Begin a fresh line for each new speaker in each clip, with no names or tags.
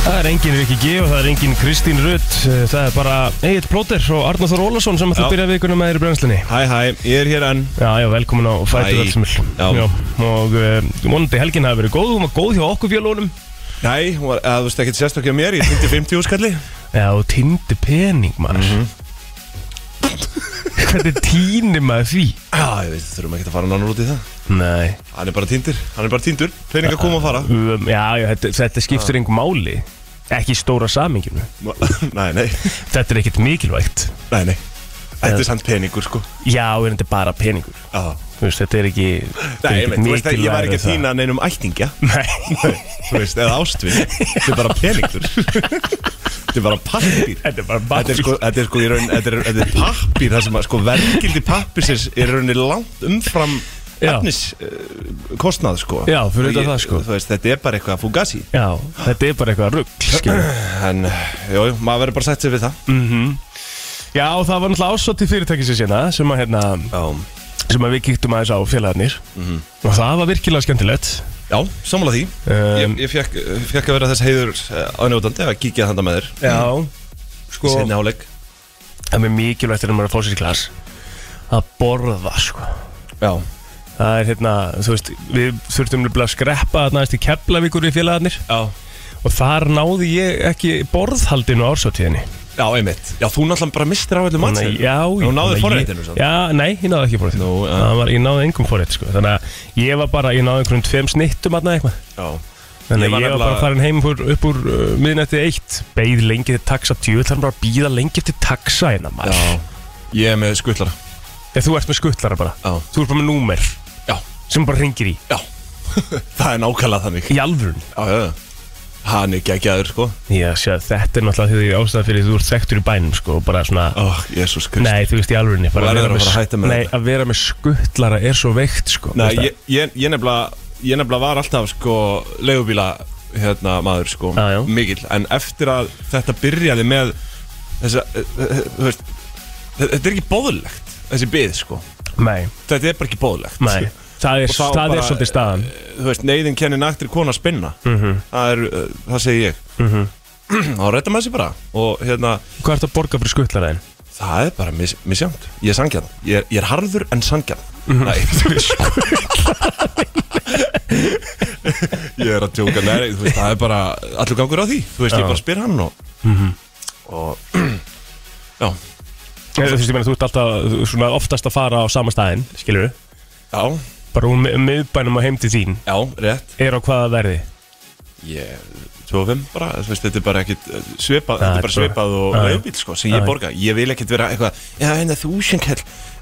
Það er engin Rikki G og það er engin Kristín Rutt eh, Það er bara Egil Plóter og Arnar Þór Ólason sem að þú
Já.
byrjaði vikuna með þér í brennslinni
Hæ, hæ, ég er hér enn
Já, já, velkomin á Fætur
Æ,
Völdsmil
já.
Og uh, vonandi helgin hafi verið góð Hún var góð hjá okkur fjölunum
Nei, hún var, að, þú veist ekki sérstakja mér, ég týndi 50 úrskalli
Já, þú týndi pening maður
Mhm.
Hvernig týnir maður því?
Já, ég veit, þurfum ekki að fara nánar út í það
Nei
Hann er bara týndur, hann er bara týndur Peninga koma og fara
um, Já, já þetta, þetta skiptir einhver máli Ekki í stóra saminginu
Nei, nei,
Þetta er ekkert mikilvægt
nei, nei Þetta er samt peningur, sko
Já, er þetta bara peningur
Já
Þú veist, þetta er ekki þetta er
Nei, ég
ekkert
veit, þú veist, ég var
mikilvægara
ekki að
það.
týna neinum ættingja
Nei,
Þú veist, eða ástvin Þetta er bara peningur Þetta er bara pappir
þetta er bara
Þetta er sko, þetta er sko í raun, þetta er, þetta er pappir Það sem að, sko, verkildi pappisins er í rauninni langt umfram
Já.
efnis uh, kostnað, sko
Já, fyrir
Og
utan
ég-
það, sko.
Þú veist, þetta er bara eitthvað fugasi
Já, þetta er bara eitthvað rugg
En, jú, jú, maður verður bara sett sér við það
Já, og það var náttúrulega ásvátt í fyrirtækisins hérna sem að, hérna,
Já,
sem að við kíktum aðeins á félagarnir
Mhm.
og það var virkilega skemmtilegt
já sammála því
um,
Ég, ég fekk, fekk að vera þess heiður ánjótandi að kíkja þanda með þér
Já, sko
Í seinni háleik
það er mikilvægt þegar maður er að fá sér í glas að borða, sko
Já,
Það er hérna, þú veist, við þurftum nefnilega að skreppa þarna aðeins til Keflavíkur við félagarnir
já
og þar náði ég ekki borðhaldinu á ársváttíðinni
Já, einmitt Já, þú náttúrulega bara mistir af öllu
Þannig,
matsinn
já,
Þú náðir
þannig að ég-
forréttinu, samt.
Já, nei, ég náði ekki forréttinu
Nú, já.
Það var, Ég náði engum forrétt sko. Þannig að ég var bara, ég náði einhverjum tveim snittum aðna eitthvað
Já
Þannig
Ég
að
var
ég, var bara
nefnilega-
farin heim upp úr, upp úr uh, miðnætti eitt Beið lengi til taxa tjú Það er bara að býða lengi til taxa hérna maður
Já Ég er með skuttlara
Ef þú ert með skuttlara bara
Já.
Þú ert bara með númer
Já
sem bara ringir í
Já Það er nákvæmlega þannig
Í alvörun
Já, já, já Hann er geggjaður, sko
Já, sé, þetta er náttúrulega því ástæða fyrir þú ert þekktur í bænum sko, og bara svona
Ó, Jésús Krist
Nei, þú veist í alvörunni bara vera
Verður að
með
fara að
sk-
hætta með
Nei,
þetta.
að vera með skuttlara er svo veikt sko,
Nei,
veist það?
ég, ég, ég nefnilega Ég nefnilega var alltaf, sko Leigubíla, hérna, maður, sko
Já, já.
Mikill En eftir að þetta byrjaði með Þessa, eh, eh, þú veist Þetta þetta er ekki bóðlegt Þessi bið, sko
Nei,
Þetta er bara ekki bóðlegt
nei Það er,
Og
það
þá
er
bara-
svolítið staðan
þú veist, neyðin kennir naktri konu að spinna
Mhm.
það er, uh, það segi ég þá réttar maður sér bara og hérna,
Hvað ert að borga fyrir skuttlaræðin?
það er bara mis, misjánt ég er sangjarn, ég er, ég er harður en sangjarn
Mhm.
nei, þú veist
sko-
ég er að tjóka, nei, þú veist, það er bara allur gangur á því, þú veist, ég bara spyr hann og,
Mhm.
og já,
Þú veist, ég meina, þú ert alltaf þú- svona oftast að fara á sama staðin, skilur við
já,
Bara úr mi- miðbænum og heim til þín
já, rétt
Er á hvaða verði?
ég, 25 bara, þú veist, þetta er bara ekkit uh, svipað, þetta er
þetta
bara
er bara-
svipað og
Já, já.
leifbíl, sko, sem ég
Já, já.
borga ég vil ekkit vera eitthvað, já, hérna þúsund kall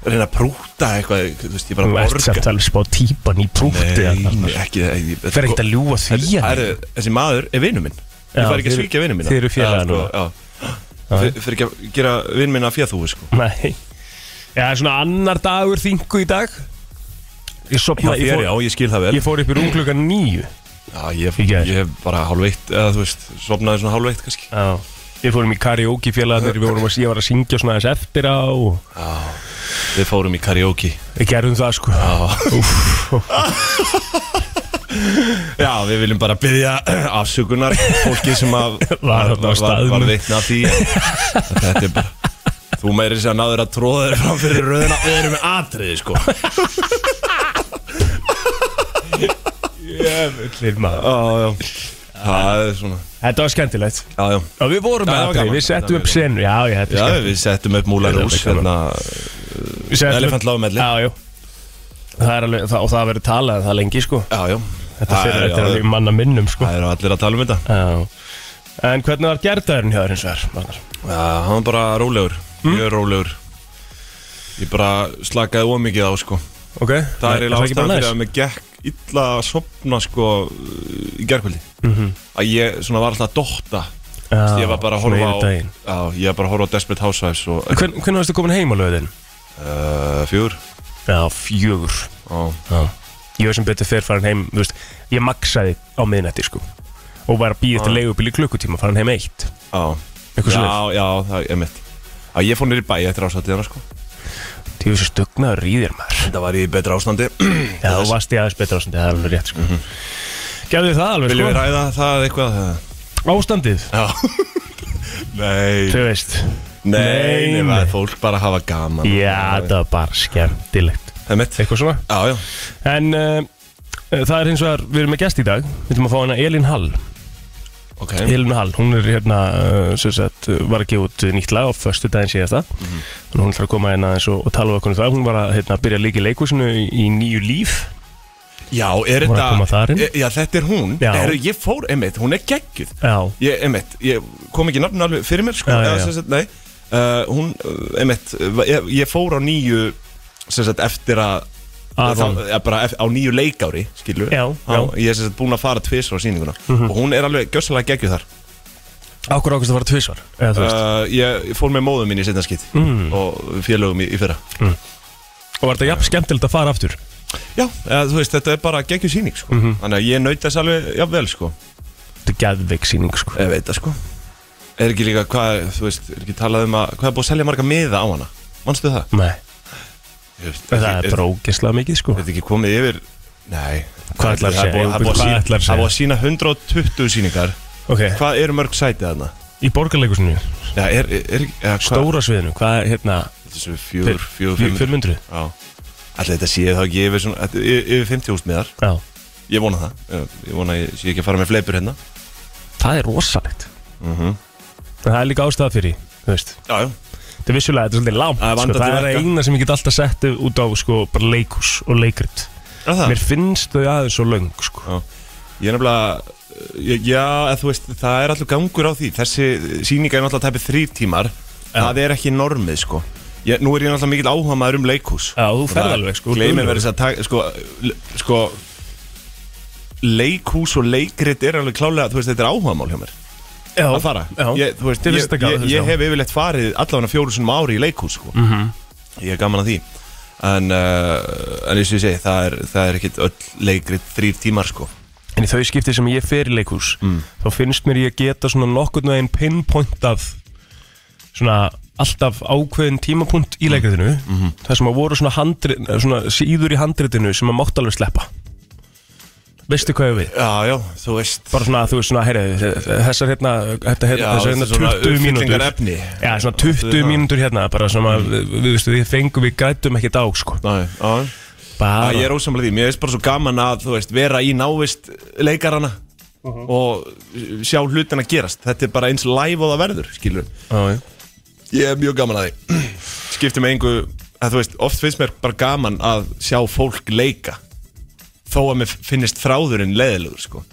reyna að prúta eitthvað, þú veist, ég bara
Þú ert
borga
samt alveg spá típan í prútti
nei, nei, ekki, ég,
Fer ekkert að ljúga því að
Þessi- Herru, þessi maður er vinnu minn ég
Já,
fær ekki að
þið-
svíkja vinnu minna
þið eru félagar
Já,
núna.
sko, já. fyrir ekki að gera vinnu minna að fjöðúi, sko
Nei Já, svona annar dagur þingu í dag Ég sopna,
já,
ég
þér, já,
fór,
ég skil það vel
ég fór upp í rúmklukka nýju
já, ég,
Í gær.
ég hef bara hálfveitt, eða þú veist, sopnaði svona hálfveitt kannski
Já Við fórum í karaoke félagarnir, við vorum að ég var að syngja svona aðeins eftir á og
við fórum í karaoke
við gerðum það sko
Já, við viljum bara byggja afsökunar fólki sem að
Var þarna á staðnum.
var vitna að því Þetta er bara Þú meiri sér að náður að tróða þér fram fyrir röðina Við erum með atriði sko
Jöfnlir maður
já, já Það er svona
Þetta var skemmtilegt
Já, já
Já, við vorum
Já,
með
það var
aðrið,
gaman.
við settum
Já,
upp
mjög
senu Já, já, þetta er
Já,
skemmt
við settum upp Múla
Þetta er
Rús
ekki
hérna,
Við settum upp-
Elephant Love Medley.
Já, já Það er alveg, það, og það verður talað um það lengi, sko
Já, já
Þetta fyrir, þetta er
já,
alveg í manna minnum, sko
Það eru allir að tala um þetta
Já En hvernig var gerðaðurinn hjá þér eins og þér, Magnar?
Já, hann var bara rólegur Mjög rólegur Hm? Ég bara slakaði ómikið á sko
Ok
Það er eiginlega
ekki bara
ástæðan fyrir
næs?
að mér gekk illa að sopna sko uh, í gerkvöldi að ég svona var alltaf að dotta
Mhm. Já,
Ég var bara að horfa
svona
á
yfir daginn.
á, Ég var bara að horfa á Desperate Housewives og
Hvern, Hvernig varstu komin heim á löðin?
uh, fjúr
Já, fjögur
og,
Já Ég var sem betur fyrir farin heim, þú veist Ég maksaði á miðnætti, sko Og var að
Ah.
býja eftir leigubíl í klukkutíma, farin heim eitt
á,
Eitthvað
Já,
svoleiðis.
já, það er mitt að Ég fór nýr í bæ eftir ásatíðana sko
Því þessu stugnaður í þér, maður
Þetta var í betra ástandi
Já, Mhm. þú varst í aðeins betra ástandi, það er alveg rétt sko. Gerðu þið það alveg
Viljum við
sko
ræða það eitthvað
Ástandið,
Já Nei
þú veist
Nei,
Nei,
nei,
nei.
nei. fólk bara hafa gaman
Já, það var bara skemmtilegt
Það er mitt
Eitthvað svona
Já, já
En uh, það er hins vegar, við erum með gest í dag Við ætlum að fá hana Elin Hall
Ok
Elin Hall, hún er hérna uh, sem sagt, uh, var að gefa út nýtt lag á föstu daginn síðasta mm Hún ætlar að koma hérna eins og, og tala um okkur um það Hún var að hérna, byrja að líka í leikusinu í, í nýju líf
Já, er
Hún var að koma
þetta
þar inn.
e- Já, þetta er hún
Já.
er, Ég fór, einmitt, hún er geggjuð
Já,
Ég, einmitt, ég kom ekki nafn alveg fyrir mér sko,
Já, já,
eða
já.
sem Sagt, Nei, uh, hún, uh, einmitt va- ég, ég fór á nýju sem sagt, eftir að
Að
þá,
hún.
ja, bara ef, á nýju leikári, skilur
Já, já. Mhm.
Ég er sem sagt búin að fara tvisar á sýninguna Og hún er alveg gjössalega geggjuð þar
okkur ákvæmst að fara tvisvar Eh, Eða þú veist
uh, Ég fór með móðum mín í setna skitt
Mm.
Og félögum í, í fyrra
Og var þetta jafn skemmtilegt að fara aftur
Já, eða, þú veist, þetta er bara geggjur síning sko.
Mhm.
Þannig að ég naut þess alveg, já vel sko
Þetta er geðveik sýning sko
Ég veit það sko Er ekki líka, hvað, þú veist, er ekki talað um að Hvað er búið að selja marga miða á hana? Manstu það?
Nei,
Ég veist,
það er
er, er,
brókislega mikið sko
er þetta ekki komið yfir Nei
Hvað ætlar að
Það er
segja?
búið- það er búið að
Hvað
sýna-
ætlar að segja? Eh.
það er búið að sína 120 síningar
Ok,
Hvað eru mörg sæti þarna?
í borgarleikusinu,
Já, er, er, er ja,
stóra sviðinu Hvað, hérna,
Þessu fjör, fjör, fjör, fjör
400
Já Alltaf þetta séu þá ekki yfir, svona, þetta- y- yfir 50 húst miðar
Já,
Ég vona það Ég- Ég vona að ég sé ekki að fara með fleipur hérna
það er rosalegt
mm -hmm.
En það er líka ástæða fyrir, því, þú veist
Já, já
Þetta er vissulega, þetta er svolítið langt
Það er
sko.
vandað
Það
til
er
verka.
eina sem ég get alltaf sett út á sko, bara leikus og leikrit
Er það?
Mér finnst þau aðeins svo löng sko.
Já. Ég er nefnilega, ég, já, eða þú veist, það er allur gangur á því. Þessi síninga er náttúrulega tæpið þrýr tímar. Það er ekki normið, sko. Ég, nú er ég náttúrulega mikill áhuga maður um leikhús.
Já, þú ferð alveg, sko, þú
Gleimir
duglegur.
verið þess að taka, sko, le- sko, leikhús og leikrit er alveg klálega, þú veist, þetta er áhuga mál hjá mér.
Já,
Að fara.
já.
Ég, þú veist,
Þér
ég,
finnst þetta
ég,
gaman,
ég
já. Mhm.
hef yfirleitt farið allavega fjóru sinum ári í leikhús, sko. Ég er gaman að því. En, uh, en eins og ég segi, það er, það er ekkit öll leikrit þrýr tímar, sko.
En í þau skipti sem ég fer í leikus
Mm.
Þá finnst mér ég geta svona nokkurn veginn pinpoint af Svona alltaf ákveðin tímapunkt
Mm.
í leikritinu
Mhm.
Það sem að voru svona, handri, svona síður í handritinu sem að mátt alveg sleppa Veistu hvað ég á við?
Já, já, þú veist
bara svona, þú veist svona, heyri, þessar hérna, þetta, hérna
Já,
þessar hérna
þetta er svona
20 mínútur
uppfyllingarefni.
Já, svona 20 mínútur hérna, bara svona,
Mm.
við, við veistu, við fengum, við grætum ekki dag, sko
Nei, já
Bara,
Æ, Ég er ósamlega því, mér veist bara svo gaman að, þú veist, vera í návist leikarana Og sjá hlutina gerast Þetta er bara eins live og það verður, skilur
já, já.
Ég er mjög gaman að því Skipti með engu, að, þú veist, oft finnst mér bara gaman að sjá fólk leika Þó að mér finnist þráðurinn leiðilegur, sko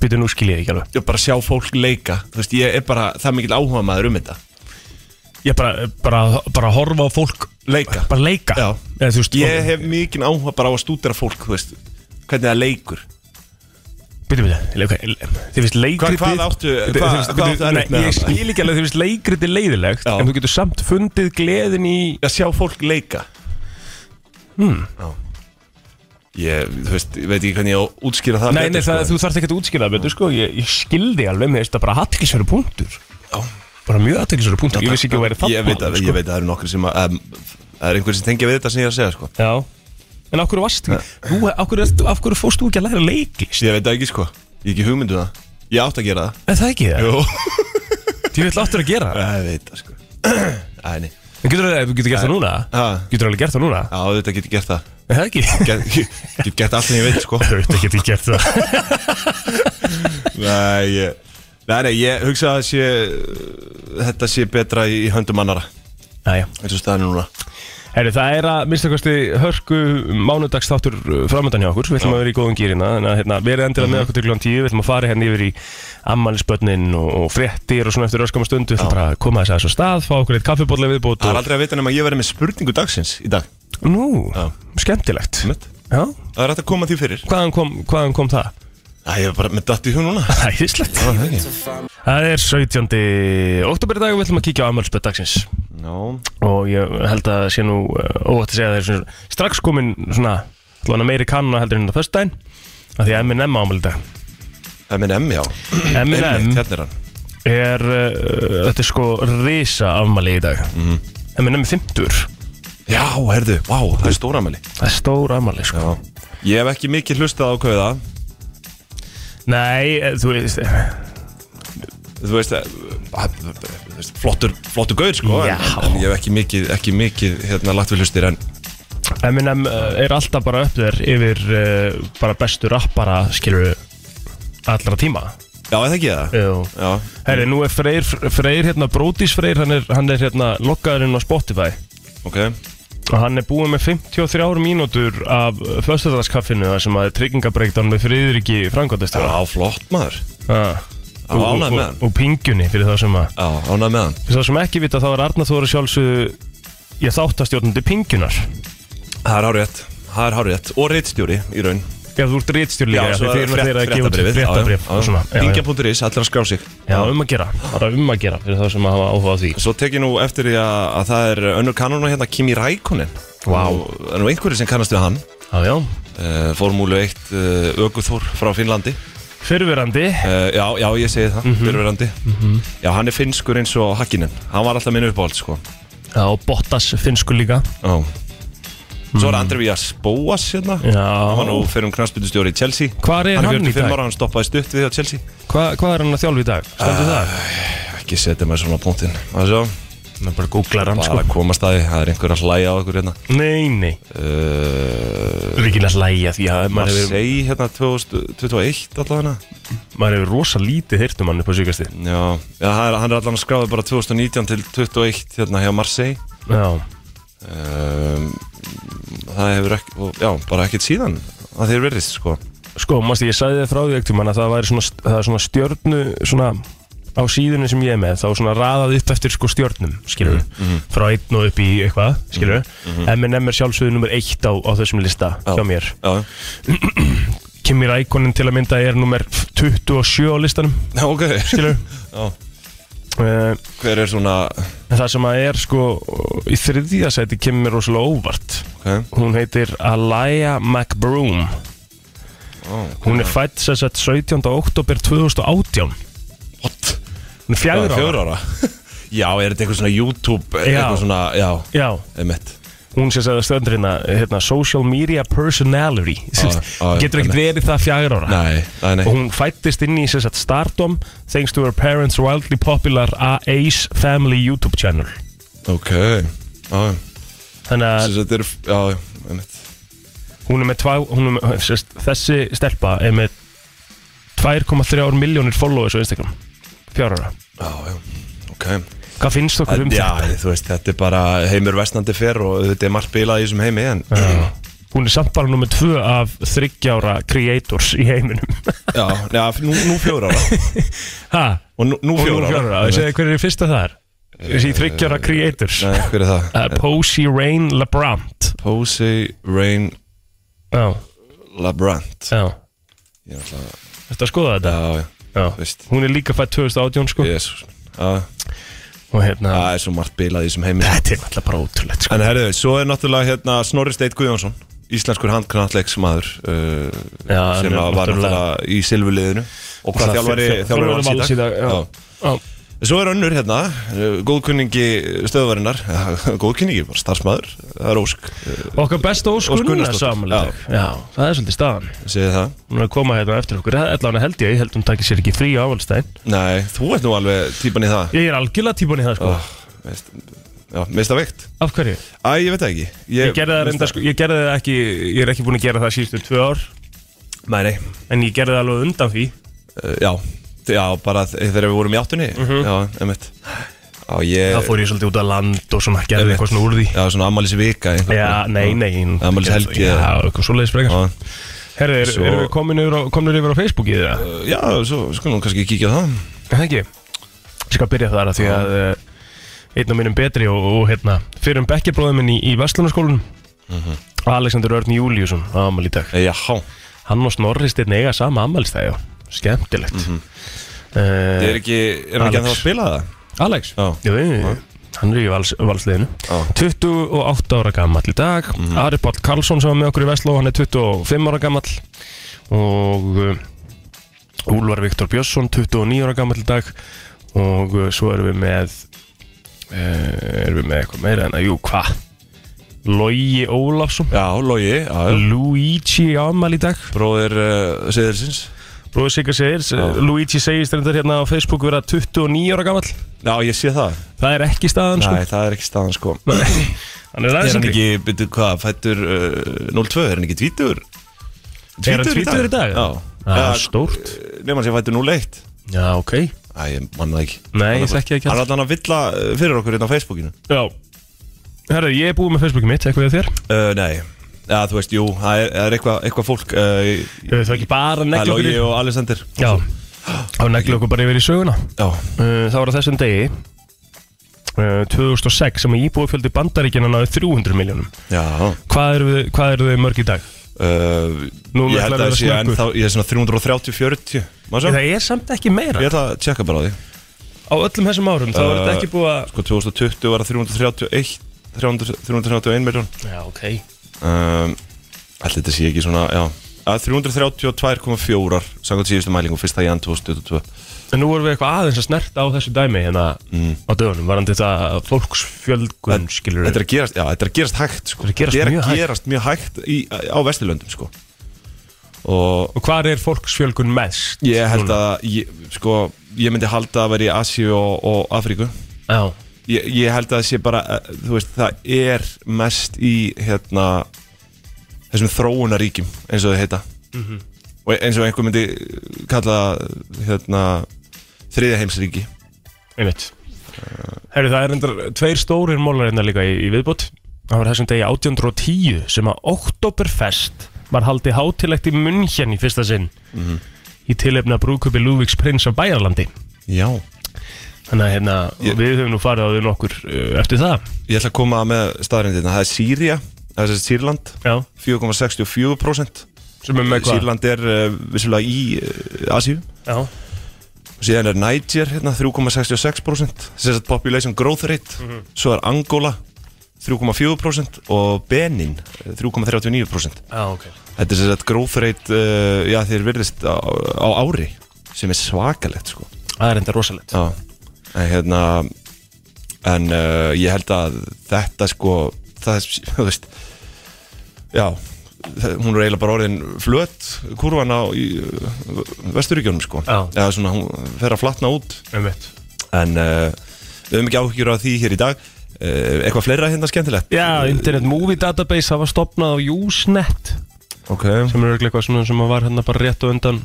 býtu nú skil ég ekki alveg
Ég bara sjá fólk leika, þú veist, ég er bara, það er mikill áhuga maður um þetta
Ég bara, bara, bara horfa á fólk
Leika
bara leika
Já.
Eða, þú veist,
Ég hef mikinn áhuga bara á að stúdera fólk, þú veist Hvernig það leikur
býtu, býtu, ok, þið finnst leikriti
hvað áttu-
Þið-
hvað-
þið finnst-
hvað
býtu,
áttu erfitt
nei,
með
Ég
þarna?
skil ekki alveg, þið finnst leikriti leiðilegt
Já.
En þú getur samt fundið gleðin í
að sjá fólk leika hmm. ég, þú veist, ég veit ekki hvernig ég á að útskýra það
Nei,
betur,
nei, það,
sko.
þú þarft ekki að útskýra það betur, sko Ég, ég skildi alveg, mér finnst það bara hattikisveru punktur
Já.
Bara mjög aðtækisverður punktur, ég vissi ekki að væri það
ég veit að, ég veit að það eru nokkur sem að um, það eru einhver sem tengja við þetta sem ég er að segja sko.
Já, en af hverju varst ekki Þú, af hverju, ertu- af hverju fórst þú ekki að læra leiklist?
ég veit það ekki sko, ég er ekki hugmyndu það ég átt að gera það
Er það ekki það?
Jú.
Ég vil aftur að gera það
ég veit það sko Æ, nei.
En getur þú getur gert það núna?
Ha.
Getur þú alveg gert það núna?
já, þetta getur gert það
Er það ekki?
get, get, get gert allt sem ég veit sko
Þetta getur gert það
nei, ég, nei, nei, ég hugsa að sé, þetta sé betra í höndum annara
Jæja,
eins og staðan er núna
Heri, það er að minnstakosti hörku mánudags þáttur framöndan hjá okkur Við ætlum að vera í góðum gýrina Þannig að hérna, verið endilega
Mhm.
með okkur til kljóðan tíu Við ætlum að fara hérna yfir í ammælisbönnin og, og fréttir og svona eftir öskama stund Við ætlum bara að koma þess að svo stað, fá okkur eitt kaffibólla viðbót
það
og...
er aldrei að vita nema að ég verði með spurningu dagsins í dag
Nú,
Já.
skemmtilegt
Einmitt.
Já,
Það er hægt að koma því fyrir
hvaðan kom, hvaðan kom það?
Æ, ég er bara með datt í hug núna
Æðislegt Það er 17. oktober í dag og við ætlum að kíkja á afmælspöð dagsins
Já
og ég held að sé nú uh, óvægt að segja að það er svona, strax komin svona, allavega meiri kannuna heldur en á föstudaginn af því að Eminem ámæli dag
M&M, já
Eminem
Einmitt, Hérna er hann
er, uh, þetta er sko risa afmæli í dag
Mhm.
Eminem er 50
Já, herðu, vá, það er stóramæli
það er stór afmæli sko
Já Ég hef ekki mikið hlustað á kauða
Nei, eh, þú veist eh,
þú veist, að- að- þú veist flottur, flottur gaur sko en,
Já.
en ég hef ekki mikið, ekki mikið hérna lagt við hlustir en
Eminem uh, er alltaf bara upp þér yfir uh, bara bestu rappara skilur allra tíma
já, er það ekki það
Jú.
já,
Herri, nú er Freyr, Freyr hérna, Brótis Freyr, hann er, hann er hérna lokkaðurinn á Spotify
ok
og hann er búið með 53 mínútur af föstudagskaffinu þar sem að er tryggingabreiktan með friðriki framkvæmdistara.
já, flott maður
Já.
Já,
Og,
ánægð
og,
með
og,
hann.
og pingjunni fyrir þá sem að
já, ánægð með hann
fyrir þá sem ekki vita þá er Arnar Þóra sjálfsögðu ég þáttastjórnandi pingjunar
það er hárétt, það er hárétt og reitstjóri í raun
Já, þú ert ritstjórn líka, já, þeir eru þeir að gefa út fréttabrif og svona. Já, já.
Dingja.is, allir að skrá sig
Já, um að gera, bara um að gera fyrir þá sem að hafa áhuga á því.
Svo tek ég nú eftir því að, að það er önnur kanonu hérna Kimi Rækonen
Vá.
Það er nú einhverju sem kannast við hann
Já, já.
uh, Formúlu 1 uh, Öguþór frá Finnlandi
Fyrverandi,
uh, Já, já, ég segi það,
Mhm.
fyrirverandi Já, hann er finnskur eins og Hakkinen Hann var alltaf minn uppáhald, sko
já, Bottas finnsku líka.
Já Svo er Andri Vías Bóas hérna
Mhm. Já.
Hann var nú fyrir um knastbytustjóri í Chelsea
Hvar er hann í
45
dag?
ára, hann stoppaði stutt við á Chelsea
Hva, hvað er hann að þjálfa í dag? Stendur það?
Ekki setja mér svona á punktinn Það sjá,
Ná, bara googlar hann
bara
sko
að komast að því Það er einhver að hlæja á okkur hérna
Nei, nei
uh,
Við erum ekki að hlæja því að maður hefur
Marseille hérna 2021 alltaf hana
maður hefur rosa lítið hirt um hann upp á síkastíð
Já, já hann, er, hann er allan skráði bara 2019 til 2021 hérna hjá Marseille
Já
um, Það hefur ekki, og, já, bara ekkert síðan að þeir verðist sko
Sko, mástu, ég sagði þið frá því ektum að það væri svona, það er svona stjörnu svona á síðunni sem ég er með þá svona raðað upp eftir sko stjörnum skilur frá einn og upp í eitthvað skilur mhm. M&M er sjálfsögðu nummer eitt á, á þessum lista
Já.
hjá mér
Já,
Kimi Rækonin til að mynda er nummer 27 á listanum
já ok
skilur
já,
uh,
Hver er svona,
En það sem að er sko í þriðja sæti kemur mér rosalega óvart
ok
Hún heitir Alaya McBroom
ó,
Hún er fætt sér sett 17. oktober 2018
What?
Hún er
Hvað,
fjagur ára
Fjögur ára Já, er þetta eitthvað svona YouTube
Já.
eitthvað svona, já,
Já,
emitt
hún sér sett stöndur hérna, hérna Social Media Personality
Já, já,
Getur ekkert verið það fjagur ára
Nei, nei, nei
Og hún fættist inn í sér sett stardom Thanks to her parents wildly popular Ace Family YouTube channel
Ok, já,
Þannig að
þetta er, já, emitt
hún er með, tvá, hún er með sérst, þessi stelpa er með 2,3 miljónir followers á Instagram fjárara
Já, já, ok
hvað finnst okkur um
Já,
þetta?
þú veist, þetta er bara heimur vestnandi fyrr og þetta er margt bilað í þessum heimi en
Já. hún er samt bara nummer 2 af 30 ára creators í heiminum
já, já nú, nú fjóra ára
ha,
og nú, nú
hún er
fjóra
fjárara
ára
ég segi hver er í fyrsta þar þessi 30 ára creators
Nei, hver er
uh,
það?
Posey Rain Labrant
Posey Rain
já,
Labrant
já
Ég er alltaf,
Þetta að skoða þetta?
já, já,
Já.
veist
Hún er líka fætt 2018 sko
Jesus Já,
og hérna
það er svo margt bilað í þessum heimi
Þetta er alltaf bara ótrúlegt sko
Ah. En herðu, svo er náttúrulega hérna Snorri Steit Guðjónsson Íslenskur handknallegsmaður uh,
Já, hann
sem
er
að var náttúrulega í silfuliðinu og hvað
Náttúrulega þjálfari
þjálfari, þjálfari
Vals í
vals í dag
dag, já. Já.
Svo er önnur hérna, eh, góðkunningi stöðvarinnar, góðkunningi, bara starfsmæður, það er ósk, eh,
Okkar besta
Ósk
óskunna
Gunnarsdóttir.
samanlega Já, það er svolítið staðan
segið það.
Hún er að koma hérna á eftir okkur Allan held ég, ég held hún takir sér ekki frí á ávalstæðin
Nei, þú ert nú alveg típan í það.
Ég er algjörlega típan í það sko
Oh, veist, já, mista veikt.
Af hverju?
Æ, ég veit það ekki.
Ég, gerði það reynda sko, ég gerði það ekki Ég er ekki búin að gera það síðustu tvö ár
Nei, nei,
En ég gerði það alveg undan því
eh, já, já, bara þ- þegar við vorum í áttunni, já, emitt. Já, ég,
Þá Mhm. fór ég svolítið út á land og svona Gerði
Einmitt.
eitthvað svona úr því
já, svona ammælis vika.
Já, nei, nei ég-
Afmælis helgi,
Já,
eða?
eitthvað svoleiðis frekar
Já,
Herri, er,
Svo-
erum við komin yfir, á- komnir yfir á Facebookið það?
já, svo skulum við kannski kíkja á það.
Er Það ekki? Ég skal byrja þar að því að eh, einn af mínum betri og, og hérna, fyrir um bekkjabróðum minn í, í Vestlunarskólanum
Mhm.
Alexander Örn Júliusson ámæli í dag
Eh, Já,
Hann og Snorri steinn eiga sama ámælistæði skemmtilegt
Mhm. það er
uh,
ekki, er hann
Alex.
ekki ennþá að spila það?
Alex?
Já.
Jú, jú, hann er í vals, valsliðinu
Já.
28 ára gamall í dag Ari Páll Karlsson sem var með okkur í Vestló hann er 25 ára gamall og uh, Úlvar Viktor Björnsson 29 ára gamall í dag og uh, svo erum við með uh, erum við með eitthvað meira en að jú, hva? Logi Ólafsson
Já, eh, Logi, já, já.
Luigi ámæli í dag
bróðir uh, Seðursins
Bróði Sigga segir, Luigi segist reyndar hérna á Facebook vera 29 ára gamall
Já, ég sé það
Það er ekki staðan sko
Nei, það er ekki staðan sko
Hann er
Er
aðeins
hann
yngri.
ekki, byrju hvað, fættur uh, 02, er hann ekki tvítur?
Er hann tvítugur í dag?
Já
Það
Eða,
er stórt
Nefnum hann sé fættur 01
Já, ok
Æ, ég manna það ekki
Nei, ég þekki það ekki
Hann
allt.
er allan að villa uh, fyrir okkur hérna á Facebookinu
Já Herra, ég er búið með Facebookið mitt, eitthvað við þér
uh, Nei, já, þú veist, jú, það er, það er eitthvað eitthva fólk uh,
Ég veit það ekki bara
Það er
negla okkur
Logi
í-
og Alexander
Já, þá negla okkur bara yfir í söguna
Já,
Uh, Það var á þessum degi uh, 2006 sem að íbúðfjöldi bandaríkjana náði 300 miljónum
já
Hvað eru þau- hvað eru þau mörg í dag?
uh,
Nú ætlar
Ég held
að
að
vera
það sé
snöggur.
ennþá, ég er svona 330-40 Má sjá?
Það er samt ekki
Ég
meira
ætla að tjekka bara á því
Á öllum þessum árum þá er þetta
Uh,
ekki búið að
Sko, 2020 var það 331 300 331 miljón
Já, ok
um, Allt þetta sé ekki svona, já að 332,4 samkvæmt síðustu mælingu, fyrsta í 2022
En nú vorum við eitthvað aðeins að snerta á þessu dæmi hérna á dögunum varandi þetta fólksfjölgun skilur
Þetta er að gerast, já, þetta er að gerast hægt sko.
Þetta er að gerast mjög hægt.
gerast mjög hægt í, á Vesturlöndum sko. og
Og hvað er fólksfjölgun mest?
ég held að ég, sko, ég myndi halda að vera í Asíu og, og Afríku
Já,
ég, ég held að það sé bara eh, þú veist, það er mest í hérna þessum þróunaríkjum eins og þau heita
Mhm.
og eins og einhver myndi kalla það, hérna þriðja heimsríki
einmitt Herru, það er reyndar tveir stórir mólar hérna líka í, í viðbót Það var þessum degi 1810 sem að Oktoberfest var haldið hátilegt í München í fyrsta sinn í tilefna brúkupi Lúvíks prins af Bæjarlandi
já
Þannig að hérna,
Ég-
við höfum nú farið á þau nokkur uh, eftir það
ég ætla að koma með staðarindina það er Sýria, það er þessi Sýrland
Já,
4,64%
sem er með hvað?
Sýrland er uh, vissulega í uh, Asíu
Já,
síðan er Niger hérna 3,66% sem sagt population growth rate svo er Angola 3,4% og Benin eh, 3,39%
já, ok
þetta er sem sagt growth rate uh, já þeir virðist á, á ári sem er svakalegt sko
Það er reyndar rosalegt
já. en hérna en uh, ég held að þetta sko það þú veist já það- hún er eiginlega bara orðin flött kurvan á í, eh, vesturíkjónum sko
Já.
eða svona hún fer að flatna út
Einmitt
en uh, við höfum ekki áhyggjur á því hér í dag uh, eitthvað fleira hérna skemmtilegt
Já, Internet Movie Database það var stopnað á Usenet
ok mhm,
sem er örugglega eitthvað svona sem var hérna bara rétt og undan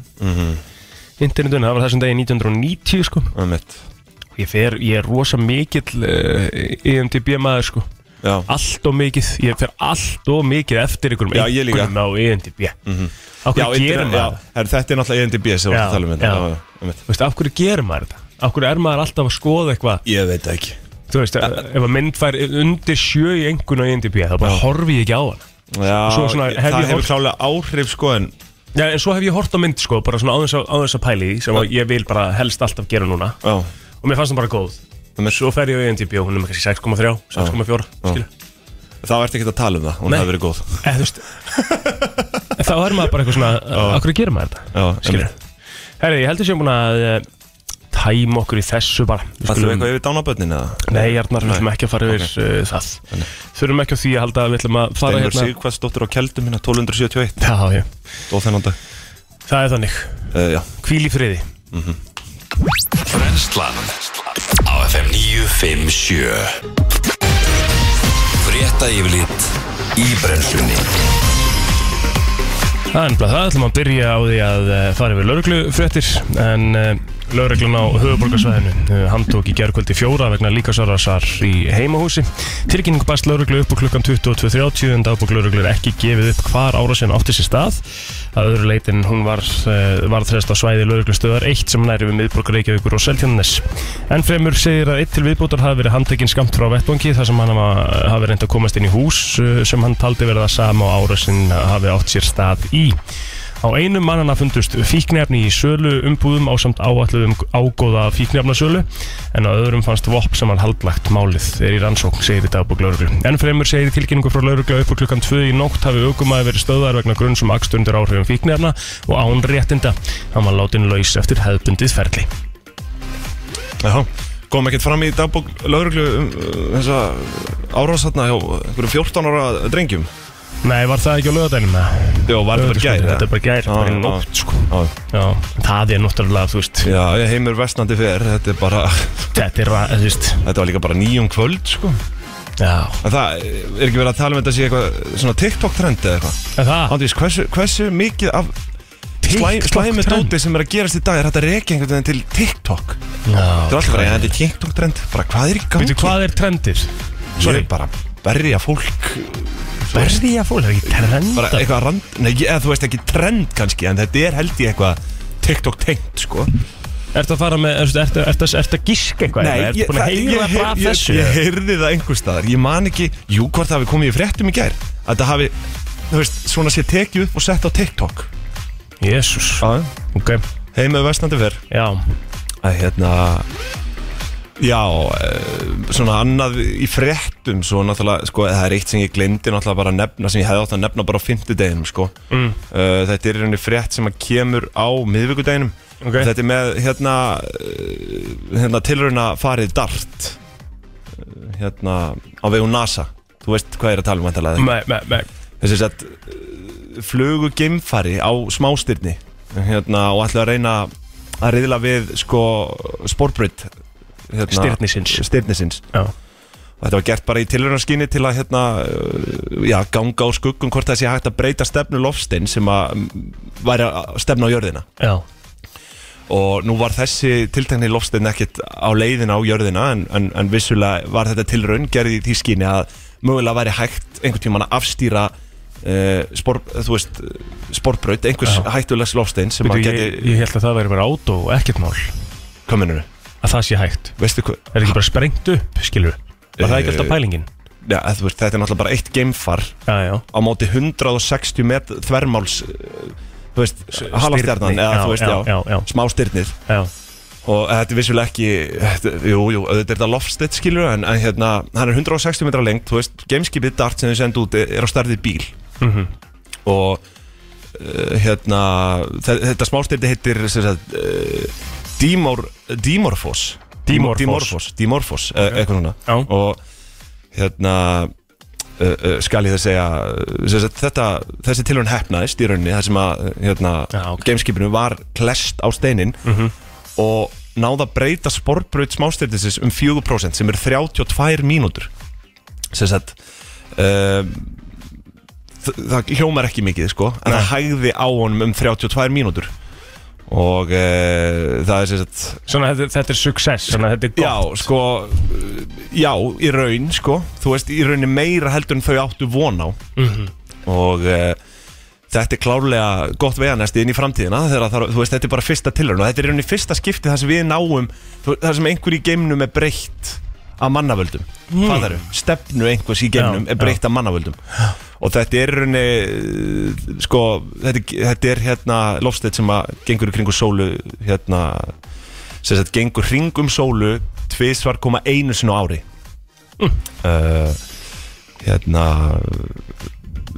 internetun, það var þessum degi 1990 sko
Ömmit.
ég, fer, ég er rosa mikill uh, EMTB maður sko
já,
allt og mikill, ég fer allt og mikill eftir ykkur
Já, ég líka. Mhm.
á EMTB mm -hmm. af
já, E
hverju gerir
internet, já.
maður
En, þetta er náttúrulega ENDB sem
Já,
við erum að tala um
já.
hérna. já, já, einmitt.
Þú veist, af hverju gerir maður þetta af hverju er maður alltaf að skoða eitthvað
ég veit það ekki
þú veist, eh, ef að mynd fær undir sjö í engun á E EMTB, þá bara horfi ég ekki á hana
já,
Svo svona, hef
það
ég
hefur
horft-
klálega áhrif sko en
Já, en svo hef ég hort á mynd, sko, bara svona á þess að, á þess að pæli í því, sem að ég vil bara helst alltaf gera núna
já,
og mér fannst hún bara góð
Ömmit,
Svo fer ég á E ENDB og hún er með kannski 6,3, 6,4, skilu
þá ertu ekki að tala um það hún
Nei.
hefur verið góð
Eða, Eh, þú veist Þá er maður bara eitthvað svona, okkur gerir maður þetta,
já,
skilu Herri, ég heldur sem búin að eh, tæma okkur í þessu bara Við
Það er
skulum-
eitthvað yfir dánabönnin eða?
Nei, Arnar, við ætlum ekki að fara yfir okay. það Þurfum ekki á því að halda að við ætlum að fara
Steinur
hérna
Sigvarsdóttir á Keldum hérna 1271
Já, já,
og þennan dag
það er þannig
uh, Já,
Hvíl í friði
Brenslan Á FM 957 Frétta yfirlit Í brennslunni
Það er nefnilega það, ætlum að byrja á því að eh, fara yfir lauruglufréttir en uh, lauruglun á höfuborgarsvæðinu uh, handtók í gerkvöldi fjóra vegna líkasárasar í heimahúsi. Tilkynningu bæst lauruglu upp úr klukkan 22.30 en dagbúk lauruglu er ekki gefið upp hvar árásin átti sér stað. Að öðru leitin hún var, uh, var þrest á svæði lauruglustöðar 1 sem næri við miðborg Reykjavíkur og Seltjónnes. En fremur segir að eitt til viðbútar hafi verið handtekinn skamt frá vettvangi þar sem hann hafa- eh, hafi reynd að komast inn í hús eh, sem hann taldi verið það sama á árásin hafi átt sér stað í. Á einum mannana fundust fíknefni í sölu umbúðum á samt áalluðum ágóða fíknefnasölu en á öðrum fannst vopn sem var haldlagt málið er í rannsókn, segir í dagbúk lauruglu. En fremur segir í tilkynningu frá lauruglu upp úr klukkan 2 í nótt hafi aukumæði verið stöðar vegna grunn sem akstundur áhrifum fíknefna og án réttinda. Hann var látin laus eftir hefðbundið ferli.
já Kom ekkert fram í dagbók lauruglu um uh, þessa árásatna hjá einhverjum 14 ára drengjum
Nei, var það ekki á lögadænum?
Jó, var þetta bara í gær, Ah,
Þetta er bara gær,
Já,
bara í
já.
nótt sko.
Já,
Já, það er náttúrulega, þú veist
já ég heimur vestnandi fer Þetta er bara,
Þetta er, ra- þú veist,
þetta var líka bara nýjum kvöld sko.
já
En það er ekki verið að tala um þetta sé eitthvað Svona TikTok trend eða eitthvað
En það,
Andrís, hversu, hversu mikið af slæ-
TikTok
Slæmi
trend?
dóti sem er að gerast í dag Er þetta reikja einhvern veginn til TikTok Þetta
já
er alltaf bara, ja, þetta er TikTok trend Bara hvað er í gangi?
Veitu, hvað er trendir?
Ég
Sorry.
er bara að berja fólk
Berði ég að fólk, það er ekki trendar
bara eitthvað rand, nei, ég- eða þú veist ekki trend kannski, en þetta er held ég eitthvað TikTok tengt, sko
Ertu að fara með, ertu, ertu, ertu, ertu að gíska eitthvað? hérna? ertu búin að
það-
heyra
ég,
bara af
ég,
þessu?
ég, ég heyrði það einhver staðar, ég man ekki jú, hvort það hafi komið í fréttum í gær að það hafi, þú veist, svona sé tekið upp og sett á TikTok
Jésús, ok,
heimauð vestnandi fyrr
já
að hérna já, eh, svona annað í fréttum, svo náttúrulega sko, það er eitt sem ég glemdi náttúrulega bara að nefna sem ég hefði átt að nefna bara á fimmtudeginum, sko
mm.
Uh, þetta er í rauninni frétt sem að kemur á miðvikudeginum
Ok.
Þetta er með hérna, uh, hérna tilrauna farið dart uh, hérna á vegum NASA Þú veist hvað ég er að tala um væntanlega,
Nei, nei, nei
ekki? Þessi sett uh, flugu geimfari á smástyrni hérna, og ætla að reyna að riðla við sko sportbrytt hérna,
Stirnisins
styrnisins
Já.
og þetta var gert bara í tilhörnarskinni til að hérna, uh, já, ganga á skuggum hvort það sé hægt að breyta stefnu lofstein sem að mm, væri að stefna á jörðina
Já,
og nú var þessi tiltekni lofstein ekkit á leiðina á jörðina en, en, en vissulega var þetta tilraun gerði í því skinni að mögulega væri hægt einhvern tímann að afstýra uh, spor, þú veist, sportbraut einhvers
Já.
hættulegs lofstein sem
Veitu,
að
ég,
geti
ég held að það væri bara átó og ekkert mál
kominur
Að það sé hægt
veistu hvað
Er ekki bara sprengt upp, skilur Var það ekki alltaf pælingin?
já, þú veist, þetta er náttúrulega bara eitt geimfar
Eh, Já, já
á móti 160 met þvermáls uh, þú veist, halastjarnan eða þú veist, já,
já, já,
smá styrnir
já.
og þetta er vissulega ekki þetta, jú, jú, þetta er þetta loftstitt skilur en, en hérna, hann er 160 metra lengt þú veist, gameskipið dart sem þau sendu út er á starfið bíl
Mhm.
og uh, hérna þe- þetta smástyrti heitir sem sagt, uh, Dímor, Dímorfos
Dímorfos.
Dímorfos, Dímorfos e eitthvað svona
Já.
og hérna uh, uh, skal ég það segja uh, sem sagt, þetta, þessi tilhörn hefnaðist í rauninni þar sem að uh, hérna,
Já,
ja,
ok.
gameskipinu var klest á steinin
Mhm.
og náða að breyta sportbraut smástyrtisins um 4% sem er 32 mínútur sem sagt um, þ- það hljómar ekki mikið sko en það hægði á honum um 32 mínútur og uh, það er sem sagt
Svona þetta, þetta er success Svona þetta er gott
Já, sko, uh, já, í raun, sko Þú veist, í rauninni meira heldur en þau áttu von á Og uh, þetta er klárlega gott veganesti inn í framtíðina Þegar það, þú veist, þetta er bara fyrsta tilraun Og þetta er í rauninni fyrsta skipti þar sem við náum þú- þar sem einhver í geimnum er breytt af mannavöldum mm. stefnu einhvers í geimnum
Hmm. Já,
er breytt af mannavöldum Og þetta er í rauninni, uh, sko, þetta, þetta er hérna lofstætt sem að gengur í kringu sólu, hérna, sem sagt gengur hring um sólu tvisvar koma einu sinu ári uh, hérna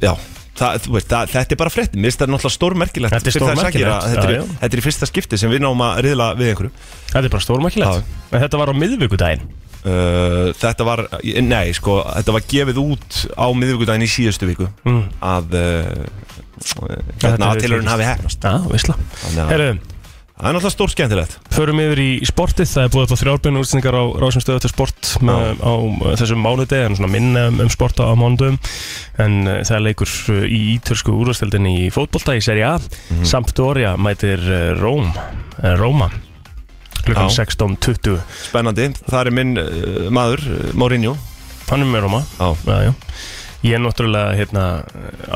já Það, þú veist, það, þetta er bara frétt, mér finnst það náttúrulega stórmerkilegt
Þetta er
fyrir þær sakir
stórmerkilegt,
að þetta,
já,
er-
já.
þetta er í fyrsta skipti sem við náum að riðla við einhverju
Þetta er bara stórmakilegt En þetta var á miðvikudaginn
uh, Þetta var, nei, sko, þetta var gefið út á miðvikudaginn í síðustu viku
Mm.
að uh,
Þetta
hérna
hefur
að tilhörin
tekist.
hafi hefnast
Já, veistla
Þannig að-
Herru,
Það er náttúrulega stór skemmtilegt
Förum yfir í, í sportið, það er búið upp á þrjárbyrnu útsendingar á Rásum stöðu til sport með, á uh, þessum mánudegi, en svona minna um, um sport á mánudum en uh, það er leikur uh, í ítölsku úrvastöldin í fótbolta í seri A
Mhm.
Sampdoria mætir uh, Róm uh, Róma klukkan
Já.
16.20
Spennandi, það er minn uh, maður, uh, Mourinho
hann er með Róma
Já.
já, já. ég er náttúrulega hérna,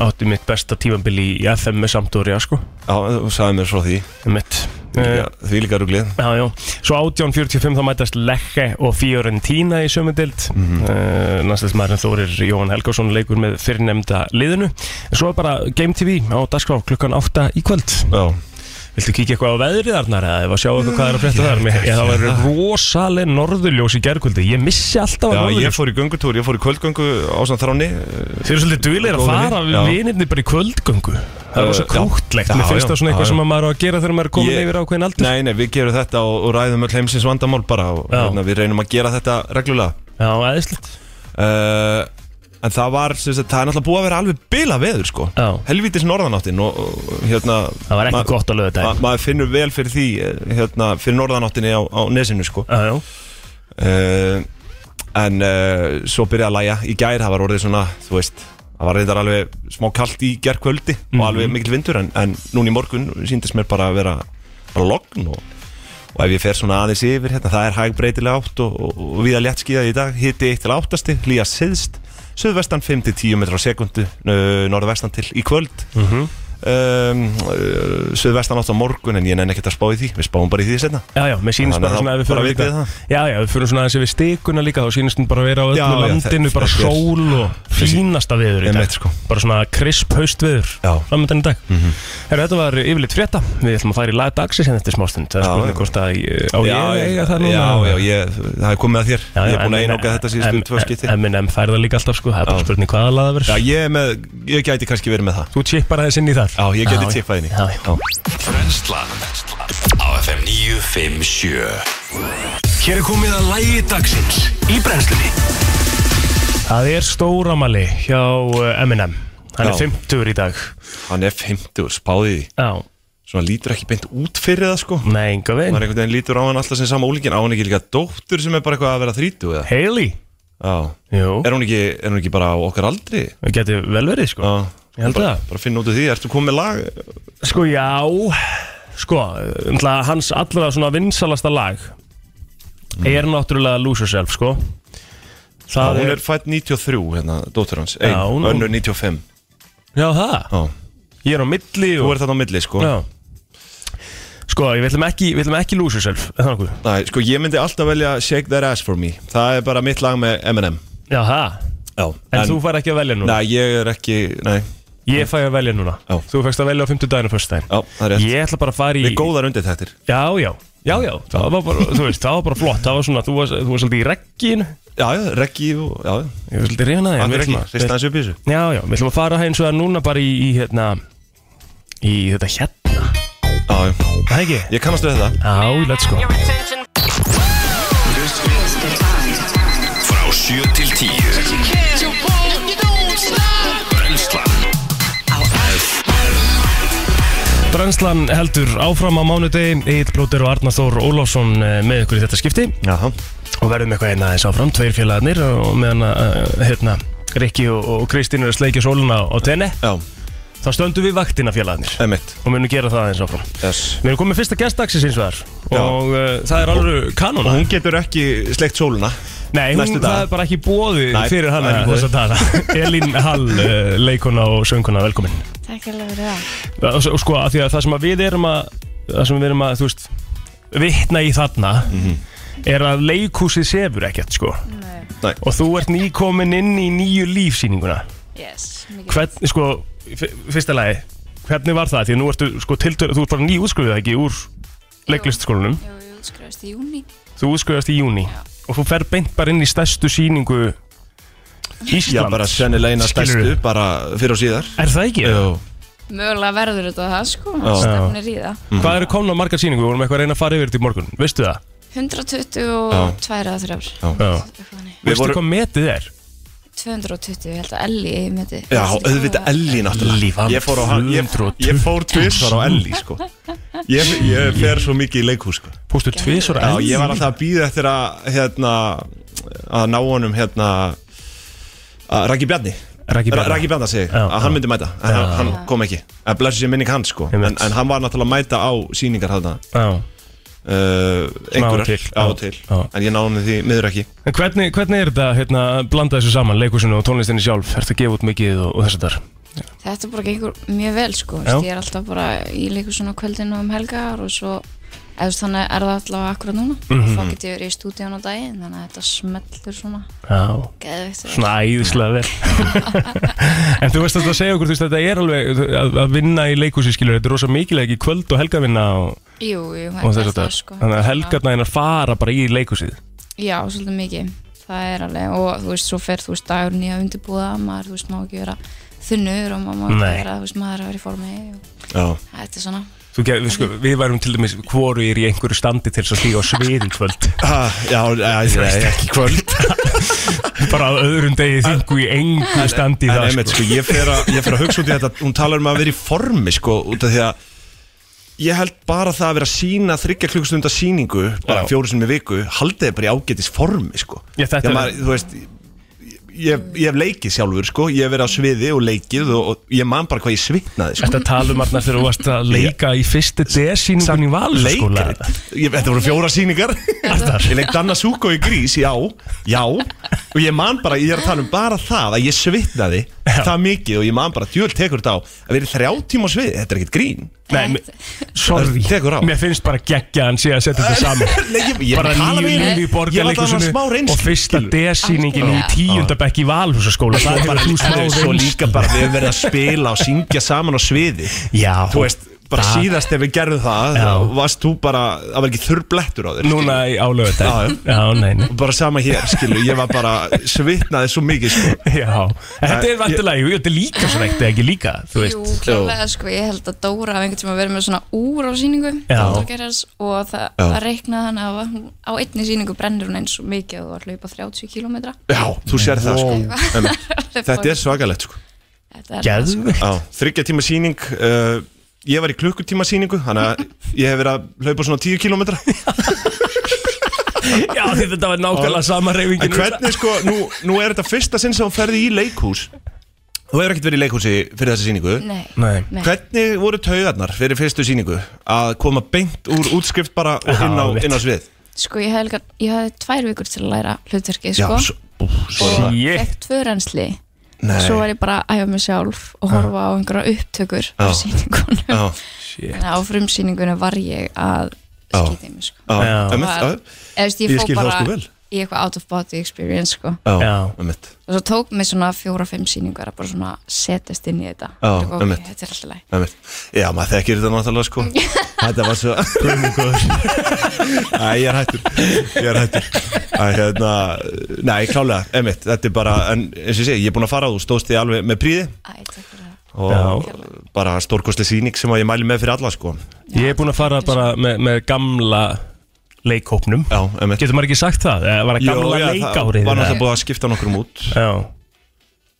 átti mitt besta tímambili í FM með Sampdoria sko,
Já, þú sagði mér frá því
mitt
Já,
Eh.
Því líka ruglið
Já, já. Svo 1845 þá mætast Lecce og Fiorentina í sömu dild. Mm
Mhm.
-hmm. uh, Næstelsmaðurinn Þórir Jóhann Helgarsson leikur með fyrirnemnda liðinu. En Svo er bara Game TV á dagskrá klukkan 8 í kvöld.
Já,
Viltu kíkja eitthvað á veðrið þarna eða ef að sjá eitthvað hvað er að frétta
Mm,
þar? Mér, ég, það var rosaleg norðurljós í gerkvöldi. Ég missi alltaf að
já
norðurljós.
ég fór í göngutúr, ég fór í kvöldgöngu á svona þráni
Þeir eru svolítið duðlegir að
Góður
fara
vin,
við
já.
vinirni bara í kvöldgöngu. Það er
Uh,
rosa
já.
krúttlegt.
Já,
Mér finnst
já,
það svona eitthvað
já,
sem að maður á að gera þegar maður er komin
Ég-
yfir ákveðin aldur.
Nei, nei, við gerum þetta og, og ræðum öll heimsins vandamál bara og
Já.
hérna, við reynum að gera þetta reglulega
Já, æðislegt.
uh, En það var, sem sagt, það er náttúrulega búið að vera alveg bila veður sko
Já.
Helvítis norðanáttin og, og hérna
Það var ekki
ma-
gott að löða
ma- Maður finnur vel fyrir því, eh, hérna, fyrir norðanáttinni á, á nesinu sko
Já, já,
uh, En uh, svo byrjaði að læja í gær, það var orðið svona, þú veist Það var reyndar alveg smá kalt í gerkvöldi og alveg mikil vindur en, en núna í morgun síndist mér bara að vera bara logn og, og ef ég fer svona aðeins yfir hérna, það er hæg breytilega átt og, og, og viða léttskíðað í dag, hitti 1 til 8 stig, lýja syðst, suðvestan 5 til 10 metrar á sekundu, norðvestan til í kvöld mm -hmm. suðvestan átt á morgun en ég nenni ekkert að spá í því, við spáum bara í því senna
já, já, mér sýnist
Þannig að
bara svona
þá
að við
bara
fyrir
vitið
líka
það.
Já, já, við fyrir svona aðeins yfir stikuna líka þá sýnist hún bara að vera á öllu
Já, já,
landinu
þetta-
bara
þetta er-
sól og fínasta viður í
Einmitt,
dag
sko.
bara svona krisp haust viður
Já. Mhm.
framöndan í dag Herra, þetta var yfirleitt frétta við ætlum að fara í lagdagsins hérna eftir smástund það er
Já,
skoðið
já.
hvort að ég- á
já,
ég eiga það núna
Já, já, ég, það er komið að þér Ég er búin að einoka þetta síðustu tvö skipti
M&M fær það líka alltaf sko, það er bara
Já.
spurning hvaða laða
Já,
verður
ég, er með, ég gæti kannski verið með það
Þú tippar aðeins inn í þar
Já, ég geti
Já, já.
tippað inn í
Já, já.
Brennslan Á FM 957 Hér er komið að lægi dagsins Í brennslunni
Það er stóramali hjá uh, M&M Hann er
Já.
50 í dag
Hann er 50, spáði því
Já,
Svona lítur ekki beint út fyrir það sko
nei, enga
Það er
veginn
einhvern veginn lítur á hann alltaf sem sama úlíkin Á hann ekki líka dóttur sem er bara eitthvað að vera þrítu eða?
Hailey,
Já
jú,
Er hún ekki, er hún ekki bara á okkar aldri?
það geti vel verið sko
Já
Ég held
bara,
það.
Bara finna út úr því, ertu komið lag?
Sko, já, sko, um, hans allra svona vinsalasta lag Er náttúrulega Lose Yourself, sko Það
hún
er,
er fætt 93 hérna, dóttur hans Ein,
Já, hún-
önnur 95
já það,
Já
ég er á milli
Þú
og,
er þarna á milli sko
Já Sko, ég villum ekki, við ætlum ekki Lose Yourself, er það nokkuð
Nei, sko ég myndi alltaf velja Shake That Ass For Me Það er bara mitt lag með Eminem
Já það,
Já
en, þú fær ekki að velja núna
Nei, ég er ekki, nei,
Ég fæ að velja núna
Já.
Þú fækst að velja á 50 daginn og 1. daginn
já, það er rétt
Ég ætla bara að fara í
Við góðar undir þetta
Já, já, já, já, það var bara, þú veist, það var bara flott Það var svona, þú var, þú var svolítið í regginu
Já, já, reggi og, já, já
Ég var svolítið reynaði
Andri reggi, rista hans upp í þessu
Já, já, við ætlum að fara eins og það núna bara í, í hérna Í þetta hérna
Já, já,
Það ekki?
ég kannastu þetta
Já, let's go
Frá 7 til 10 Brennslan
Brennslan heldur áfram á mánudegi Eitt Blóter og Arnar Þór Ólafsson eh, með ykkur í þetta skipti
Jaha
og verðum eitthvað einn aðeins áfram, tveir félagarnir og meðan að, uh, hérna, Rikki og, og Kristín eru að sleikja sóluna á tenni
Já,
þá stöndum við vaktina félagarnir
emitt,
og munum gera það aðeins áfram
yes
Við erum komið fyrsta gestdagsins eins og þar
Já.
og uh, það er alveg
Og
kanona
hún getur ekki sleikt sóluna
Nei, hún,
Næstu
það
daga.
er bara ekki bóði
Nei,
fyrir
það er
hana
ekki í boði.
þess að dana Elín Hall, uh, leikona og sönguna, velkomin
Takk alveg fyrir það.
og, og sko, af því að það sem að við erum að það sem við erum að, þú veist vitna í þarna
Mhm.
er að leikhúsið sefur ekkert, sko
Nei.
Nei,
og þú ert nýkomin inn í nýju lífsýninguna
Yes, mikið.
hvernig, sko, f- fyrsta lagi hvernig var það? Því að nú ertu, sko, tiltölu, þú ert bara nýútskriðið ekki úr leiklistskólanum,
Jú, ég útskrifast í júni.
þú útskriðast í júni og þú fer beint bara inn í stærstu síningu Íslands
já, bara sennilega eina stærstu
Skilurðu?
Bara fyrir og síðar
Er það ekki?
Jú.
Mögulega verður þetta það sko,
Já.
stefnir í það.
Hvað eru komna margar síningu? Við vorum eitthvað að reyna að fara yfir þetta í morgun, veistu það?
122 eða 3.
Já. Veistu
vorum-
hvað metið er?
220, ég held að Elli ég myndi.
Já, auðvitað Ellie
Líf,
náttúrulega
hann
Ég fór á hann, ég,
220.
ég fór tvisvar á Ellie, sko Ég, ég fer svo mikið í leikhús, sko
Pústu tvisur
Já, ég var alltaf að býða eftir að hérna, að ná honum hérna að Raki Bjarni
Raggi Bjarna.
Raki Bjarni segi,
Já,
að
já.
hann myndi mæta en hann, hann kom ekki, að blessu sér minning hans sko. en,
Einmitt.
en hann var náttúrulega að mæta á sýningar þarna,
Já.
uh, einhverjar
til,
á
já,
og til,
já.
en ég ná honum því miður ekki
En hvernig, hvernig er þetta, hérna, blanda þessu saman, leikusinu og tónlistinni sjálf, ertu að gefa út mikið og, og þess að þar?
Þetta bara gengur mjög vel sko,
Já.
Vist, ég er alltaf bara í leikur svona kvöldin og um helgar og svo eða þú veist, þannig er það allavega akkurat núna
Mhm,
þá get ég verið í stúdíun á daginn þannig að þetta smellur svona
Já.
geðveikt vel.
Svona æðislega vel En þú veist að það segja okkur, þú veist þetta er alveg að, að vinna í leikhúsi skilur Þetta er rosa mikilvæg í kvöld og helgavinna og,
Jú, jú,
og
þetta
þess
er
að
það, sko.
það Þannig að helgarna hennar fara bara í leikhúsið
Já, svolítið mikið, það er alveg og þú veist, svo fer þú veist dagur nýja undirbúða maður, þú veist, má ekki vera þunnur og maður má
Nei.
ekki vera, þú veist, maður er að vera í formi og
Já,
þetta er svona
Þú, ge- við, sko, við værum til dæmis hvorur í einhverju standi til þess að stíga á svið í kvöld
Ah, já, já, ég veist ekki kvöld
bara á öðrum degi þingu í engu standi í
En
það
einmitt,
sko.
sko, ég fer að, ég fer að hugsa út í þetta Hún talar um að vera í formi, sko Út af því að Ég held bara það að vera að sína þryggja klukkustunda síningu Bara
Já.
fjóru sinni í viku Haldið þið bara í ágætis formi, sko
Já, þetta
Þegar
er-
maður, Þú veist Ég, ég hef leikið sjálfur sko, ég hef verið á sviði og leikið og, og ég man bara hvað ég svitnaði sko.
Þetta talum arnar um þegar þú varst að leika í fyrstu desýningun í sko, valskóla
Leikrit, ég, þetta voru fjóra síningar Ég leik Danna Súko í grís, já, já Og ég man bara, ég er að tala um bara það Að ég svitnaði það mikið Og ég man bara, djöl tekur þetta á Að vera í þrjá tíma á svið, þetta er ekkert grín
Nei, mér- sorry,
Það tekur á.
mér finnst bara geggja að hann sé að setja þetta saman
Nei, ég, ég
bara
tala
nýju lífi í
við- Ég var það
borgarleikusinu
með smá reynslu
og fyrsta
skilur.
desýningin í
Algjörlega.
tíundabekk í valhúsaskóla það er bara þú smá
En Svo líka
reynslu
bara, við höfum verið að spila og syngja saman á sviði
Já.
Þú veist, bara
Það-
síðast ef við gerðum það
Já.
þá Varst þú bara, það var ekki þurrblettur á þér
núna í
Já,
álöðu já, nei, nei
Og bara sama hér, skilu, ég var bara svitnaði svo mikið, sko
Já, en þetta er vantilega, jú, þetta er líka svona eitt eða ekki líka, þú
Jú,
veist
klálega, sko, ég held að Dóra hafði einhvern tíma verið með svona úr á síningu
Já.
Dóttargerðars, og það,
Já.
það reiknaði hann að hún- á einni síningu brennur hún eins og mikið og að hlaupa 30 km
Já, þú sér það, sko Einmitt. Þetta
Þetta
er svakalegt, sko
Þetta er það,
Geðvegt
Já, þryggja tíma síning uh, Ég var í klukkutíma síningu Þannig að ég hef verið að hlaupa svona 10 kilometra
Já, því þetta var nákvæmlega sama
En
reyfingin
hvernig sko, nú, nú er þetta fyrsta sinn sem þú ferði í leikhús Þú hefur ekkert verið í leikhúsi fyrir þessa síningu
Nei,
Nei.
nei.
Hvernig voru taugarnar fyrir fyrstu síningu Að koma beint úr útskrift bara og inn á,
Já,
inn á svið
Sko, ég hafði, líka- ég hafði tvær vikur til að læra hlutverkið,
Já,
sko
svo, ú, svo er
og
það
Shit.
fekk tvö reynsli
Nei.
Svo var ég bara að æfa mig sjálf og horfa á einhverja upptökur
Já.
á síningunum
Já,
Shit.
Þannig að á frumsýningunum var ég að
Já.
skýta í mig, sko
já,
Já.
einmitt,
Var-
já,
Eða, veist, Ég,
Ég
fór
skil það
bara
sko vel.
Í eitthvað out of body experience, sko
já,
Já.
einmitt
og svo tók mig svona fjóra-fimm síningar að bara svona setjast inn í þetta
Já,
Ég bara,
einmitt.
ok, þetta er alltaf læg
Einmitt. Já, maður þekkir þetta náttúrulega sko Þetta var svo Æ, ég er hættur Ég er hættur Æ, hérna, Nei, klálega, emitt Þetta er bara, en eins og ég segi, ég er búinn að fara Þú stóðst því alveg með príði
Æ, takk fyrir það
Og bara stórkostli síning sem að ég mæli með fyrir alla sko
Ég er búinn að fara bara með, með gamla leikhópnum
Já, emitt
Getur maður ekki sagt það? Eða var það gamla leikárið? eða?
Var náttúrulega búið að skipta nokkrum út
Já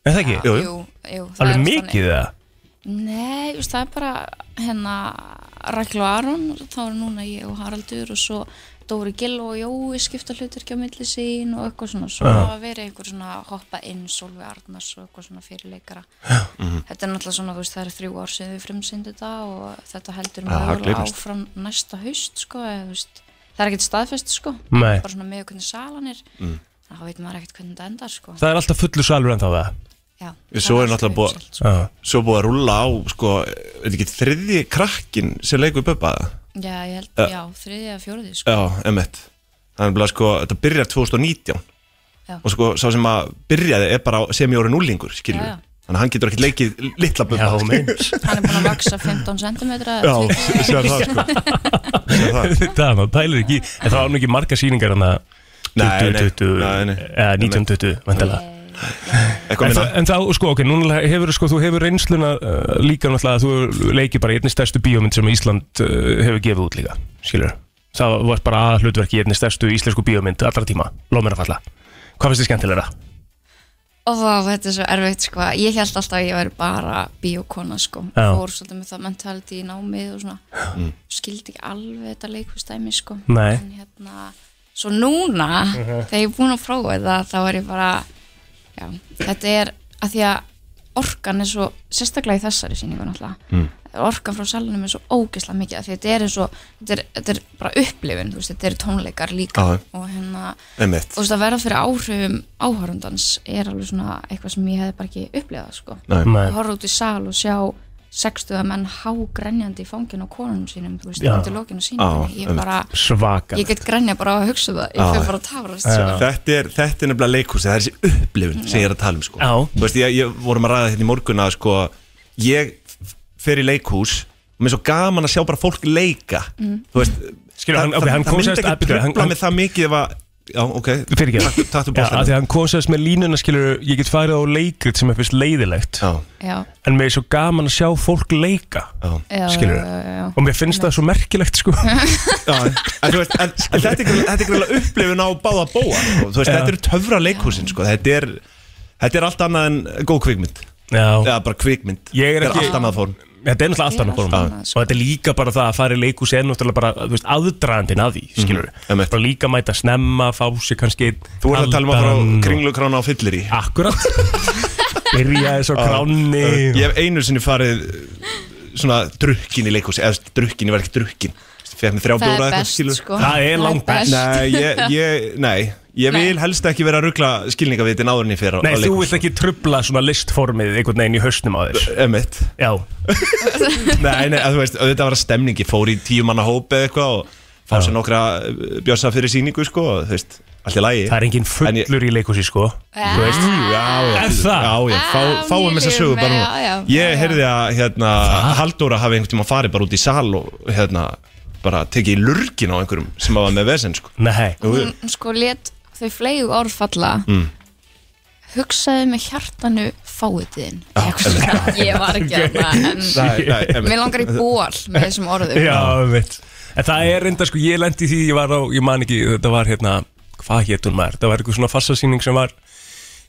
En það ekki?
Jú, jú.
Jú, jú, það
Alveg
er
mikið það?
þannig. Nei, just, það er bara hérna Ræklu Aron þá er núna ég og Haraldur og svo Dóri Gill og Jói skipta hlutverki á milli sín og eitthvað svona svo hafa verið einhver svona hoppa inn Solvi Arnars og eitthvað svona fyrirleikara
Mhm.
Þetta er náttúrulega svona, þú veist, það er þrjú ár sem við frumsýndu þetta og þetta heldur
það
mögulega
gleymist.
áfram næsta haust sko, eða, þú veist, það er ekkert staðfest sko,
Nei.
bara svona með hvernig salan er
Mm.
þá veit maður ekkert hvernig þetta endar sko.
Það er alltaf fullu salur en þá það
Já,
Svo
það
er
allt
náttúrulega búið-
uppselt, sko.
Já
Svo búið að rúlla á, sko Er þetta ekki þriðji krakkin sem leikur Bubba?
Já, ég held, já, þriðið eða fjóruðið sko.
Já, emitt Það er bara sko, þetta byrjar 2019
Já.
og sko sá sem að byrjaði er bara sem ég orði núlingur skilur
Já, já.
þannig að hann getur ekki leikið litla bubba
Já, meins
Hann er búin að vaksa 15 cm
já, sér það sko sér það
Þetta, maður pælir ekki En það var nú ekki marga sýningar hann að
Nei, nei.
2020
Nei, nei.
Eða 1920, vantilega
eitthvað
En,
minna
það, en þá, sko, ok, núna hefur sko, þú hefur reynsluna uh, líka náttúrulega að þú leikir bara í einni stærstu bíómynd sem Ísland uh, hefur gefið út líka, skilur Það var bara að hlutverki í einni stærstu íslensku bíómynd allra tíma, lof mér að falla Hvað finnst þið skemmtilega?
Og þetta er svo erfitt sko Ég held alltaf að ég væri bara bíókona sko
Já.
Fór svolítið með það mentality í námið og svona Skildi ekki alveg þetta leikustæmi sko
Nei.
En hérna Svo núna,
Mhm.
þegar ég er búin að prófa þetta Þá er ég bara já, Þetta er að því að orkan er svo Sérstaklega í þessari síningu náttúrulega mm. Orkan frá salunum er svo ógeðslega mikið af Því þetta er eins og Þetta er, þetta er bara upplifun, þú veist, þetta eru tónleikar líka
Já.
Og hérna
Einmitt.
og þú veist að verða fyrir áhrifum áhörundans er alveg svona eitthvað sem ég hefði bara ekki upplifað sko.
Nei.
að horfa út í sal og sjá 60 menn hágrenjandi í fangin á konunum sínum þú veist,
Já.
undir lokinu sínum
Já,
ég,
einmitt.
bara,
Svaka
ég get grenja bara á að hugsa um það
Já.
ég fyrir bara að tafrast sko.
þetta er, þetta er nefnilega leikhúsi það er þessi upplifun sem ég er að tala um sko.
Já.
Þú veist, ég, ég vorum að ræða þetta í morgun að sko, ég fer í leikhús og mér er svo gaman að sjá bara fólk leika mm. þú veist
Skilur, hann- ok, hann
það
kom
myndi
sérst-
ekki
að-
trubla
hann-
með það mikið ef að Já, ok
Fyrir ekki
Takk- takk til
Já,
bóðslega.
af því að hann kom sérst með línuna skilur Ég get farið á leikrit sem er fyrst leiðilegt
Já,
já,
En mér er svo gaman að sjá fólk leika
já
já,
Skilurðu?
já, já, já.
Og mér finnst það svo merkilegt sko
Já, en, þú veist, en, en þetta er greinilega- þetta er greiðlega upplifun á báða bóa sko. Þú veist,
Já.
þetta eru töfra leikhúsin sko. þetta, er, þetta er allt annað en góð kvikmynd
Já,
eða bara kvikmynd
Ég er
Þetta
ekki-
er allt annað form
þetta er náttúrulega allt annað form
allt annað,
Og
sko.
þetta er líka bara það að fara í leikus En náttúrulega bara, þú veist, aðdragandinn að því Skilur
Mhm, einmitt.
Bara líka mæta snemma, fá sér kannski
Þú voru að tala um að
kaldan
fara á
og-
kringlukrána á fyllir í
Akkurat Byrjaði svo kránni
Ég hef einu sinni farið uh, svona drukkin í leikhúsi eða þú veist, drukkin, ég var ekki drukkin Fekk mér þrjá
það
bjóra
er
eitthvað,
best
skilurðu.
sko
Það er langbest.
Nei, ég, ég, nei, ég
Nei.
vil helst ekki vera að ruggla skilningavitin áður en ég fyrir
Nei, þú vilt ekki trubla svona listformið einhvern veginn í hausnum á þér
Emitt
Já,
Nei, nei, að þú veist, auðvitað var að stemningi fór í tíu manna hópi eða eitthvað og fá sér nokkra uh, bjössa fyrir síningu sko, og, þú veist, allt í lagi
það er engin
En ég-
fullur í leikhúsi sko Þú veist,
Já, já,
Er það?
Já, já, fá,
Ah,
fáum
mér
þessa
líður
sögu
með-
bara
já, já,
nú Ég
já, já.
heyrði að hérna, Halldóra hafi einhvern tímann farið bara út í sal og hérna, bara tekið í lurgin á einhverjum sem var með vesen sko.
nei
Jú, jú.
hún sko let þau flegu orðfalla mm. hugsaði með hjartanu fáiðin ég var ekki þarna en
Nei, nei, einmitt.
mér langar í ból með þessum orðum
Já, við veit En það er enda, sko, ég lendi í því, ég var á, ég man ekki, þetta var hérna, hvað hétt hún maður? Það var eitthvað svona farsasýning sem var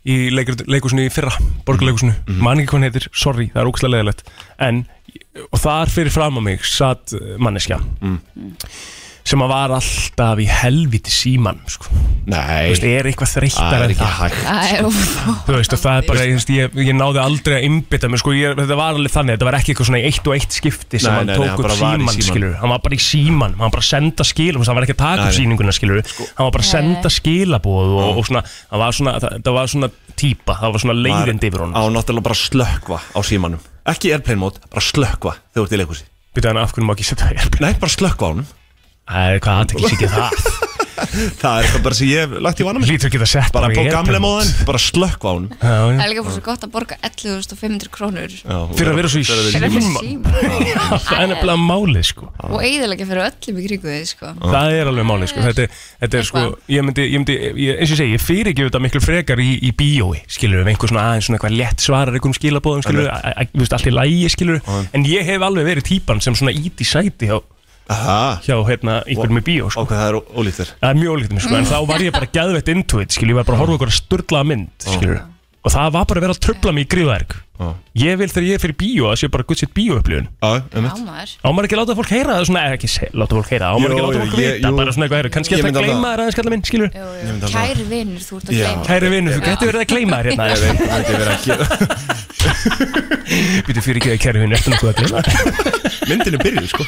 í leikur, leikusinu í fyrra, borgarleikusinu,
Mhm,
man ekki hvað hún heitir, sorry, það er ókslega leðilegt. En, og þar fyrir fram á mig satt manneskja,
Mm.
sem að var alltaf í helviti símann, sko. Þú
Nei,
veist, er eitthvað
það
þreyttar
er
en
ekki
það.
hægt
það er óþó
Þú veist, og það er bara, ég, veist, ég, ég náði aldrei að innbytta mig, sko, ég, þetta var alveg þannig, þetta var ekki eitthvað svona í eitt og eitt skipti sem
Nei,
hann
nei, nei, hann
tók upp
bara var í
síman,
símanum.
skilur, hann var bara í síman, hann var bara að senda skil, þú veist, hann var ekki að taka
Nei,
upp
Sko. nei.
síninguna, skilur, hann var bara að senda skilabóð og, og svona, hann var svona, það, það var svona típa, það var svona leiðindi yfir honum.
Á náttúrulega bara slökva á símanum Ekki airplane mode, bara slökva þegar þú ert í leikhúsi
Býtu hann af hvernig má ekki setja það hjálp?
Nei, bara slökva á honum
Æ, hvað aðtekli sýtti það?
Það er eitthvað bara sem ég hef lagt í vana mig
Lítur ekki það sett
Bara
í
på gamle
airplane.
móðan, bara slökva á honum
Já, já.
það er líka bara svo gott að borga 11.500 krónur
Já,
Fyrir að vera svo í
fyrir að vera
síman,
síma
það er nefnilega málið, sko.
og eigðilega fyrir öllum í kringu þið sko
Það er alveg málið sko, þetta, er- þetta er sko, ég myndi, ég myndi ég, eins og ég segi, ég fyrir ekki þetta miklu frekar í, í bíói, skilur við, einhver svona aðeins svona eitthvað létt svarar einhverjum skilabóðum, skilur við, að- að- þú veist, allt í lægi, skilur við, en ég hef alveg verið típan sem svona ít í sæti hjá,
Aha,
hjá hérna, einhverjum í bíó, sko.
ok, það er ólíkt þér
Það er mjög ólíkt mér, sko, en þá var ég bara gæðvett into it, skilur, ég var bara að horfa okkur að sturla mynd, skilur við, og það var bara að vera að tröfla mig í gríðverk.
Já.
Ég vil þegar ég er fyrir bíó, að sé bara gutt sitt bíóupplifun.
Já, um eitt
ámar
Á maður ekki að láta fólk heyra það svona, eða ekki se- láta fólk heyra, það, á maður
Jú,
ekki að láta
jú,
fólk
ég-
vita,
jú.
bara svona eitthvað, heyrðu, kannski
Ég
ætti
myndi
að gleyma
alveg-
þér aðeins kallar minn, skilur?
kæri vinnur þú ert að
Já.
gleyma
Kæri vinnu, þú getur verið að gleyma þér hérna
Ég veit, ég veit, ég veit ekki
Býtu fyrir ekki að kæri vinnu, eftir nokkuð að gleyma
Myndinu byrjuð, sko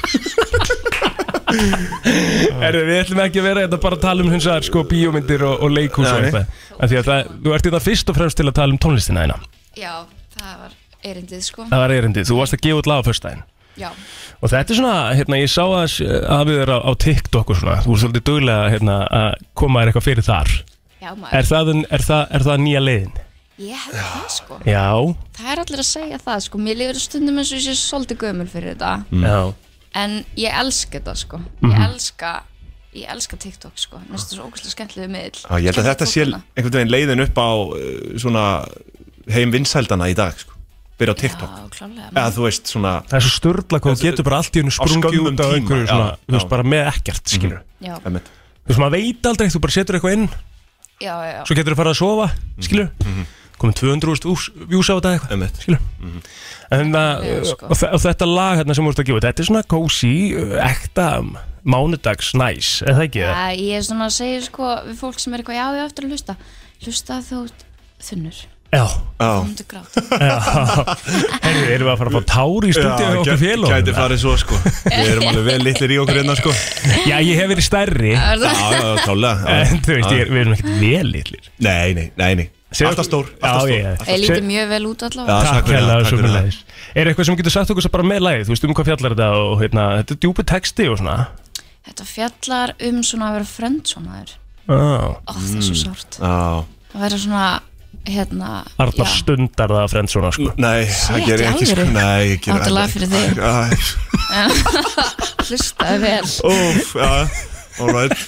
Erðu, við ætlum ekki að vera þetta bara að tala um hundsar, sko, bíómyndir og, og leikhús og
Nei.
eitthvað Af Því að það, þú ert þetta fyrst og fremst til að tala um tónlistina þína
já, það var erindið sko
Það var erindið, þú varst að gefa út lag á föstudaginn
já,
Og þetta er svona, hérna, ég sá að hafið þér á, á TikTok og svona Þú ert svolítið duglega hérna, að koma þér eitthvað fyrir þar
já maður
Er það, er það, er það nýja leiðin?
ég held það sko
Já,
Það er allir að segja það sko, mér lífur stundum eins og ég sé svolítið gömul
Mm.
fyrir þetta
já
En ég elska þetta sko, ég
Mhm.
elska, ég elska TikTok sko Mér finnst það svo ógæslega skemmtlega miðl
Já, ég held að þetta sé einhvern veginn leiðin upp á uh, svona heim vinsældana í dag, sko Byrja á TikTok
Já, klálega
Eða þú veist, svona
Það er svo sturla hvað þú getur bara allt í hennu sprungið
skömmum
út af
tíma,
einhverju
já,
svona, þú veist,
já.
bara með ekkert, skilur
Já,
um eitt
þú veist, maður veit aldrei, þú bara setur eitthvað inn
já, já, já.
svo getur þú farið að sofa,
Mhm.
skilur komið 200.000 views á þetta eitthvað
Einmitt.
skilur en, uh,
Já, sko.
og, þe- og þetta lag hérna sem þú ert að gefa þetta er svona cozy, uh, ekta um, mánudags næs, er það ekki það?
Æ, Ég er svona að segja sko við fólk sem er eitthvað já, já, eftir að hlusta Hlusta þú ert þunnur,
Já,
þú myndir gráta
já Herru, erum við að fara að fá tár í stúdíu
Já,
og okkur
gæ-
félóð
Gæti farið svo, sko Við erum alveg vel litlir í okkur einna, sko Já,
Já, ég hef verið stærri
já, já, klálega já.
en þú veist, ég, er- við erum ekkert velillir
Nei, nei, nei, nei
Segðu-
Alltaf stór,
Já,
alltaf
ég-
stór
Ég líti
Se-
mjög vel út allavega
Já,
Takk
takk fyrir
hérlega,
það, takk fyrir það.
sömulegis Er eitthvað sem getur sagt okkur sem bara með lagið, þú veist um hvað fjallar þetta og hérna, þetta er djúpi texti og svona
Þetta fjallar um svona að vera frendsonaður
oh.
Ó, það er svo
Mm.
sárt
Já,
Að vera svona, hérna
Arnar
já.
stundar það að frendsona sko
nei, það
Shit,
gerir
í
ég ekki, sko
alvöru?
Nei, ég gerir
Áttalega fyrir þig.
þig
Hlustaðu vel
Úf, já, all right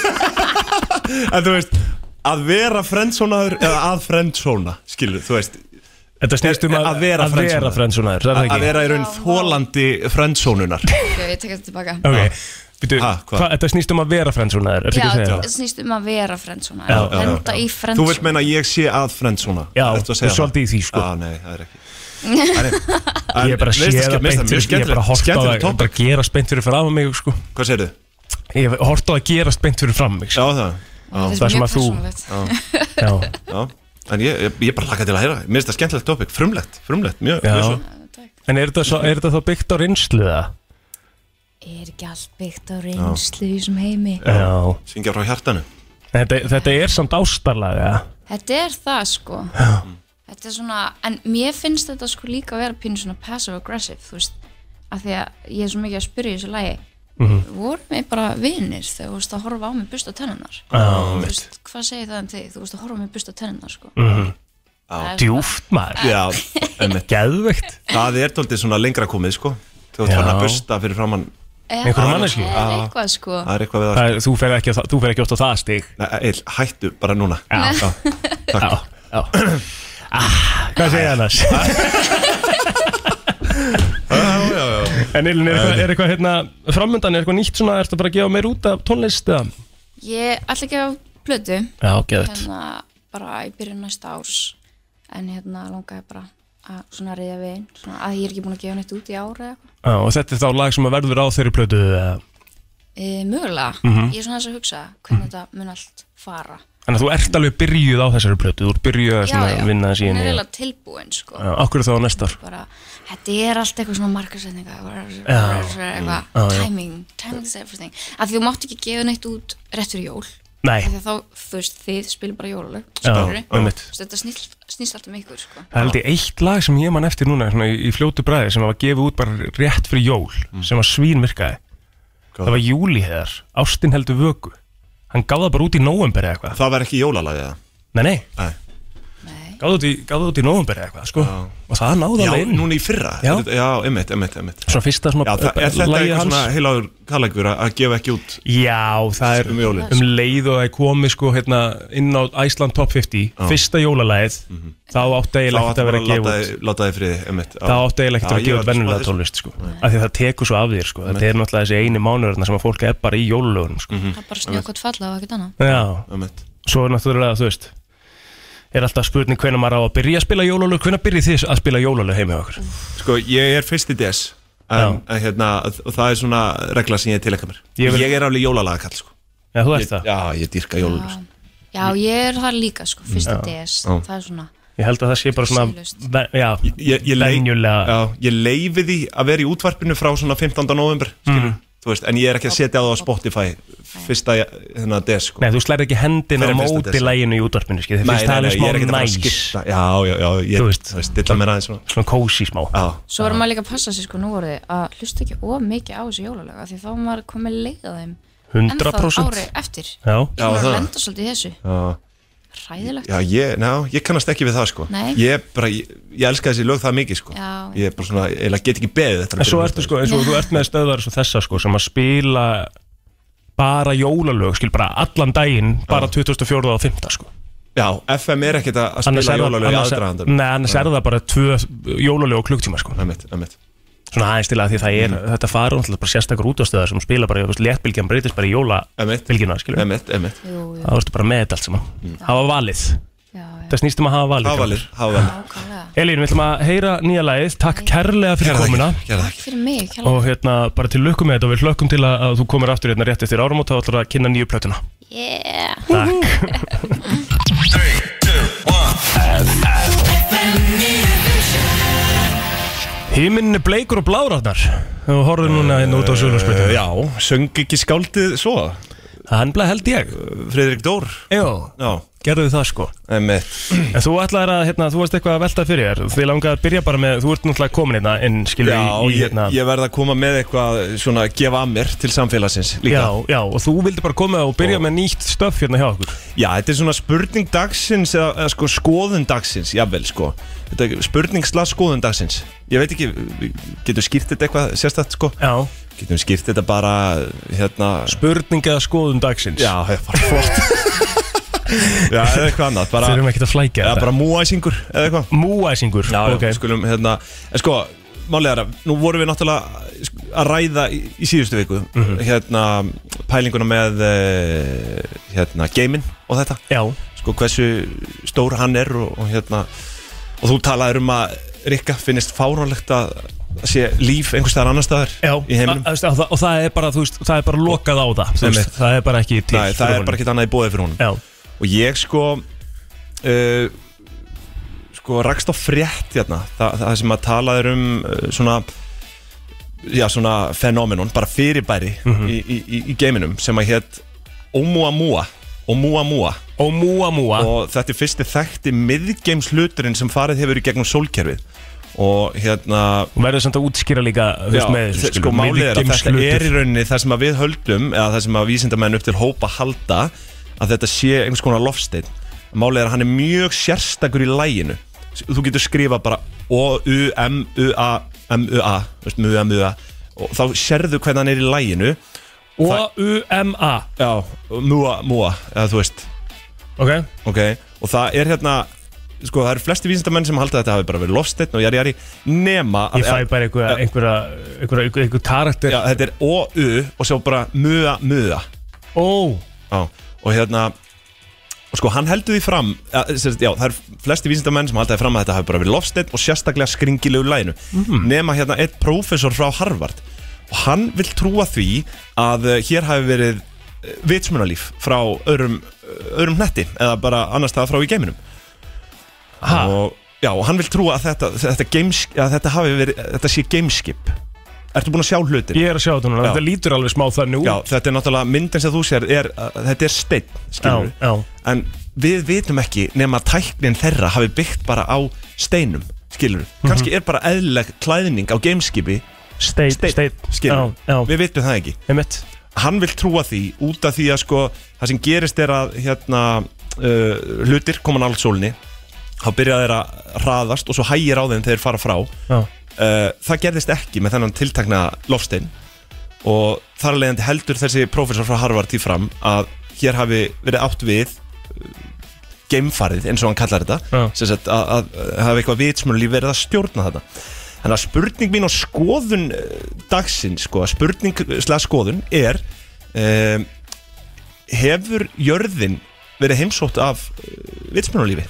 En þú veist, að vera frendsonaður eða að frendsona, skilur, þú veist
Þetta snýst um að,
Að vera
að vera frendsonaður, það er
Að
það ekki
vera í raun þólandi frendsonunar
Ok, ég tek þetta tilbaka
Ok, býtu,
Ha, hvað?
hvað, þetta snýst um að vera frendsonaður, er það
Já,
ekki að segja
þetta
það?
snýst um að vera frensona
Já, já, já,
Henda í
Þú vilt
frensona
meina að ég sé að frendsona
Já,
Ertu að segja
þú er svolítið í því, sko.
Já, nei, það er ekki Það er-
Ég er bara að
Mér finnst
sé
það
það
ske- mér
beint
finnst það mjög
fyrir, ég er bara að horta á
skemmtilegt
það,
tópik
bara að gerast beint fyrir fram mig, sko
Hvað segir
Ég hef horta á það að gerast beint fyrir fram mig,
Já,
sko
það
það sem að þú-
þú
Já,
Já, en ég, ég, ég bara laka til að heyra Mér finnst það skemmtilegt tópik, frumlegt, frumlegt Mjög,
Já.
mjög svo
en er þetta svo- er þetta þá byggt á reynslu það?
Er ekki allt byggt á reynslu í þessum heimi
Já
Syngja frá hjartanu
En Þetta, þetta er samt ástarlaga
Þetta er það sko Þetta er svona, en mér finnst þetta sko líka að vera pínu svona passive aggressive þú veist, af því að ég er svo mikið að spyrja í þessu lagi,
Mhm.
vorum við bara vinir þegar þú veist að horfa á mig busta tennunar þú veist, hvað segir það um þig þú veist að horfa á mig busta tennunar sko
Mhm.
Það er-
Djúft maður
Já, emmi
Geðveikt
Það er tóltið svona lengra komið, sko Þú ert
Já.
farin að busta fyrir framann
Já,
Einhverju
það
manneskju?
er eitthvað sko
Það er eitthvað við það
Það er- Þú fer ekki, á það- þú fer ekki oft á það stig
Nei, Eil, hættu bara núna Já,
Já,
takk
já Ah, Hvað segir hann þess? En Elin, er eitthvað, er eitthvað hérna, framöndan, er eitthvað nýtt svona, ertu bara að gefa meir út af tónlist eða?
ég ætla ekki að plötu
Já, geðvægt
hérna bara í byrjun næsta árs en hérna langaði bara að svona reyða við inn, svona að ég er ekki búin að gefa neitt út í ára eða eitthvað
Já, og þetta er þá lag sem að verður á þeirri plötu eða?
E, mögulega,
Mhm.
ég er svona þess að hugsa hvernig þetta mun allt fara
Þannig að þú ert alveg byrjuð á þessari plötu, þú ert byrjuð að svona vinna þessi
hún
inn
er
í
eiginlega tilbúin sko.
Já, Akkur þá á næsta ár
bara, þetta er allt eitthvað svona markasetninga
Já. Mm.
eitthvað,
Já, já.
timing timing is everything, af því þú mátt ekki gefa neitt út rétt fyrir jól,
Nei,
af því að þá þú veist, þið spilum bara jólalög
já,
skilurðu? Þú
einmitt
veist, þetta snýst, snýst allt um ykkur sko.
Það er held ég eitt lag sem ég man eftir núna svona, í, í fljótu bræði sem var gefið út bara rétt fyrir jól
Mm.
sem var svínvirkaði Það var júliheðar, Ástin heldur vöku Hann gaf það bara út í nóvember eða eitthvað
Það var ekki jólalagið það
Nei, nei,
Nei.
Nei.
gaf það út í, gaf það út í nóvember eða eitthvað sko. og það náði
Já,
alveg inn
núna í fyrra
Já.
Þetta- Já, emmitt, emmitt, emmitt
Svona fyrsta
Já,
svona
það, er þetta
lagið
eitthvað
hans.
svona heilagur kallegur að að gefa ekki út
Já, það er
Um jólin.
um leið og það er komið sko hérna inn á Iceland Top 50 fyrsta jólalæð þá átti
Mhm. Þá
eiginlega ekkert
ætti
að vera
bara að
að gefa
láta
út
þið- láta þið friði, emmitt
það átti eiginlega ekkert að vera að gefa út vennulega tónlist sko. af því að það tekur svo af þér sko. þetta er náttúrulega þessi eini mánuðurna sem að fólk er bara í jólulögunum sko.
Mhm.
það er bara snjókvæmt falla og ekkert annað
já,
Emmitt
svo er náttúrulega þú veist er alltaf spurning hvenær maður á að byrja að spila jólulög hvenær byrjið þið að spila jólulög heim hjá okkur
Sko, ég er fyrst í DS en, en, hérna, og það er svona regla sem ég tilekka mér
Ég
ég,
vil-
er alveg jólalagakall sko.
já, þú
ég,
ert það, Ah.
Já, ég dýrka sko. jólalagakall
já. já, ég er það líka sko, fyrsta DS, það er svona
ég held að það sé bara
Siðlaust.
svona já,
ég, ég, leif,
venjulega
já, ég leifi því að vera í útvarpinu frá svona 15. november mm. veist, en ég er ekki að setja á það á Spotify fyrsta hérna, des sko.
Nei, þú slærið ekki hendin á
Hver er fyrsta
móti
desember?
læginu í útvarpinu, skil, það
Nei,
finnst
nei,
það
nei,
alveg
ég er
smá
ekkert að fara að
næs,
skipta Já, já, já, ég
Þú
þú
veist.
veist, stilla mér aðeins svona
svona kósi smá.
Já,
Svo verður maður líka að passa sig sko núorði að hlusta ekki of mikið á þessi jólalöga því þá er maður komið leið á þeim
100%.
ári eftir
Já,
Ég er að
það.
lenda svolítið í þessu
já,
Ræðilegt
já ég, ná, ég kannast ekki við það sko
Nei.
Ég bara, ég, ég elska þessi lög það mikið sko
Já.
Ég er bara svona, ég get ekki beðið um þetta
En svo ertu sko, eins og þú ert með stöðvar eins og þessa sko, sem að spila bara jólalög, skil bara allan daginn, bara 24. og 5. sko.
Já, FM er ekkert að að spila
það-
jólalög í
annars,
aðdraðandum
nei, annars er það bara tvö jólalög og klukktíma sko.
Emitt, emitt
Svona aðeins til að því það er, þetta fara náttúrulega bara sérstakar útastöðar sem spila bara, þú veist, léttbylgjan breytist bara í
Emitt,
jólabilgjuna, skilur.
emitt, emitt
Jú, jú,
Það varstu bara með þetta allt saman. Hafa valið.
já, já,
Það snýstum að hafa valið.
Hávalir, hávalir
ákvæmlega
Elín, við ætlum að heyra nýja lagið. Takk kærlega fyrir komuna.
Gerða
Takk fyrir mig, kjærlega
Og hérna, bara til lukku með þetta og við hlökkum til að, að þú komir aftur hérna rétt eftir áramót og ætlar að kynna nýju plötuna.
Yeah
Takk. Híminn er bleikur og bláratnar og horfðu núna hérna út á sögurnarsbyrju.
Eh, Já, söng ekki skáldið svo
Það hann bleið held ég.
Friðrik Dór
Jó,
Já,
gerðu það sko.
emmitt
En þú ætlaðir að, hérna, þú varst eitthvað að velta fyrir þér. Þið langaði að byrja bara með, þú ert náttúrulega komin hérna inn, skilur
Já,
í, í
ég,
hérna.
ég verð að koma með eitthvað svona að gefa að mér til samfélagsins líka
Já, já, og þú vildi bara koma og byrja með nýtt stöf hérna hjá okkur
Já, þetta er svona spurning dagsins eða, eða sko skoðun dagsins, jafnvel sko Þetta er spurning slags skoðun dagsins Ég veit ekki, getum skýrt þetta eitthvað sérstætt sko
Já,
Getum skýrt þetta bara, hérna
spurning eða skoðun dagsins
Já, það er bara flott Já, eða eitthvað annað bara,
Þeir eru ekki að flækja
Eða
þetta
bara múæsingur eða eitthvað
Múæsingur,
Já,
ok
okay. skulum hérna En sko, málega er að Nú vorum við náttúrulega sk- að ræða í, í síðustu viku Hérna, pælinguna með eh, Hérna, geimin og þetta
Já,
Sko, hversu stór hann er og, og hérna Og þú talaðir um að Rikka finnist fáránlegt að að sé líf einhvers staðar annar staðar
já
í heiminum
Að- að- að- Og það er bara, þú veist, það er bara lokað á það þú veist,
Einmitt.
Það er bara ekki til
Nei, það er bara ekkert annað í bóði fyrir honum
Já,
og ég sko uh, sko rakst á frétt hérna Þa, það sem að talað er um uh, svona já svona fenómenon bara fyrirbæri í, í, í, í geiminum sem að hétt Oumuamua Oumuamua
og múamúa
og þetta er fyrsti þekkti miðgeimsluturinn sem farið hefur í gegnum sólkerfið og hérna
Þú verður samt að útskýra líka þú veist, með þessu,
þe- sko
skilur,
málið er að þetta
miðgeimslutur.
er í rauninni það sem að við höldum eða það sem að vísindamenn upp til hópa halda að þetta sé einhvers konar lofsteinn málið er að hann er mjög sérstakur í læginu þú getur skrifa bara O-U-M-U-A M-U-A, veist, M-U-A og þá sérðu hvernig hann er í læginu
O-U-M-A
já, M-U-A, eða þú veist
Ok,
ok, og það er hérna sko það eru flesti vísindamenn sem halda að þetta hafi bara verið lofsteinn og jari jari nema að-
ég fæ bara einhverja,
Já.
einhverja, einhverja, einhverja, einhverja karakter
Já, þetta er O-U og svo bara mua, mua
Ó,
Já, og hérna og sko hann heldur því fram að, sérst, já, það er flesti vísindamenn sem halda því fram að þetta hafi bara verið lofstinn og sérstaklega skringilegu læginu nema hérna einn prófessor frá Harvard og hann vil trúa því að eh, hér hafi verið eh, vitsmunalíf frá öðrum, eh, öðrum hnetti eða bara annars það frá í geiminum
ha,
og, já, og hann vil trúa að þetta, þetta, games, að þetta, hafi verið, þetta sé gameskip Ertu búin að sjá hlutin?
ég er að sjá þetta núna
Já.
Þetta lítur alveg smá þannig út
Já, þetta er náttúrulega myndin sem þú sér er, uh, þetta er steinn, skilur
Já, já.
en við vitum ekki nema að tæknin þeirra hafi byggt bara á steinum, skilur
Mhm.
kannski er bara eðlileg klæðning á gameskipi
Steinn, steinn, Já,
skilur
já.
við vitum það ekki
Einmitt.
hann vil trúa því út af því að sko það sem gerist er að hérna, uh, hlutir koma nált sólni þá byrja þeir að hraðast og svo hægir á þeim þegar þeir fara frá
Já.
uh, það gerðist ekki með þennan tiltakna lofstein og þar að leiðandi heldur þessi prófessor frá Harvard því fram að hér hafi verið átt við eh, geimfarið eins og hann kallar þetta
Já.
sem sagt að, að, að hafi eitthvað vitsmjörnulíf verið að stjórna þetta þannig að spurning mín og skoðun uh, dagsins sko, spurning slega skoðun er um, hefur jörðin verið heimsótt af uh, vitsmjörnulífi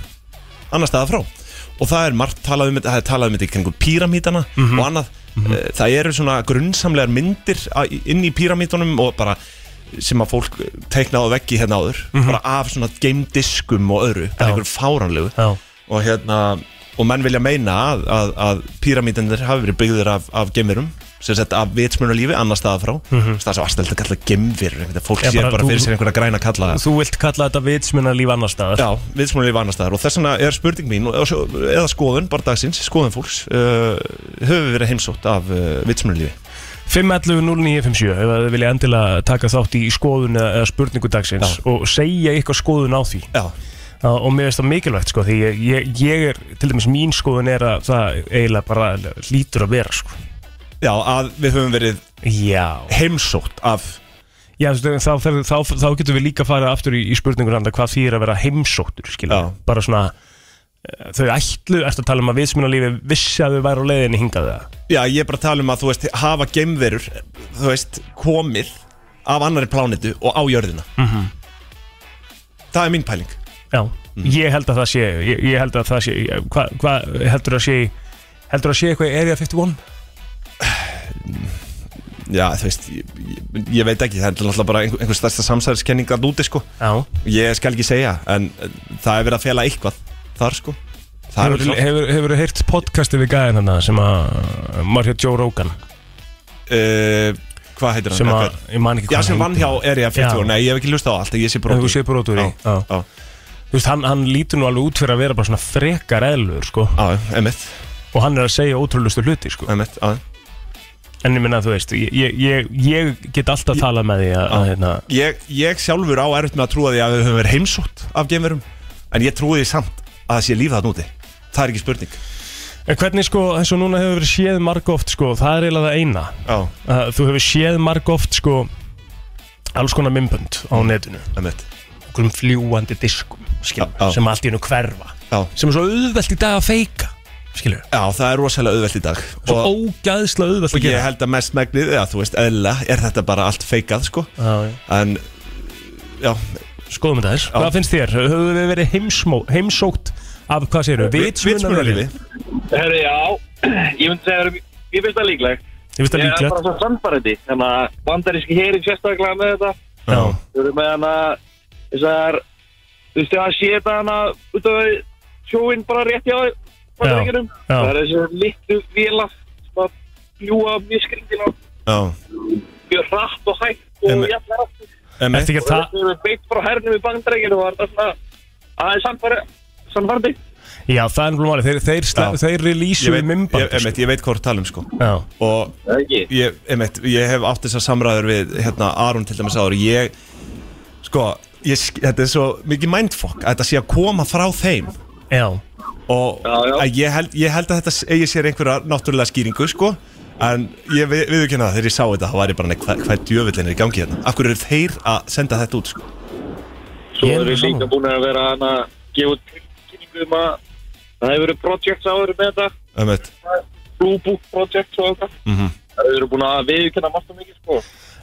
annar staða frá og það er margt talað um þetta, það er talað um þetta í kringum píramítana
Mhm.
og annað, mm það eru svona grunnsamlegar myndir að- í- inn í píramítunum og bara sem að fólk teiknaði á veggi hérna áður bara af svona geimdiskum og öðru
Mhm.
bara
Já.
einhverjum fáranlegu
Já.
og hérna, og menn vilja meina að, að, að píramítanir hafi verið byggður af, af geimverum sem sett af vitsmunarlífi annar staða frá mm -hmm. það er svo aðstælt að kalla geimverur einhvern veginn, fólk
Mhm. Já,
sér
bara
bara
þú-
fyrir sér einhverja græna kalla
Þú vilt kalla þetta vitsmuna líf annar staðar
Já, viðsmúlinni var annar staðar og þess vegna er spurning mín og- og svo- eða skoðun, bara dagsins, skoðun fólks uh, höfum við verið heimsótt af uh, viðsmúlinni
511-0957 ef þið vilja endilega taka þátt í skoðun eða, eða spurningu dagsins
Já.
og segja eitthvað skoðun á því
Já,
Á- og mér finnst það mikilvægt sko því ég, ég, ég er, til dæmis mín skoðun er að það eiginlega bara lítur að vera sko
já, að við höfum verið
Já,
heimsótt af
Já þú veist, þá, ferðu- þá, þá getum við líka farið aftur í, í spurningun andra hvað þýðir að vera heimsóttur skilur,
Já.
bara svona eh, þau ætlu, ertu að tala um að viðsmunarlífi vissi að þau væri á leiðinni hingað það
Já, ég er bara að tala um að þú veist, hafa geimverur þú veist, komið af annari plánetu og á jörðina Það er mín pæling
Já, ég held að það sé ég, ég held að það sé, ég- hvað hva, heldur að sé heldur að sé eitthvað í Area 51?
Já, þú veist, ég, ég, ég veit ekki það er náttúrulega bara einhver, einhver stærsta samsæðiskenning að úti, sko
Já,
Ég skal ekki segja, en eh, það er verið að fela eitthvað þar, sko Það er
hefur,
alveg klárt.
hefur, hefur heyrt podcasti við gæðin hann sem að var hér Joe Rogan
uh, hvað heitir hann?
sem að,
Eitthvað-
ég man ekki
Já,
hvað
sem vann hjá Area 50
Já.
Nei, ég hef ekki hlustað á allt, ég sé
Þú
brotur
sé brotur í
Já,
Já.
já,
Þú veist, hann, hann lítur nú alveg út fyrir að vera bara svona frekar eðlur, sko
já, emitt,
og hann er að segja ótrúlustu hluti, sko
emitt já.
En ég minna, þú veist, ég, ég, ég get alltaf talað með því að, að hérna,
ég, ég sjálfur á erfitt með að trúa því að við höfum verið heimsótt af geimverum En ég trúi því samt að það sé líf það núti Það er ekki spurning
En hvernig, sko, eins og núna hefur verið séð margóft, sko, það er eiginlega það eina
Já,
Eh,
Mm.
að Þú hefur séð margóft, sko, alls konar mymbönd á netinu
emitt
einhverjum fljúandi diskum skilur,
Já, já.
sem allt í hennu hverfa
Já.
sem er svo auðvelt í dag að feika skilur,
Já, það er rosalega auðvelt í dag
svo
og,
ógæðslega auðvelt
og
að
ég
gera
held að mest megnið, já, þú veist, eðla er þetta bara allt feikað, sko
Já, já.
En, já,
skoðum þetta þess,
Já.
hvað finnst þér? höfum við verið heimsmó, heimsókt af, hvað segir við,
vitsmunarlífi
Herri, já, ég myndi segja, að- ég finnst það líklegt.
ég finnst það
Ég er
líklegt
bara svo sannfærandi, þannig að bandaríski herin sérstaklega með þetta.
Já.
Þau eru með hana, þessar, þú veist, það sé þetta hana út af sjóin bara rétt hjá bandaríkinum.
já.
Það er þessi litlu vila sem að fljúa mjög skringin á
Já,
mjög hratt og hægt og
Em-
jafnlega hratt.
Ertu ekki að ta-
Þau eru beitt frá hernum í bandaríkinu og það er svona, að það er sannfærandi. Sannfærandi.
Já, það er náttúrulega máli, þeir, þeir,
Já.
þeir, þeir
ég
releaseu í
veit, ég,
mimband
einmitt, ég veit hvað þú talum, sko
Já,
Og
Það er ekki.
ég, einmitt, ég hef átt þessar samræður við hérna Aron til dæmis áður ég, sko, ég, sk- þetta er svo mikið mindfuck að þetta sé að koma frá þeim
já,
og
Já, já.
Að ég, held, ég held að þetta s- eigi sér einhverja náttúrulega skýringu, sko en ég við, viðurkenna það þegar ég sá þetta þá var ég bara, nei, hvað, hvað djöfullin er í gangi hérna af hverju eru þeir að senda þetta út, sko
Svo
Ég er
erum við
alveg
líka
sammála.
búin að vera hana, gefa út tilkynningu um að það hefur verið projects áður með þetta,
einmitt,
Blue Book projects og eitthvað. Mm
Mhm.
Það hefur verið búin að viðkynna margt og mikið sko.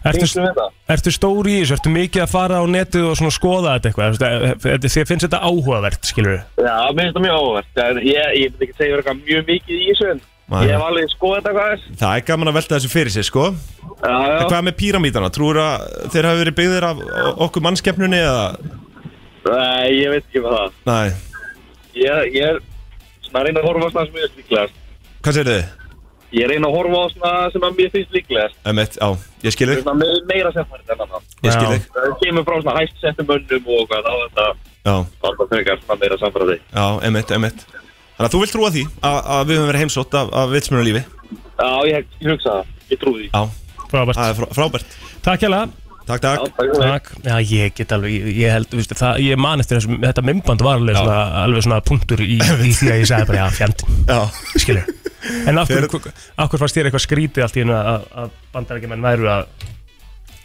ertu,
Tengslum við það?
ertu stór í þessu, ertu mikið að fara á netið og svona skoða þetta eitthvað, Þú veist, eh, þér finnst þetta áhugavert, skilur
Já, mér finnst það mjög áhugavert. En Ég, ég myndi ekki segja verið eitthvað mjög mikið í þessu en
Nei.
ég hef alveg skoðað þetta hvað þess.
það er gaman að velta þessu fyrir sér, sko
Já, já.
en hvað með píramítana, trúur að þeir hafi verið byggðir af o- okkur mannskeppnunni eða,
Nei, ég veit ekki með það.
nei,
Ég, ég er svona að reyna að horfa á svona sem mér finnst líklegast.
hvað segir þið?
Ég reyna að horfa á svona sem að mér finnst líklegast.
Einmitt, Um, já, ég skil þig,
Svona með- meira sem farið en annan.
ég skil
Já.
þig
Það kemur frá svona hæst settum önnum og hvað þá er þetta.
Já,
Það er bara frekar svona meira samfæraði.
já, um, emitt, emitt Þannig að þú vilt trúa því að, að við höfum verið heimsótt af, af vitsmjörnulífi
Já, ég, ég hugsa það. Ég trúi því.
Já,
Frábært,
það er frá, frábært
takk hérlega
Takk, takk
Takk, já ég get alveg, ég, ég held, viðstu, það, ég man eftir þessum, þetta mymband var alveg svona, alveg svona punktur í, í því að ég sagði bara, já, fjandinn,
Já,
skilur. En af
Þeir-
hverju, af hverju fannst þér eitthvað skrítið allt í hennu að, að bandarækjumenn væru að,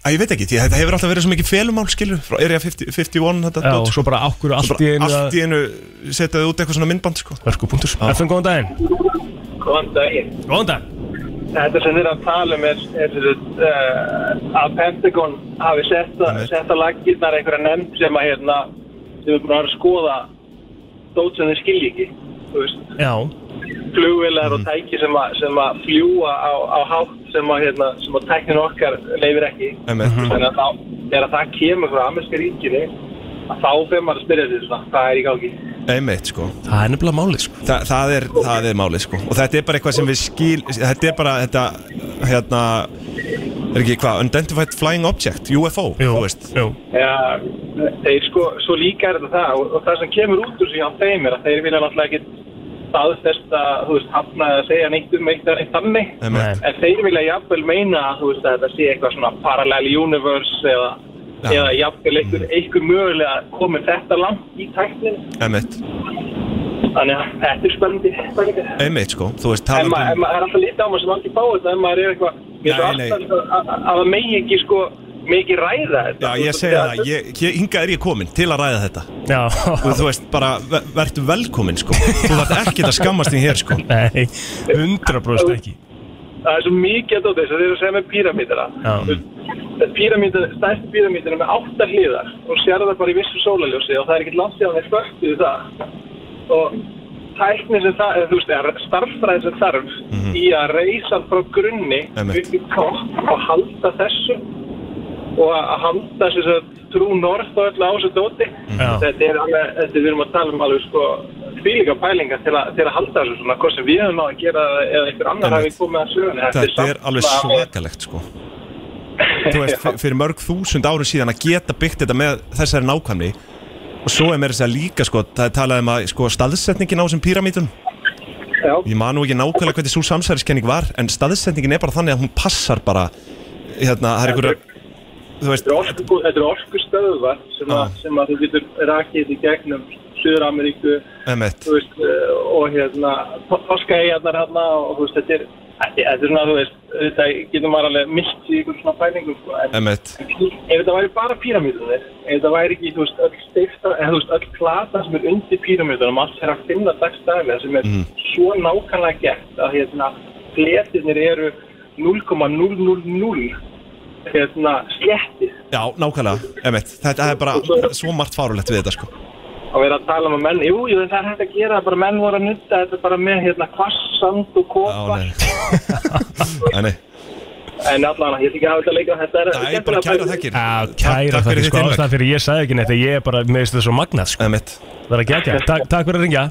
að ég veit ekki, því að þetta hefur alltaf verið svo mikið felumál skilur Frá Area 50, 51, þetta
já, og
dót,
svo bara af hverju allt í
bara
hennu
Allt
að,
í einu setja þau út eitthvað svona myndband, sko
örku punktur. Efum, góðan daginn.
Góðan daginn.
Góðan dag.
Þetta sem þið er að tala um er, er þetta, uh, að Pentagon hafi setta,
Einmitt.
setta laggirnar einhverja nefnd sem að hérna sem er búin að vera að skoða dót sem þið skilji ekki. Þú veist,
Já,
flugvilar og tæki sem að, sem að fljúa á, á hátt sem að, hérna, sem að tæknin okkar leifir ekki.
Emitt,
Þannig að þá, þegar það kemur frá amerska ríkinu, að þá fyrir maður að spyrja sig svona, hvað er í gangi?
emitt, sko
það er nefnilega málið, sko.
Þa, það, er, það er málið sko og þetta er bara eitthvað sem við skil þetta er bara þetta hérna er ekki hvað, Unidentified Flying Object UFO,
Jú,
þú veist
jú,
Já, þeir sko, svo líka er þetta það og, og það sem kemur út úr sig á þeim er að þeir vilja náttúrulega ekki staðfest að, þú veist, hafna eða segja neitt um eitt eða neitt þannig
Einmitt.
Nei.
en þeir vilja jafnvel meina að, þú veist, að þetta sé eitthvað svona parallel universe eða,
Já.
eða jafnvel einhver, einhver mögulega komið þetta langt í tæknin
Emitt,
þannig að þetta er spennandi spennandi.
emitt sko, þú veist
En
talandi
maður en maður er alltaf lítið á maður sem aldrei fá þetta en maður er eitthvað, mér
Nei,
er svo
nei.
alltaf að- að- að það megi ekki sko, megi ekki ræða þetta
Já, ég segi það, ég, ég, hingað er ég komin til að ræða þetta
já,
og þú veist, bara ve- vertu velkomin sko þú þarf ekkert að skammast þín hér sko
nei, hundra bróðst ekki.
það er svo mikið að dóta þess að þeir eru að segja með
Já.
píramítana píramíta, stærst píramítan er með átta hliðar og sér það bara í vissu sólaljósi og það er ekkert langt síðan þeir spöktu það og tækni sem það, eða þú veist, er starffræði sem þarf í að reysa hann frá grunni
Einmitt.
upp í kopp og halda þessu og að að halda þessu trú norð og öllu á þessu dóti
Já.
þetta er alveg, þetta við erum að tala um alveg sko fílíka pælingar til, að- til að halda þessu svona, hvort sem við höfum náð að gera það eða einhver annar
Einmitt.
hafi komið að sögunni
þetta er
samt
alveg
svona-
svakalegt sko þú veist, fyr- fyrir mörg þúsund árum síðan að geta byggt þetta með þessari nákvæmni og svo er mér þess að segja líka sko það er talað um að sko staðsetningin á þessum píramítun
Já.
ég man nú ekki nákvæmlega hvernig svo samsæriskenning var en staðsetningin er bara þannig að hún passar bara hérna, það er einhverja þú veist,
Þetta er orku, þetta er orku stöðvar sem, að,
Já.
sem að þú getur rakið í gegnum Suður-Ameríku
emmett
þú veist, eh, og hérna Páskaeyjarnar hérna og þú veist, þetta er þetta er þetta er svona, þú veist auðvitað getur maður alveg myllt í einhvern svona pælingum sko, en
Emmett
ef þetta væri bara píramíðunir, ef þetta væri ekki, þú veist, öll steifta, eða þú veist, öll plata sem er undir píramíðunum, allt er að finna dagstæðilega sem er
Mm.
svo nákvæmlega gert að hérna, fletirnir eru 0,000 hérna, sléttið
Já, nákvæmlega, Emmett Þetta er bara svo margt farulegt við þetta sko
að vera að tala með menn, jú, jú, það er hægt að gera það, bara menn voru að nutta þetta bara með, hérna, kvass, sand og
Já,
kopa,
nei Æ, nei
en allan, ég ætla ekki að hafa þetta leika, þetta er
Það er bara kæra þakkir
Já, kæra
Takk-
það
Takk
ekki
fyrir
sko
þitt innlag
ástæðan fyrir ég sagði ekki neitt að ég er bara með þetta svo magnað sko
Emmett
Það er að gegja, takk, takk fyrir að ringja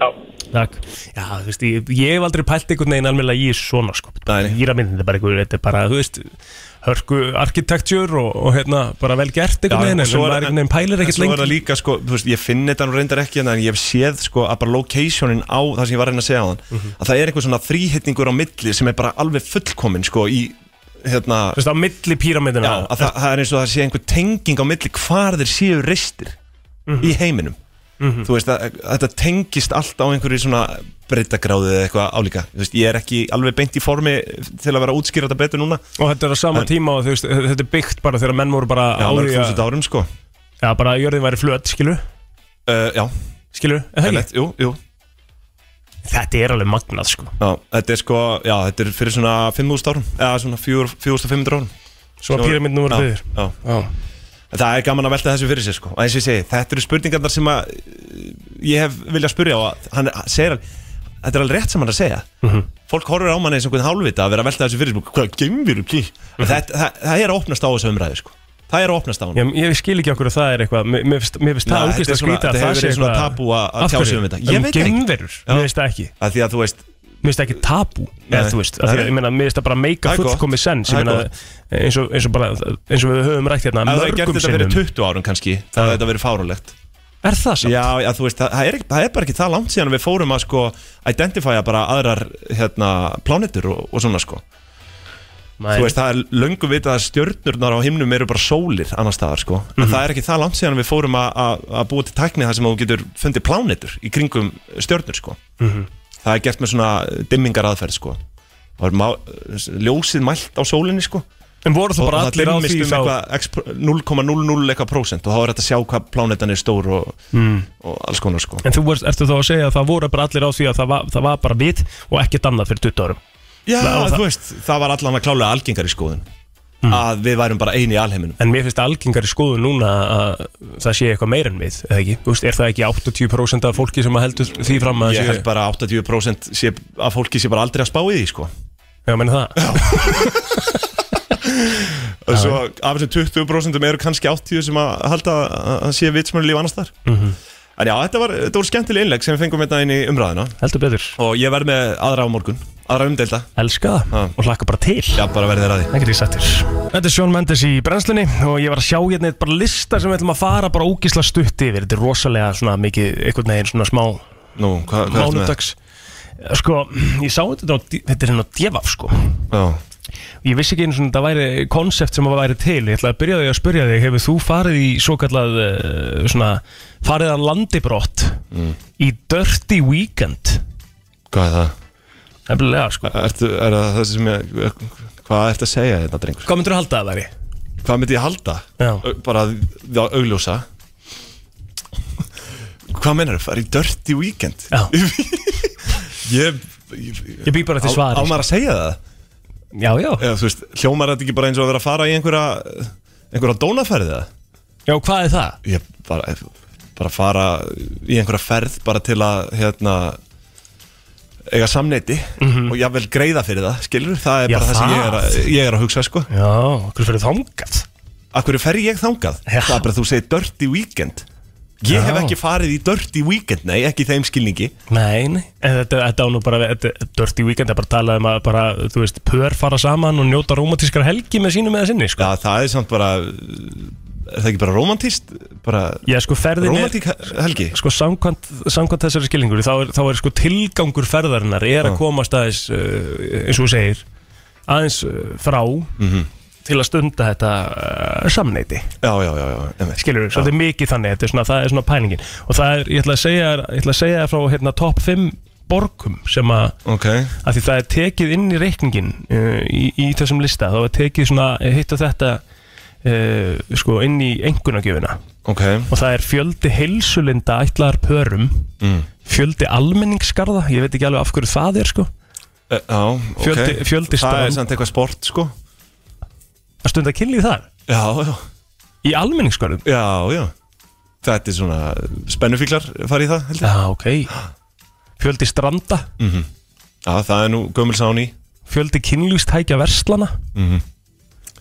Já.
Takk Já, þú veist, ég, ég hef aldrei pælt einhvern veginn alveg í svona sko
Nei, nei.
Íramyndin, þetta er bara einhver, þetta er bara, þú veist Hörku arkitektur og, og hérna, bara vel gert
Já,
einhvern veginn
og
En
svo
maður
er-
einhvern veginn pælir
en
ekkert
svo er
lengi
það líka sko, þú veist, ég finn þetta nú reyndar ekki hérna, en ég hef séð sko að bara locationin á það sem ég var að reyna að segja á þann
Mhm.
að það er einhver svona þrýhittningur á milli sem er bara alveg fullkomin sko í hérna,
Þú veist, á milli píramindina
Já, að það, það er eins og það sé einhver tenging á milli hvar þeir séu reistir í heiminum þú veist að, að þetta tengist allt á einhverju svona breytagráðu eða eitthvað álíka Þú veist, ég er ekki alveg beint í formi til að vera að útskýra þetta betur núna
Og þetta er á sama tíma og þú veist, þetta er byggt bara þegar menn voru bara
já,
á
mörg
því
þúsund
að
árum sko
Já, bara að jörðin væri flöt, skilu
uh, já,
Skilu, er það
ennett, jú, jú
ekki? Þetta er alveg magnað, sko
já, þetta er sko, já, þetta er fyrir svona 5.000 árum, eða svona 4- 4.500 árum
Svo að píramindin voru
já,
byggðir
já.
Já,
En Það er gaman að velta þessu fyrir sér sko Og eins og ég segi, þetta eru spurningarnar sem að eh, Ég hef viljað spurja á að Hann er- segir alveg, þetta er alveg rétt sem hann er að segja
Mhm.
Fólk horfir á manni eins og einhvern hálfvita Að vera að velta þessu fyrir sér, sko, hvað gemur ekki
Mhm.
það, það, það er að opnast á þessu umræðu sko Það er að opnast á hann
Ég, ég skil ekki okkur að það er eitthvað Mér mér finnst mér finnst það
Nei,
ógist
þetta er
að
svona-
skrýta að
þetta
það
hefur
sé
verið svona
eitthvað-
tabú að- að
Af
tjá sig
hverju?
um þetta. Ég
um
veit það ekki.
geimverur, mér finnst það ekki
að Því að þú veist,
Mér finnst það ekki tabú eða, þú veist, að
Nei.
því að, ég meina, Mér finnst það bara meika
Það er gott.
fullkomi sens
Það
ég
er
meina, eins, og, eins, og bara, eins og við höfum rætt hérna
að það er gert
Mörgum
þetta
sinnum
fyrir 20 árum kannski Það hefði þetta verið fárulegt
Er það samt?
Já, já, þú veist, það, það, er, ekki- það er bara ekki það langt síðan að við fórum að sko Identifya bara aðrar hérna, plánetur og, og svona sko
Nei.
Þú veist, það er löngu vitað að stjörnurnar á himnum eru bara sólir annar staðar, sko. En
Mhm.
það er ekki það langt síðan við fórum að- að að búa til tækni þar sem þú getur fundið plánetur í kringum stjörnur, sko.
Mhm.
Það er gert með svona dimmingar aðferð, sko. Það er má, ljósið mælt á sólinni, sko.
En voru það
Og, og
bara
það
allir á
dimmist
því
um
þá
eitthvað exp- 0,00 eitthvað prósent og þá er þetta að sjá hvað plánetan er stór og,
Mhm.
og alls konar, sko.
En þú veist, ertu þá að segja að það voru bara allir á því að það var, það var bara við og ekkert annað fyrir 20 árum
Já,
það- Mhm.
þú veist, það var allan að klálega algengar í skoðun. Að við værum bara eini í alheiminum.
En mér finnst algengari skoðun núna að það sé eitthvað meir en við, eða ekki? Þú veist, er það ekki 80% af fólki sem að heldur því fram að
Ég
það
held bara að 80% sé, að fólki sé bara aldrei að spá í því sko.
Já, menn það?
Og Svo af þessum 20% eru kannski 80% sem að halda að að sé vitsmjölu líf annars þar En já, þetta, var, þetta voru skemmtileg innlegg sem við fengum hérna inn í umræðina
Heldur betur.
Og ég verð með aðra á morgun, aðra umdelda
elska það
Já.
og hlakka bara til
Já, bara verði þér að því
Það getur ég sagt þér Þetta er Sjón Mendes í brennslunni og ég var að sjá hérna eitt bara lista sem við ætlum að fara bara ógisla stutt yfir Þetta er rosalega svona mikið, einhvern veginn svona smá
Nú, hva, hvað ertu með?
mánudags Sko, ég sá þetta á, þetta er hérna á devaf sko
Já,
Ég vissi ekki einu svona þetta væri konsept sem að væri til Ég ætla að byrja á því að spyrja þig Hefur þú farið í svo kallað uh, svona, farið að landi brott í Dirty Weekend
hvað er það?
Nefnilega sko
Ertu, er það það sem ég, hvað ertu að segja þetta drengur?
Hvað myndir þú halda að það væri?
Hvað myndi ég halda?
Já.
Ö- Bara að- að augljósa Hvað meinar þú? Fara í dirty weekend?
Já.
ég, ég,
Ég býð bara til svari,
Á, á
sko.
maður að segja það?
Já, já
Eða, þú veist, hljómar þetta ekki bara eins og að vera að fara í einhverja einhverja dónaferði eða?
Já, hvað er það?
Ég bara, bara fara í einhverja ferð bara til að hérna eiga samneiti og jafnvel greiða fyrir það, skilur, það er
Mhm. Já,
bara það, sem ég er, að, ég er að hugsa, sko
Já, okkur fyrir þangað
Akkur fer ég þangað?
Já.
Það er bara að þú segir dirty weekend Ég
Já.
hef ekki farið í dirty weekend, nei, ekki í þeim skilningi
Nei, nei, en þetta, þetta á nú bara þetta, Dirty Weekend er bara að tala um að bara, þú veist, pör fara saman og njóta romantískar helgi með sínum eða sinni, sko
Já, það er samt bara Er það ekki bara romantist? Bara
Já, sko, ferðin
romantík helgi?
er sko, samkvæmt, samkvæmt þessari skilningur þá er, þá er sko tilgangur ferðarinnar er að komast aðeins, uh, eins og þú segir aðeins uh, frá til að stunda þetta uh, samneiti
Já, já, já, já, emmi
skilur við, svolítið mikið þannig, þetta er svona, það er svona pælingin og það er, ég ætla að segja, þér- ég ætla að segja þér frá hérna top 5 borgum sem að
Ok,
af því það er tekið inn í reikningin uh, í, í þessum lista, þá er tekið svona eh, hitt og þetta uh, sko inn í engunagjöfina
ok
og það er fjöldi heilsulinda ætlaðar pörum
mm.
fjöldi almenningsskarða, ég veit ekki alveg af hverju það er sko,
Eh, Já, ok
Fjöldi- fjöldi
Það
strand-
er samt eitthvað sport, sko
að stunda kynlíð þar
Já, já,
í almenningsskarðum
já, já Þetta er svona spennufíklar farið í það, held ég
Já, ok Fjöldi stranda,
Já, það er nú gömul sán í
fjöldi kynlífstækja verslana
Mhm.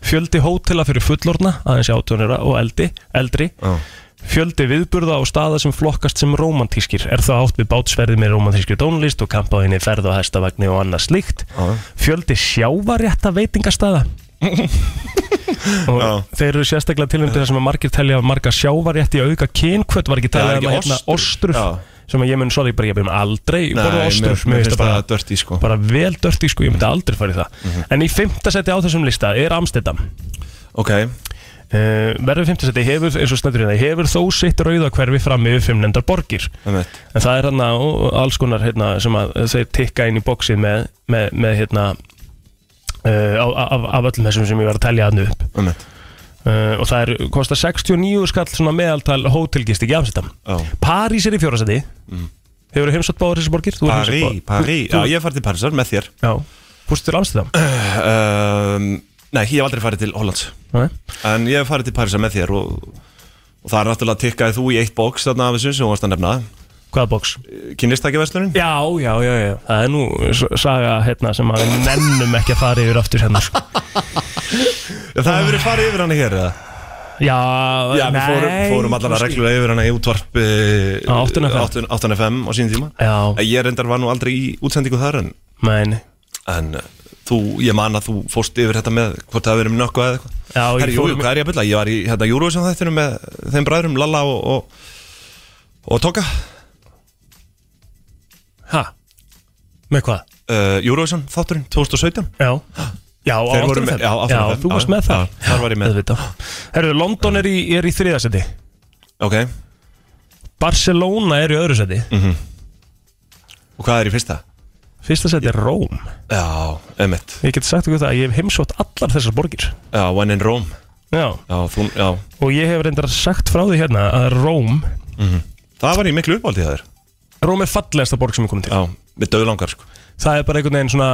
fjöldi hótela fyrir fullorna aðeins átjónira og eldi, eldri
Já,
fjöldi viðburða og staða sem flokkast sem romantískir er þá átt við bátsferði með romantískri tónlist og kampaðinni ferð og hestavagni og annað slíkt
já,
fjöldi sjávarétta veitingastæða og
Já.
þeir eru sérstaklega tilhendur þar sem að margir telja marga sjávarétti að auka kynkvöt var ekki
Það er
talað um
ekki
að hérna
ostur.
ostrur
Já.
sem að ég mun, sorry, bara ég mun aldrei borða ostrur,
mér
mér finnst
finnst
það bara
það dörti, sko Mhm.
bara vel dörti sko, ég myndi aldrei fara í það en í fimmta seti á þessum lista er Amstedam
Ok,
uh, verður fimmta seti hefur, eins og stendur hérna hefur þó sitt rauða hverfi fram yfir fimmnendar borgir
það með
en það er hann alls konar hérna, sem að þeir tikka inn í bóksið með, með, með hérna uh, af, af öllum þessum sem ég var að telja hann upp
Það með
uh, og það er, kostar 69 skall svona meðaltal hótelgist ekki Amstedam
Já
París er í fjóra seti hefur þú heimsótt báður þessar borgir? Þú hefur
Parí,
heimsótt báðar.
Parí, Mm. já ég hef farið til Parísar með þér
Já, fórstu til Amstedam?
um, Nei, ég hef aldrei farið til Hollands
Nei.
En ég hef farið til Parísar með þér og, og það er náttúrulega tikkaði þú í eitt bóks þarna af þessu sem þú varst að nefna
Hvaða bóks?
Kynlistækjaverslunin
Já, já, já, já, það er nú s- saga hérna sem að við nennum ekki að fara yfir aftur hérna sko.
Það hefur verið farið yfir hana hér eða?
Já,
Já, við fórum, fórum allar að reglulega yfir hana í útvarp eh,
Á 8 FM.
8.5 á sín tíma Eh,
Já,
Ég reyndar var nú aldrei í útsendingu þar en,
menn,
en eh, þú, ég man að þú fórst yfir þetta með hvort það hafi verið með nökku eða eitthvað
já,
Herri,
ég
jú, jú,
fórum
hvað er ég að bylla? Ég var í hérna Eurovision þættinu með þeim bræðrum Lalla og, og, og Toka
Hæ? Með hvað?
uh, Eurovision þátturinn 2017
Já, já, á
Þeir voru
8.5.
með- já, á 8.5.
Já, þú
Já,
varst
já,
með það
já, þar var ég með.
Auðvitað. Herru, London er í, er í þriðasetti
Ok,
Barcelona er í öðru seti
Mm. og hvað er í fyrsta?
Fyrsta seti er Róm
Já, emitt
Ég get sagt okkur það, að ég hef heimsótt allar þessar borgir
Já, One in Rome
Já,
Já, þú, já
og ég hef reyndar sagt frá því hérna að Róm
Það var í miklu uppáldi það er
Róm er fallegasta borg sem ég komið til
Já, við döðlangar sko
það er bara einhvern veginn svona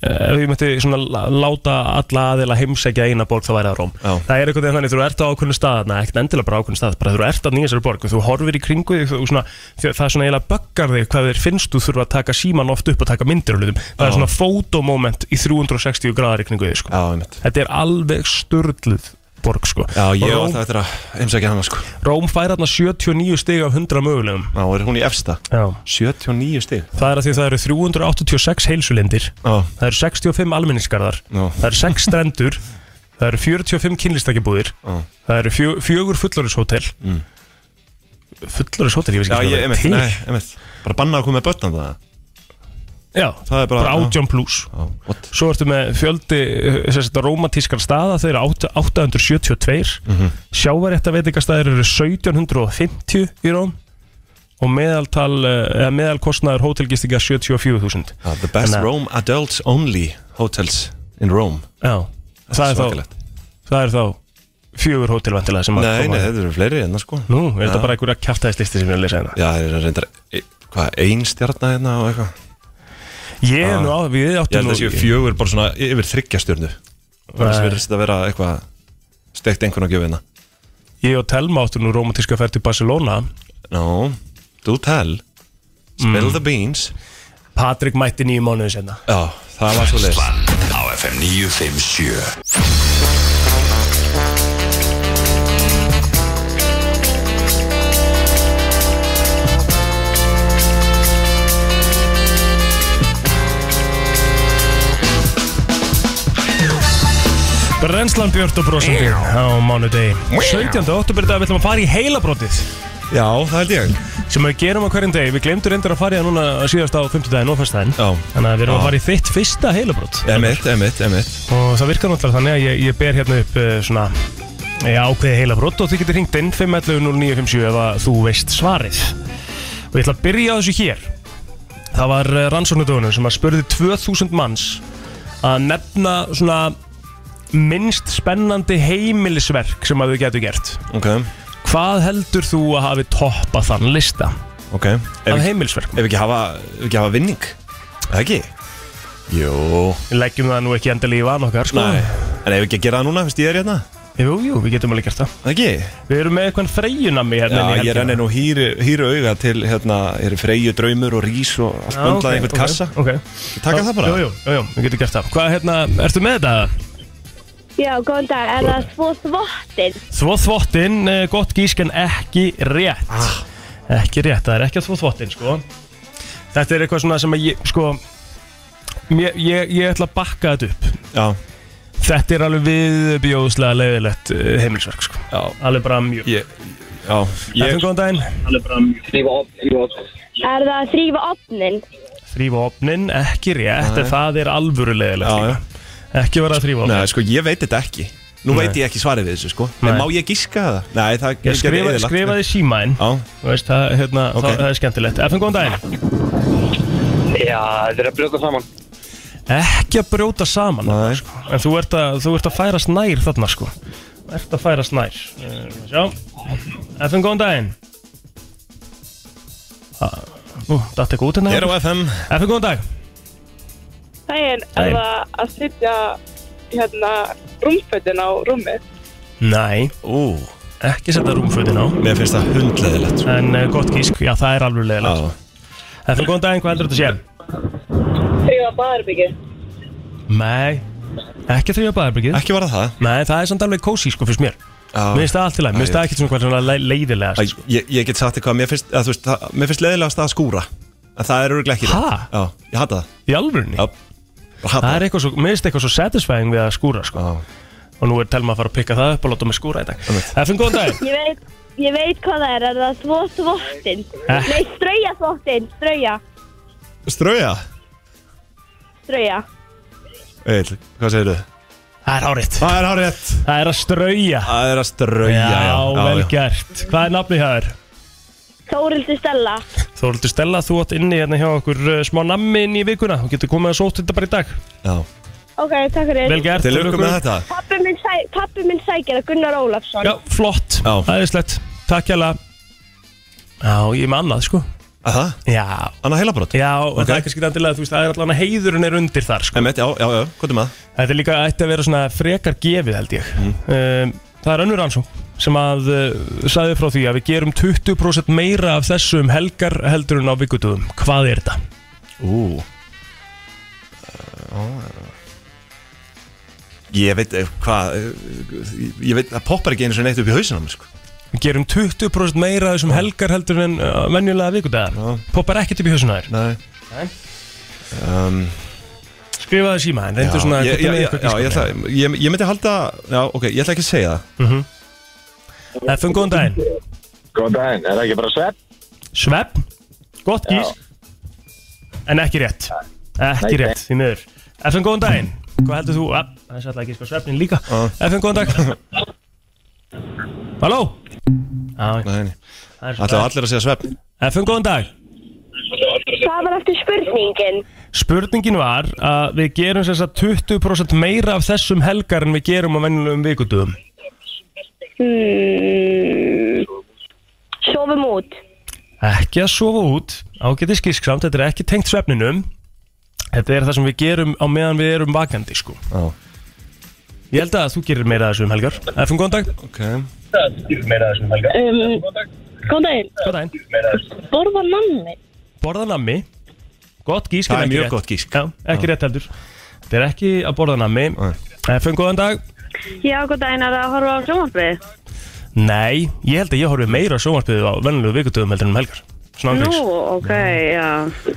eh, ef ég myndi svona lá- láta alla aðila heimsækja eina borg þá væri það Róm
Já.
það er einhvern veginn þannig, þú ert á ákveðnu stað neða, ekkert endilega bara á ákveðnu stað, bara þú ert að nýja þessari borg og þú horfir í kringu þig og svona, þjó- það er svona eiginlega böggar þig hvað þeir finnst þú þurfa að taka síman oft upp og taka myndir og hlutum, það er
Já.
svona fotomoment í 360 gráðar í kringu þig sko.
Já, emitt
þetta er alveg sturluð borg sko.
Já, ég var
Róm,
alltaf eftir að heimsækja hana sko
Róm fær hérna 79 stig af 100 mögulegum
Já, er hún í efsta
Já.
79 stig
það er að því það eru 386 heilsulindir
Já,
það eru 65 almenningsgarðar
já,
það eru 6 strendur það eru 45 kynlistakibúðir
já
það eru fjö, fjögur fullorðishótel mm. fullorðishótel, ég veist
Já,
ekki
ég,
hvað
emitt,
það
nei,
er til
emitt Bara banna að koma með börn þarna,
já,
Það er bara-
bara átján pluss
Já, what?
svo ertu með fjöldi sérst, romantískar staða, þeir eru átta- 872 mm
Mhm.
-hmm. sjávarétta veitingastæðir eru 1750 í Róm og meðaltal, eh, eða meðalkostnaður hótelgistinga 74.000
Já, The best
Þannig að-
Rome adults only hotels in Rome
já, það er, þá,
Svakalegt.
það er þá fjögur hótelvendilega sem að
Nei,
koma- hérna.
nei, þetta eru fleiri enna sko
Nú, er þetta
Já.
bara einhverja kjartæðislisti sem ég er að lesa hérna?
Já, það eru reyndar, e, hvað, ein stjarna hérna og eitthvað
Ég er nú á, við
Ég
áttum
held
nú
að séu fjögur bara svona yfir þryggja stjörnu Þannig að verðist þetta vera eitthvað steikt einhvern að gefa hérna
Ég og Telma áttum nú romantíska ferð til Barcelona
No, do tell
Mm.
Spill the beans
Patrik mætti nýju mánuði senna
Já, það var svo leist
Brennslan á FM 957
Brennslan Björn og brosandi á mánudegi 17. oktober í dag við ætlum að fara í heilabrotið
Já, það held ég
sem við gerum á hverjum degi Við glemdu reyndar að fara í það núna síðast á 50 daginn og fyrstdaginn
Já.
Þannig að við erum
Já.
að fara í þitt fyrsta heilabrot
Emitt, emitt, emitt
Og það virkar náttúrulega þannig að ég, ég ber hérna upp uh, svona Já, ákveði heila brott og þið getur hringt inn 511 0957 ef að þú veist svarið Og ég ætla að byrja á þessu hér Það var rannsóknudóðunum sem að spurði 2000 manns að nefna svona minnst spennandi heimilisverk sem að þau getur gert
Ok,
Hvað heldur þú að hafi toppað þann lista
ok Ef
af
ekki,
heimilisverkum?
ef ekki, hafa, ef ekki hafa vinning Er Það ekki? Jó
Við leggjum það nú ekki endilega í van okkar sko.
Nei En ef ekki að gera það núna, finnst ég er hérna
Jú, jú, við getum alveg gert það
Er Það ekki?
Við erum með eitthvað freyjunami hérna inn
Já,
í
ég
helgina.
renni nú hýru, hýru auga til hérna, er freyju draumur og rís og allt
Já,
böndlað
ok,
í einhvern
ok,
kassa
ok.
Taka það bara
Jú, jú, jú, jú, við getum gert það Hvað, hérna, ertu með þetta?
Já, góðan dag, er það svo þvottir?
Þvó þvottinn, eh, gott gísk en ekki rétt Ekki rétt, það er ekki að þvó þvottinn, sko Þetta er eitthvað svona sem að ég, sko Ég, ég, ég ætla að bakka þetta upp
Já,
Þetta er alveg viðbjóðslega leiðilegt eh, heimilisverk, sko
já,
Alveg bara mjög
ég, já
Efum
ég,
góðan daginn
Er það að þrýfa opnin?
Þrýfa opnin, ekki rétt en Það er alvöru leiðilegt
Já, já.
líka. Ekki vera að þrýfa opnin
Nei, sko, ég veit þetta ekki Nú
Nei.
veit ég ekki svarið við þessu, sko
Nei.
En má ég gíska það? Nei, það
Ég skrifa,
eyðilagt.
skrifaði símaðinn
Já,
Þú veist, það, hérna,
Ok.
það, það er skemmtilegt FN, góðan daginn
Já, þetta er að brjóta saman
Ekki að brjóta saman
Nei.
sko. En þú ert, að, þú ert að færast nær þarna sko Þú ert að færast nær uh, Sjá FN, góðan daginn Ah, Nú, datt eitthvað út
ég er
hérna
á FM
FN, góðan dag
Daginn
Daginn.
er það að setja hérna rúmfötin á rúmið.
Nei,
Ú,
ekki setja rúmfötin á
mér finnst það hundleðilegt, sko
En uh, gott gísk, já það er alveg leðilegt
Já,
FN, góðan daginn, hvað heldur þetta sé?
Þrjóða baðarbyggið.
Nei, ekki þrjóða baðarbyggið
ekki var það það
Nei, það er samt alveg kósi sko fyrst mér
Já.
Mér finnst það allt í lagi, mér finnst það ekkert svona hvað svona leiðilega
Æ, ég, ég get sagt eitthvað, mér finnst, að, þú veist, það, mér finnst leiðilegast að skúra En það er örugglega ekki
Ha?
rétt. Já, ég hata það
Í alvörunni?
Já, Ég hata
Það er eitthvað svo, mér finnst eitthvað svo satisfying við að skúra sko.
Já.
Og nú er Telma að fara að pikka það upp og láta mig skúra í dag Efum góðan dag
Ég veit, ég veit hvað það er, er það svo þvottin?
Eh.
Nei, strauja þvottin, strauja,
Strauja?
strauja.
Egil, hvað segir þau?
Það er áriðt
Það er árétt
Það er að strauja
Það er að
Já,
strauja
vel gert Hvað er nafnið hjá þér?
Þórildur Stella.
Þóruldur Stella, þú átt inni hérna hjá okkur uh, smá nammi inn í vikuna Þú getur komið að sótt þetta bara í dag
já.
Ok, takk fyrir.
Vel gert
Til lukku með þetta
Pappi minn, sæ, pappi minn sækir að Gunnar Ólafsson.
Já, flott,
Já.
æðislegt Takk hjá Já, ég er með annað sko
Að Það,
Já,
annar heilabrót
já, en
Ok.
það er kannski dandilega, þú veist, það er allan að heiðurinn er undir þar sko
Emmett, já, já, já, hvað er maður?
Þetta er líka ætti að vera svona frekar gefið held ég
Mhm.
um, Það er önnur ansók sem að uh, sagði frá því að við gerum 20% meira af þessu um helgar heldur en á vikutugum Hvað er þetta?
Ú Ég veit eh, hvað eh, Ég veit, það poppar ekki einu sem neitt upp í hausinu sko.
Við gerum 20% meira af þessum helgar heldur en uh, venjulega vikudaga
Já.
Poppar ekkert upp í hausinu þær
Nei
Skrifaði síma en reyndu
Já,
svona
ég,
hvort er
já, já,
eitthvað
já, ég,
gísk.
ætla, ég, ég myndi halda Já, ok, ég ætla ekki að segja það
FM góðan daginn
Góðan daginn, er það ekki bara svepp?
Svepp, gott gísk En ekki rétt Ekki rétt, því miður FM góðan daginn, hvað heldur þú? Ah, Það er sætla ekki sko sveppnin líka
Já.
FM góðan dag Halló Já,
Nei, nei.
það er
Ætla
svo
allir að segja svepp
FM góðan dag
Hvað var aftur spurningin?
Spurningin var að við gerum þess að 20% meira af þessum helgar en við gerum á venjulegum vikudöðum
Hmm, sofum út.
Ekki að sofa út, ágæti skísksamt, þetta er ekki tengt svefninum Þetta er það sem við gerum á meðan við erum vakandi sko
Já,
Ég held að þú gerir meira af þessum helgar FM góðan dag
ok
Um, góðan daginn,
Góðan daginn
borða nammi.
Borða nammi Gott gísk en
Það er
ekki
mjög
rétt.
gott gísk.
Já, ekki rétt heldur Þetta er ekki að borða nammi
Nei.
FM góðan dag
Já, góðan daginn, er það að horfa á sjónvarpið?
Nei, ég held að ég horfi meira á sjónvarpiðu á vennilegu vikutöðum heldur en um helgar Svona
Nú,
ángriðs
ok, já.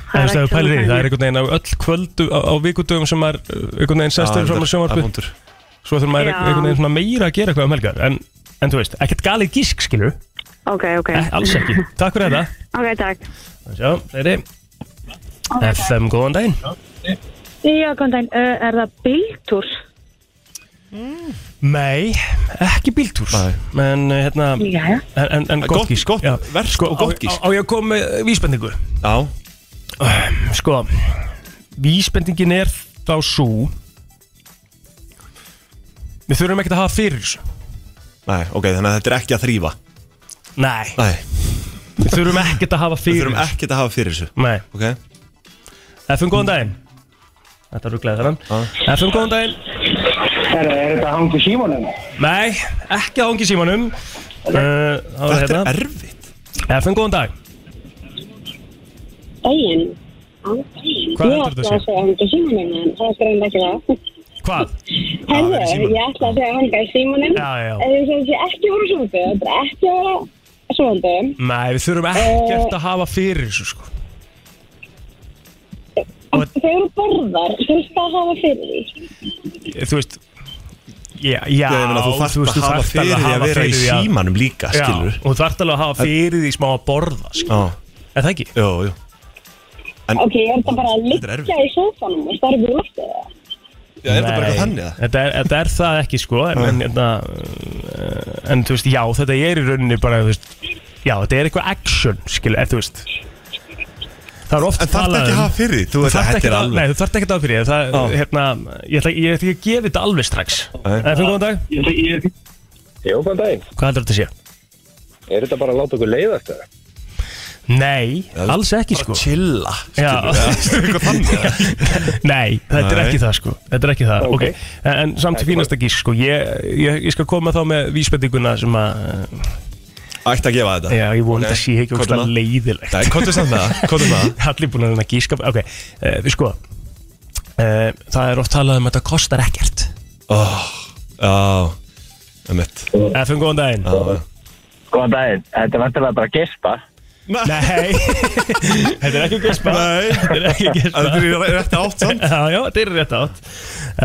Það er
ekki
ekki pælir í því,
svona
það
þannig.
er einhvern veginn á öll kvöldu á, á vikutöðum sem maður uh, einhvern veginn
Já,
sestur fram á
reyndar, það er
sjónvarpið
vondur.
Svo þurfum maður
Já.
einhvern veginn svona meira að gera eitthvað um helgar En, en þú veist, ekkert galið gísk skilur
Ok, ok,
eh, Alls ekki, takk fyrir þetta
ok, takk.
Sjá, þeirri FM góðan daginn
Já, góðan daginn, uh, er það bíltúr?
Nei, ekki bíltúr En eh, hérna
Já,
En, en, en
Gott-
gott gísk
gott
Já.
verk
Sko,
og gott
á-
gísk.
Á á ég að koma með vísbendingu
Já,
Sko, vísbendingin er þá svo Við þurfum ekkert að hafa fyrir þessu
Nei, ok, þannig að þetta er ekki að þrýfa
Nei,
Nei,
við þurfum ekkert að hafa
við
fyrir
þurfum
þessu
ekkert að hafa fyrir þessu
Nei,
Ok,
FM góðan daginn Þetta rugglaði þennan FM góðan daginn
Er, er þetta hangu símanum?
Nei, ekki að hóngi símanum uh,
þetta
Þetta
er erfitt
FM hérna. góðan dag
Daginn.
Hvað
ég
heldur
ætla
þetta
að segja
sé?
hanga símanum en það er greinlega ekki það.
Hvað?
Herðu,
verið símanum.
ég ætla að segja hanga símanum.
Já, já.
En þú segir ekki voru svondu, þetta er ekki að vera svondu.
Nei, við þurfum ekkert að hafa fyrir þessu sko. Og-
Þau eru borðar, þurftu að hafa fyrir því.
Þú veist Já, já
Já, ég meina, þú þarft
veist,
að hafa
þarft
fyrir
alveg
því að vera í
fyrir því að-
símanum líka,
Já,
skilur
og þú þarft alveg að hafa fyrir því smá að borða sko.
Já,
Er það ekki?
jú, jú
Ok, ég er þetta bara að
Þetta er
liggja í sófanum og starfa í loftið það.
Já, er þetta bara eitthvað
Nei,
þannig að
Þetta er, þetta er það ekki sko en, en, en, en þú veist, já, þetta er í rauninni bara, þú veist Já, þetta er eitthvað action, skilu, eða þú veist Það er oft
En þarf
talað
ekki að
um-
hafa fyrir því, þú
Þú
veist að
þarft
þetta
ekki
er
að,
alveg
nei, þú þarft ekki að fyrir því, það,
Já.
hérna, ég ætla, ég ætla ekki að gefa þetta alveg strax
Nei.
Það er fyrir góðan dag,
Jó, hvað daginn?
hvað heldur þetta sé?
Er þetta bara að láta okkur leiða þetta?
Nei, alls ekki sko
Bara chilla,
Já.
skilur Eitthvað þannig að
Nei, þetta er
Nei.
ekki það sko Þetta er ekki það, ok,
Ok.
En, en samt fínast ekki sko ég, ég, ég skal koma þá með vísbendinguna sem að
Ætti að gefa þetta
Já, ég vona
Ok,
okay. að sé ekki
hvað er
óslega
það?
leiðilegt
Nei, komdu samt með það, komdu með það
Allir búin að reyna að gíska Ok, uh, við sko uh, Það er oft talað um að þetta kostar ekkert
oh, Já, emitt
FM, góðan
Ah.
daginn
Góðan daginn, þetta er vantilega bara að gespa.
Nei, þetta er ekki að gespa
Nei.
Þetta er ekki að gespa
Þetta er rétt átt samt
Já, já, þetta er rétt átt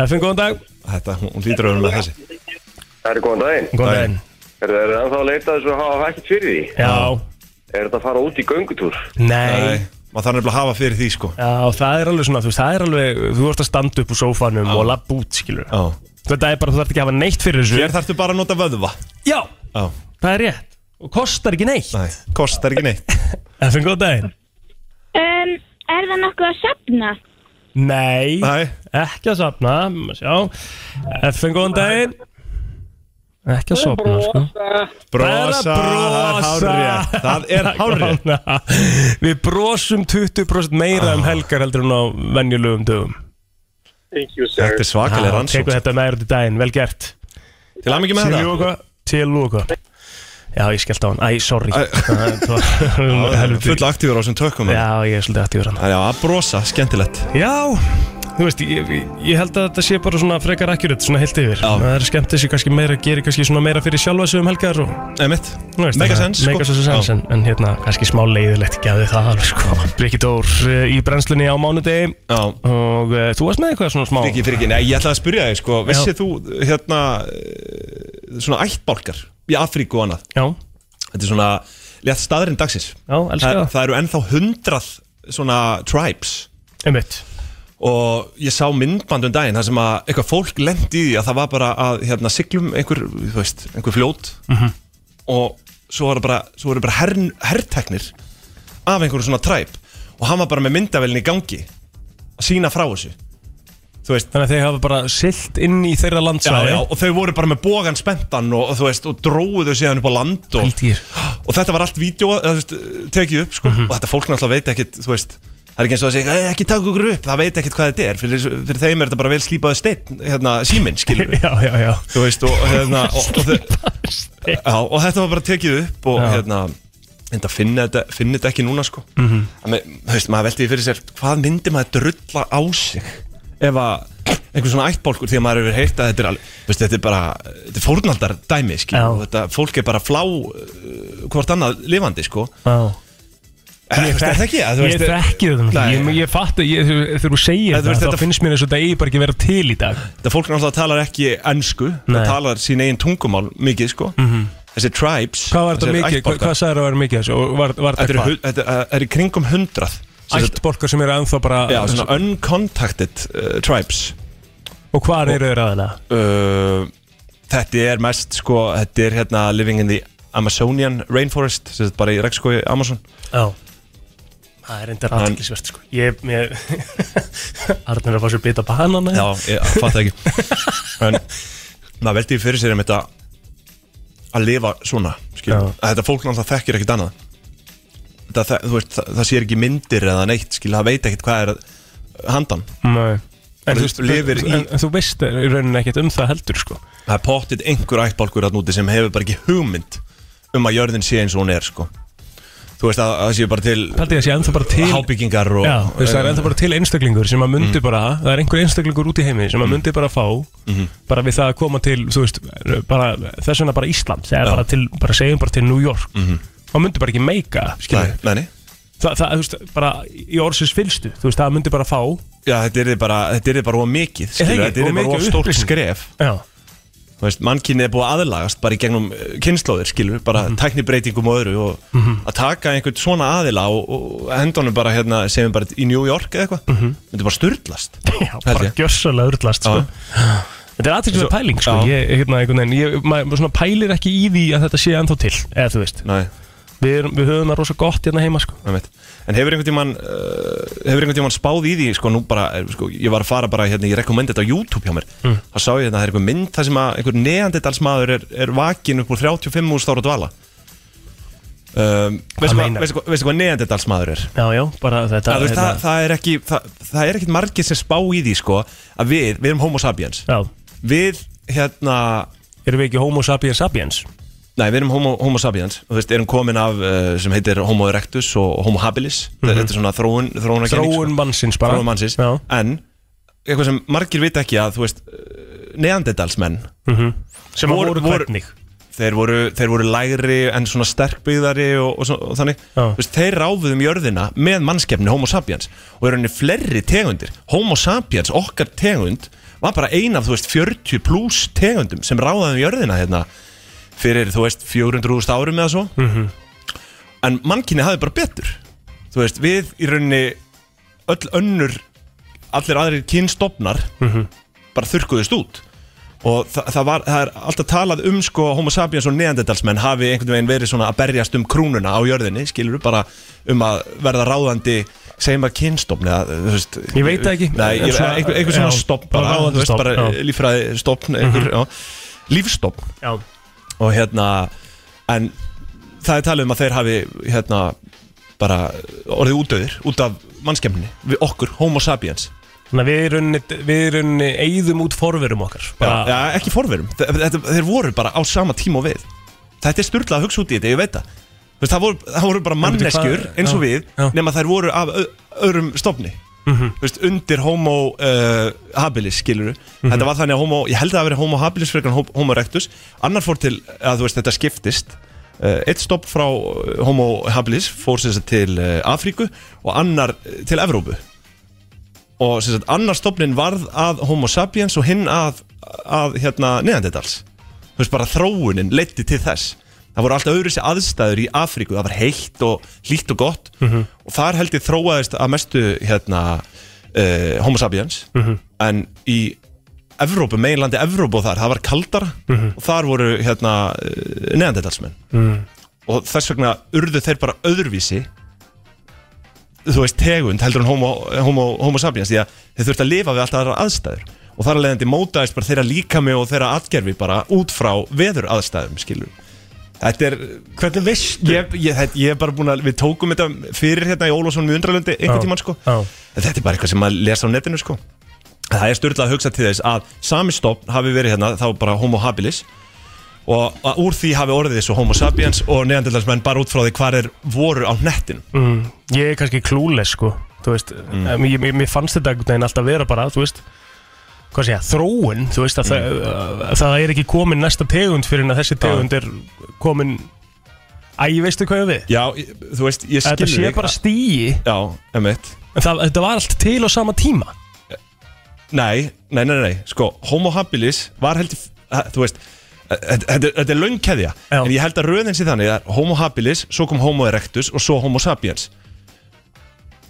FM, góðan dag
Þetta, hún hún lítur auðvitað með þessi
Það er góðan daginn.
Góðan
Daginn.
daginn
Er þetta ennþá að leita þessu að hafa ekkert fyrir því?
Já,
Er þetta að fara út í göngutúr?
nei
Ah. Nei, maður þarf nefnilega að hafa fyrir því sko
Já, það er alveg svona, þú veist, það er alveg, þú ert að standa upp úr sófanum
Ah.
og lappa út, skilur.
Já.
Þetta er bara, þú þarf ekki að hafa neitt fyrir þessu.
Hér þarftu bara að nota vöðva
Já,
Já,
það er rétt. Og kostar ekki neitt.
nei, kostar ekki neitt
En fyrir góð daginn.
Um, er það nokkuð að safna?
Nei,
Nei,
ekki að safna, maður sjá. En fyrir góðan daginn. Ekki að safna, sko.
brosa, það er hárrétt Það er hárrétt
hárrið. Við brosum 20% meira um helgar heldur en á venjulegum dögum.
Thank you, sir.
Þetta er svakalega rannsók
Tekur þetta meira út í daginn, vel gert.
Til að mikið með
Til
það
lóka Til lóka Já, ég skellt á hann Æ, sorry
Æ.
Það var-
Já,
Helviti.
Full aktífur á þessum tökum Já,
Já, ég er svolítið aktífur hann
já, að brosa, skemmtilegt
Já, þú veist, ég, ég held að þetta sé bara svona frekar akkurat, svona heilt yfir
Já.
Það er skemmt þessi kannski meira, gerir kannski svona meira fyrir sjálfa sig um helgar og
Emitt,
þú veist,
Mega
það-
sens, sko.
Mega sense,
Já.
en, en hérna, kannski smá leiðilegt gæði það alveg, sko Brikki Dór eh, í brennslunni á mánudegi
já
Og uh, þú varst með eitthvað svona smá
Friki, friki, nei, ég ætlaði að spyrja þig sko Vissið þú, hérna, eh, svona ættbálkar í Afríku og annað
Já,
Þetta er svona létt staðurinn dagsins
já, elska
það,
það
það eru ennþá hundrað svona tribes
Einmitt
og ég sá myndband um daginn þar sem að eitthvað fólk lendi í því að það var bara að hérna, siglum einhver, þú veist, einhver fljót og svo voru bara, svo voru bara her, herrteknir af einhverju svona tribe og hann var bara með myndavélin í gangi að sína frá þessu þú veist
Þannig að þeir hafa bara silt inn í þeirra
Já,
landsvæði
já, og þau voru bara með bógan spenntan og, og þú veist, og dróðu þau síðan upp á land og,
Pældu í þér.
og þetta var allt vídeo eða, þú veist, tekið upp, sko, og þetta fólk náttúrulega veit ekkit, þú veist, það er ekki eins og að segja "Ei, ekki taka okkur upp, það veit ekkit hvað þetta er fyrir, fyrir þeim er þetta bara vel slípaðu steinn hérna, síminn, skilur við,
já, já, já.
þú veist og, hérna, og, og, þau- já, og þetta var bara tekið upp og
Já.
hérna en það finna þetta, finna þetta ekki núna sko
Mhm.
Að með, þú veist, maður veldi því fyrir sér hvað myndi maður drulla á sig ef að einhver svona ættbólkur því að maður hefur heyrt að þetta er alveg þú veist, þetta er bara, þetta er fórnaldar dæmi skil,
Já.
og þetta, fólk er bara flá uh, hvort annað lifandi sko
Já.
ég, veist, er það ekki, að, þú
Ég
veist,
þekki þetta
Nei.
náttúrulega. Ég, ég fatt að ég, þegar- þegar þú segir
Nei, þú
það,
veist,
þá
þetta-
finnst mér eins og þetta eigi bara ekki að vera til í dag
þetta fólk náttúrulega talar ekki ennsku,
Nei. Mhm.
það talar sín eigin tungumál mikið sko, þessi tribes
Hvað var þetta
þessir
mikið, hvað,
ættbálkar.
hvað sagður það var mikið þessu og var, var
Þetta
þetta
eru
hvað?
hu- þetta, uh, er í kringum hundrað
Ættbólkar sem eru ennþá bara
Já, svona uncontacted uh, tribes
og hvað eru þeir aðeina?
uh, Þetta er mest sko, þetta er hérna living in the Amazonian rainforest sem þetta bara í regnskói Amazon
Já, Það er reyndar aðtækisvert sko Ég, mér Arnur er að fá sér bita banana
Já, ég fatt ekki En maður veldi fyrir sér um þetta að lifa svona skilur.
Já.
að þetta fólk náttúrulega þekkir ekkert annað það, það, þú veist, það, það sér ekki myndir eða neitt, skil, það veit ekkert hvað er að- handan,
Nei En
Þú
þú,
veist, lifir
en,
í-
en, þú veist í rauninni ekkert um það heldur sko
það er pottið einhver ættbálkur að núti sem hefur bara ekki hugmynd um að jörðin sé eins og hún er sko. þú veist að það sé bara til
Paldi ég að sé ennþá bara til
hábyggingar og Mm.
Já, þú veist, það er ennþá bara til einstaklingur sem að myndi bara, það er einhver einstaklingur út í heimi sem að myndi bara fá
Mhm.
bara við það að koma til, þú veist bara, þess vegna bara Ísland, það er
Já. Mhm.
bara til bara segjum bara til New York það myndi bara ekki meika, skilur
Nei, nei, nei.
það, það, þú veist, bara í orðsins fylstu, þú veist, það myndi bara fá
Já, þetta er bara, þetta er bara of mikið skilur,
ekki?
þetta
Of
er bara
mikið
of stórt
upplýsing.
skref
Já,
Þú veist, mannkynni er búið að aðlagast bara í gegnum eh, kynslóðir, skilur, bara
Mhm.
tæknibreitingum og öðru og að taka einhvern svona aðila og, og hendunum bara hérna, segjum bara í New York eða eitthvað, myndi bara styrlast
já bara
ég.
gjörsalega urtlast, Mhm. sko
Já.
Þetta er aðtryggslega
Eins og-
pæling, sko
Já.
Ég, hérna, einhvern veginn, ég, maður maður svona pælir ekki í því að þetta sé ennþá til, eða þú veist
Nei,
Við, erum, við höfum það rosa gott hérna heima, sko
nefnt. En hefur einhvern tímann uh, hefur einhvern tímann spáð í því, sko, nú bara eh, sko, ég var að fara bara, hérna, ég rekomendi þetta á YouTube hjá mér, þá sá ég þetta, það er einhver mynd það sem að einhver neandindalsmaður er, er vakin upp úr 35 úr stóra dvala um, Veistu hvað,
meinar?
veistu hvað, veistu hvað neandindalsmaður er?
Já, já, bara þetta
það, veist, það,
hérna-
það er ekki það, það er ekkit margir sem spá í því sko að við, við erum homo sapiens
Já,
við hérna
erum við ekki homo sapiens sapiens?
nei, við erum homo, homo sapiens og þú veist, erum komin af uh, sem heitir homo erectus og homo habilis þetta er svona þróun Mhm. sko. þróun,
Þróun mannsins bara
þróun mannsins
Já,
en eitthvað sem margir vita ekki að þú veist neandedalsmenn
Mhm. sem að
Voru-
voru
voru-
hvernig
þeir voru, þeir voru lægri en svona sterkbyggðari og, og, svo- og þannig
Já.
Þú veist, þeir ráfuðum jörðina með mannskefni homo sapiens og eru henni fleiri tegundir homo sapiens, okkar tegund var bara ein af þú veist 40 pluss tegundum sem ráðaðum jörðina hérna fyrir þú veist 400.000 árum eða svo
Mhm.
-hmm. en mannkinni hafði bara betur þú veist við í rauninni öll önnur allir aðrir kynstofnar
Mhm.
-hmm. bara þurrkuðust út og þa það, var, það er alltaf talað um sko homo sapiens og neanderdalsmenn hafi einhvern veginn verið svona að berjast um krúnuna á jörðinni skilur bara um að verða ráðandi segjum að kynstofn eða, þú veist,
Ég veit það ekki.
Nei,
En
ég,
svona-
einhver, einhver svona
já,
stofn
bara
bara,
ráðandi
þú veist,
stofn,
bara
já. Mhm.
líffræði stofn einhver, já, lífstofn
Já,
og hérna en það er talið um að þeir hafi hérna bara orðið útdöðir út af mannskemni við okkur, homo sapiens
þannig að við í rauninni, við í rauninni eigðum út forverum okkar
bara,
bara,
ja, ekki forverum, Þe- þetta, þeir voru bara á sama tíma og við þetta er styrlað að hugsa út í þetta, ég veit það Þú veist, það, voru, það voru bara
veitu hvað-
manneskjur eins og
já,
við
já. Mhm.
nema þær voru af ö- öðrum stofni Þú veist, undir homo uh, habilis skiluru
Mhm.
þetta var þannig að homo, ég held að það veri homo habilis frekar en hom- homo erectus, annar fór til að þú veist, þetta skiptist uh, eitt stopp frá eh, homo habilis fór sem sagt til uh, Afríku og annar eh, til Evrópu og sem sagt annar stofnin varð að homo sapiens og hinn að, að hérna neðandedals þú veist bara þróunin leiddi til þess það voru alltaf öðru sér aðstæður í Afríku það var heitt og hlýtt og gott og þar held ég þróaðist að mestu hérna uh, homo sapiens en í Evrópu, meginlandi Evrópu og þar, það var kaldara og þar voru hérna uh, neðandedalsmenn og þess vegna urðu þeir bara öðruvísi þú veist, tegund heldur en homo, homo, homo sapiens því að þeir þurft að lifa við alltaf aðra aðstæður og þar að leiðandi mótaðist bara þeirra líkami og þeirra atgerfi bara út frá veður aðstæðum, skilur Þetta er,
Hvernig veist
ég, ég, þetta- ég er bara búin að, við tókum þetta fyrir hérna í Ólásson við undralundi einhvern
Já,
tímann sko
já.
En Þetta er bara eitthvað sem maður lesa á netinu sko Það er styrlað að hugsa til þess að sami stofn hafi verið hérna, þá bara homo habilis og að úr því hafi orðið þessu homo sapiens og neandertalsmenn bara út frá því hvar er voru á nettin
mm, Ég er kannski klúles sko Þú veist, mm. ég, ég, mér fannst þetta einhvern veginn alltaf vera bara, þú veist hvað sé ég, þróun, þú veist að
Mm.
það, að það er ekki komin næsta tegund fyrir en að þessi tegund er komin Æ, veistu hvað ég á við?
Já, ég- þú veist, ég
Að
skilur
Þetta sé
þig.
bara stíi
Já, emitt
En það, þetta var allt til á sama tíma
Nei, nei, nei, nei, sko Homo habilis var heldur ha- Þú veist, þetta- þetta þetta er löngkeðja
Já.
En ég held að röðin sé þannig að Homo habilis, svo kom homo erectus og svo homo sapiens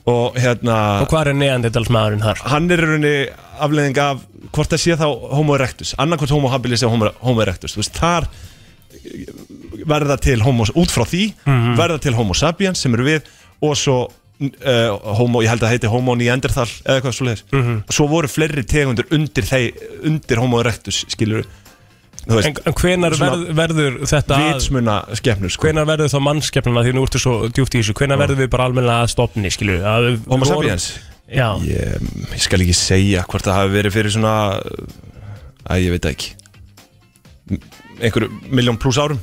Og hérna
Og hvað er neanderdalsmaðurinn þar?
Hann er í rauninni afleðing af hvort það sé þá homo erectus Annarkvort homo habilis eða homo, homo erectus Þú veist, þar
Mhm.
eh, verða til homo, út frá því verða til homo sapiens sem eru við og svo uh, homo, ég held að það heiti homo neanderthal eða eitthvað svo leiðis
Mhm.
svo voru fleiri tegundur undir, þeir, undir homo erectus skilur
En, en hvenar verð, verður þetta
vitsmuna skefnur sko.
Hvenar verður þá mannskefnuna því nú ertu svo djúpt í þessu Hvenar verður við bara almennilega að stopni skilju
Homo sapiens?
Já,
ég, ég skal ekki segja hvort það hafi verið fyrir svona að ég veit það ekki M- einhverju miljón pluss árum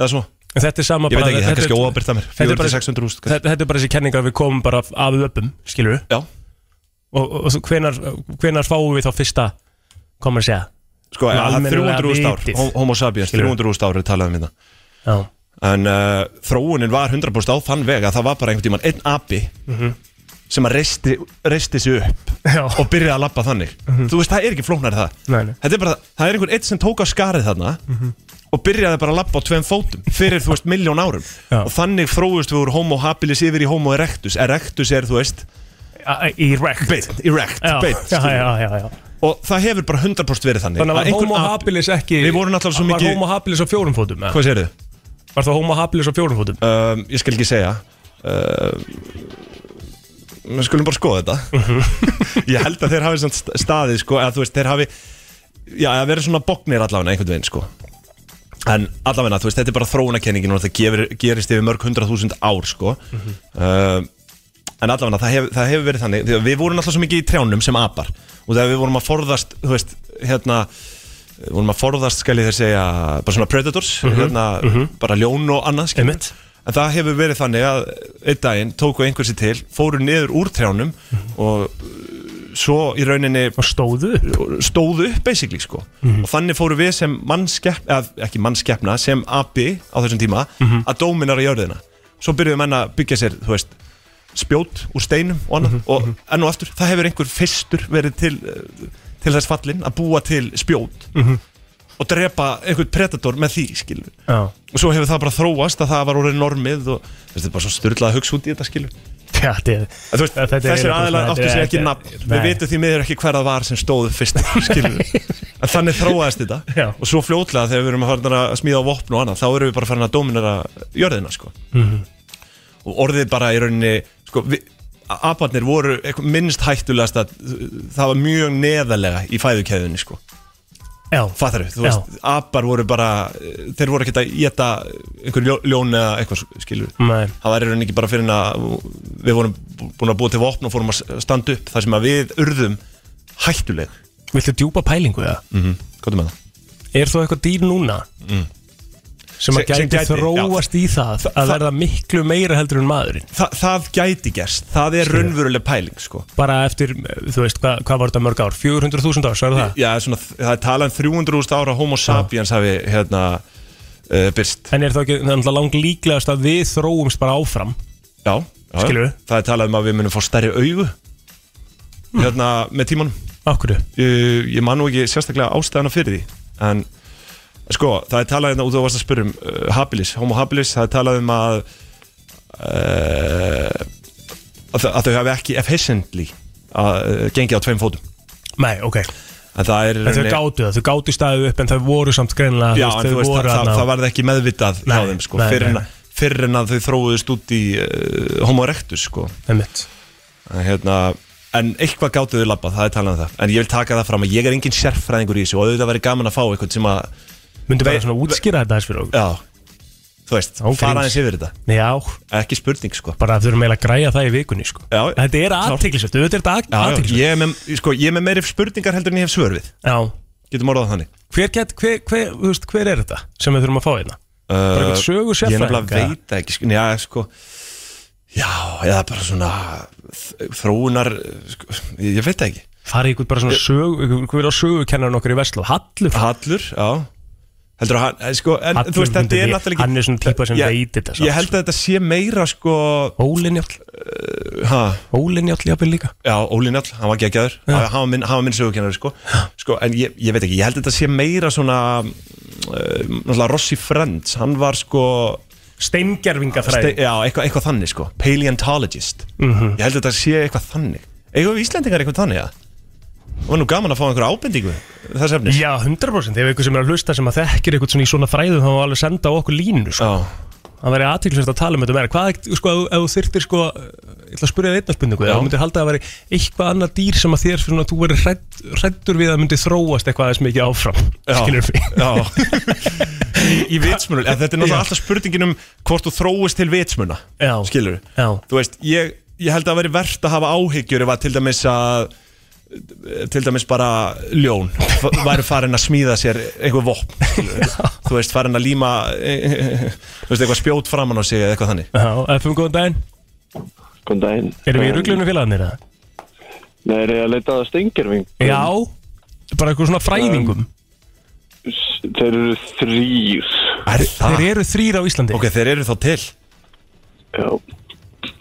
eða svo
En þetta er sama
Ég veit
bara-
ekki, það er
þetta
kannski óábyrgt af mér.
þetta er bara-
400-600 rúst, kannski.
þetta, þetta er bara þessi kenning að við komum bara af öppum, skilur við
Já
Og, og, og hvenar, hvenar fáum við þá fyrsta Komum að segja
sko,
Svona
að
almennilega
300 rúst ár
vitið.
hom- homo sapiens,
Skilur.
300 rúst ár er talað um þetta
Já,
en uh, þróunin var 100% á þann veg að það var bara einhvern tímann einn api
Mhm.
sem að reisti, reisti sig upp
Já. Mhm.
og byrjaði að labba þannig þú veist, það er ekki flóknar það
Nei, Mhm. nei.
Þetta er bara, það er einhvern einn sem tók á skarið þarna og byrjaði bara að labba á tveim fótum fyrir, þú veist, miljón árum
Já.
og þannig þróust við úr homo habilis yfir í homo erectus erectus er, þú veist,
A- í rekt
beint, erect,
Já,
beint
já,
skilur.
já, já, já.
og það hefur bara 100% verið þannig
Þannig var
einhver
homo
api-
habilis ekki
Við vorum náttúrulega svo mikið-
Var homo habilis á fjórum fótum? eða?
Hvað sérðu?
Var það homo habilis á fjórum fótum?
um, ég skal ekki segja um, við skulum bara skoða þetta ég held að þeir hafi samt st- staðið sko, eða þú veist, þeir hafi já, að vera svona bóknir allavega einhvern veginn sko En allavega, þú veist, þetta er bara þróunakenningin og þetta gefur, gerist yfir mörg hundra þúsund ár, sko. Mm en allavega, það, hef, það hefur verið þannig, því að við vorum alltaf svo mikið í trjánum sem apar og þegar við vorum að forðast, þú veist, hérna, vorum að forðast, skal ég þeir segja, bara svona predators, hérna, bara ljón og annað, skilur.
Einmitt.
En það hefur verið þannig að einn daginn tóku einhversi til, fóru niður úr trjánum og uh, svo í rauninni
Og stóðu upp?
stóðu upp basically sko og þannig fóru við sem mannskeppna eða ekki mannskeppna, sem abi á þessum tíma að dóminara jörðina svo byrjuðu menn að byggja sér, þú veist spjót úr steinum og annað og enn og aftur, það hefur einhver fyrstur verið til, eh, til þess fallin að búa til spjót og drepa einhvern predator með því skilur
Já
og svo hefur það bara þróast að það var orðið normið og þú veist, þetta er bara svo styrlað að hugsa út í þetta skilur
Já, þetta er-
En þú veist,
þetta er
þessir
eiginlega bara
aðilar
svona-
áttu
þetta
sér
er-
ekki nafn við
Nei.
vitum því miður ekki hver það var sem stóðu fyrst skilur við. en þannig þróaðist þetta
Já.
og svo fljótlega þegar við erum að fara að smíða á vopn og annað þá erum við bara farin að dóminara jörðina sko.
Mhm.
og orðið bara í rauninni sko, við, aparnir voru eitthvað minnst hættulegast að það var mjög neðalega í fæðukeðunni sko.
Já
Fattar þú
Já.
veist, apar voru bara eh, þeir voru ekkert að geta einhver ljó- ljón eða eitthvað skilur
Nei.
það var í rauninni ekki bara fyrir en að við vorum búin að búa til vopn og fórum að standa upp þar sem að við urðum hættuleg
Viltu djúpa pælingu það?
mm -hmm. Kvotum með það
Er þá eitthvað dýr núna sem að
Sem- sem
gæti,
gæti,
þróast í það
Þa-
að
það-
verða miklu meira heldur en maðurinn
Þa, Það gæti gerst, það er raunveruleg pæling sko.
bara eftir, þú veist, hvað, hvað var þetta mörg ár 400.000 ár, svo er það
Já, svona, það er talað um 300.000 ára
Ah.
homo sapiens hafi hérna uh, byrst
en er þá ekki, það er náttúrulega lang líklegast að við þróumst bara áfram
Já, já
Skilurðu?
það er talað um að við munum fá stærri augu
Mm.
hérna með tímanum
okkur,
ég, Eh, ég man nú ekki sérstaklega ástæðana fyrir því en sko, það er talað hérna út og varst að spyrja um uh, habilis, homo habilis, það er talað um að uh, að, þau- að þau hafi ekki efficiently að uh, gengi á tveim fótum
nei, ok
en það er
en þau gátu það, þau gátu staðu upp en þau voru samt greinilega,
já,
þú
en þú veist, það, það,
þarna-
það varði ekki meðvitað
Nei,
hjá þeim sko,
nei,
fyrr en
nei.
að- fyrr en að þau þróuðust út í uh, homo erectus sko
Einmitt.
En hérna En eitthvað gáttu þau labba, það er talað um það En ég vil taka það fram að ég er engin sérfræðingur í þessu Og auðvitað væri gaman að fá eitthvað sem að
myndu bara
Ve-
svona útskýra þetta þess fyrir okkur
Já, þú veist,
Án
fara
gríns.
aðeins yfir þetta
já,
Ekki spurning, sko
bara að þau eru meila að græja það í vikunni sko.
Já.
þetta er aðtiklisvægt, þetta er
Já, já,
aðtiklisvægt
ég, er með, sko, ég er með meiri spurningar heldur en ég hef svör við
já,
Getum orðað það þannig
hver, get, hver, hver, þú veist, hver er þetta sem við þurfum að fá hérna? Bara eitthvað sögu
Uh, Ég er nefnilega
sérfræðinga?
veit það ekki, sko, já, sko Já, eða bara svona þ- Þróunar, sko, ég veit það ekki
Farið ykkur bara svona sögu, ykkur- hver er á sögukennarinn okkur í Vestló? Hallur?
Hallur, já Heldur að hann, sko, en
Hallur
þú veist, þetta
myndi
er
vi-
náttúrulega ekki-
hann er svona típa sem
Ég-
veit þetta samt, sko.
Ég held að þetta sé meira, sko
Ólinjáll?
ha,
Ólinjáll jáfnveg líka?
Já, Óli Njall, hann var geggjaður Hann hann var minn, hann var minn sögukennari, sko Sko, en ég, ég veit ekki, ég held að þetta sé meira svona uh, Náttúrulega Rossi Friends, hann var, sko
Steingervingafræði?
ste, Já, eitthvað, eitthvað þannig, sko Paleontologist
Mhm.
-hmm. Ég held að þetta sé eitthvað þannig Eitthvað við Íslendingar eitthvað þannig, já Það var nú gaman að fá einhverja ábendingu Þess efnis
Já, 100% Ef ykkur sem er að hlusta sem að þekkir ykkur svona í svona fræðu þá má alveg senda á okkur línu sko.
Já,
Það væri aðtilsvært að tala um þetta meira Hvað, sko, ef- ef þú þyrtir, sko Ég ætla að spyrja þér einna spurningu Ef
Já.
þú myndir halda að það væri eitthvað annað dýr sem að þér fyrir að þú verið hrædd, hræddur við að myndi þróast eitthvað aðeins mikið áfram
Já.
Skilur við
Já Í, í vitsmunul Þetta er náttúrulega
Já.
alltaf spurningin um hvort þú þróist til vitsmuna
Já,
Skilur við
já,
Þú veist, ég, ég held að það væri verðt að hafa áhyggjur ef að til dæmis að til dæmis bara ljón f- væri farin að smíða sér einhver vopn skilurðu. þú veist, farin að líma e, e, e, þú veist, eitthvað spjót framan á sig eða eitthvað þannig
já, FM, góðan daginn
Góðan daginn.
Erum við í ruglunum félagarnir það?
Nei, er ég að leita að stengirving?
Já, bara eitthvað svona fræðingum
Þeir eru þrýr.
er, Þeir eru þrýr á Íslandi
ok, þeir eru þá til
Já.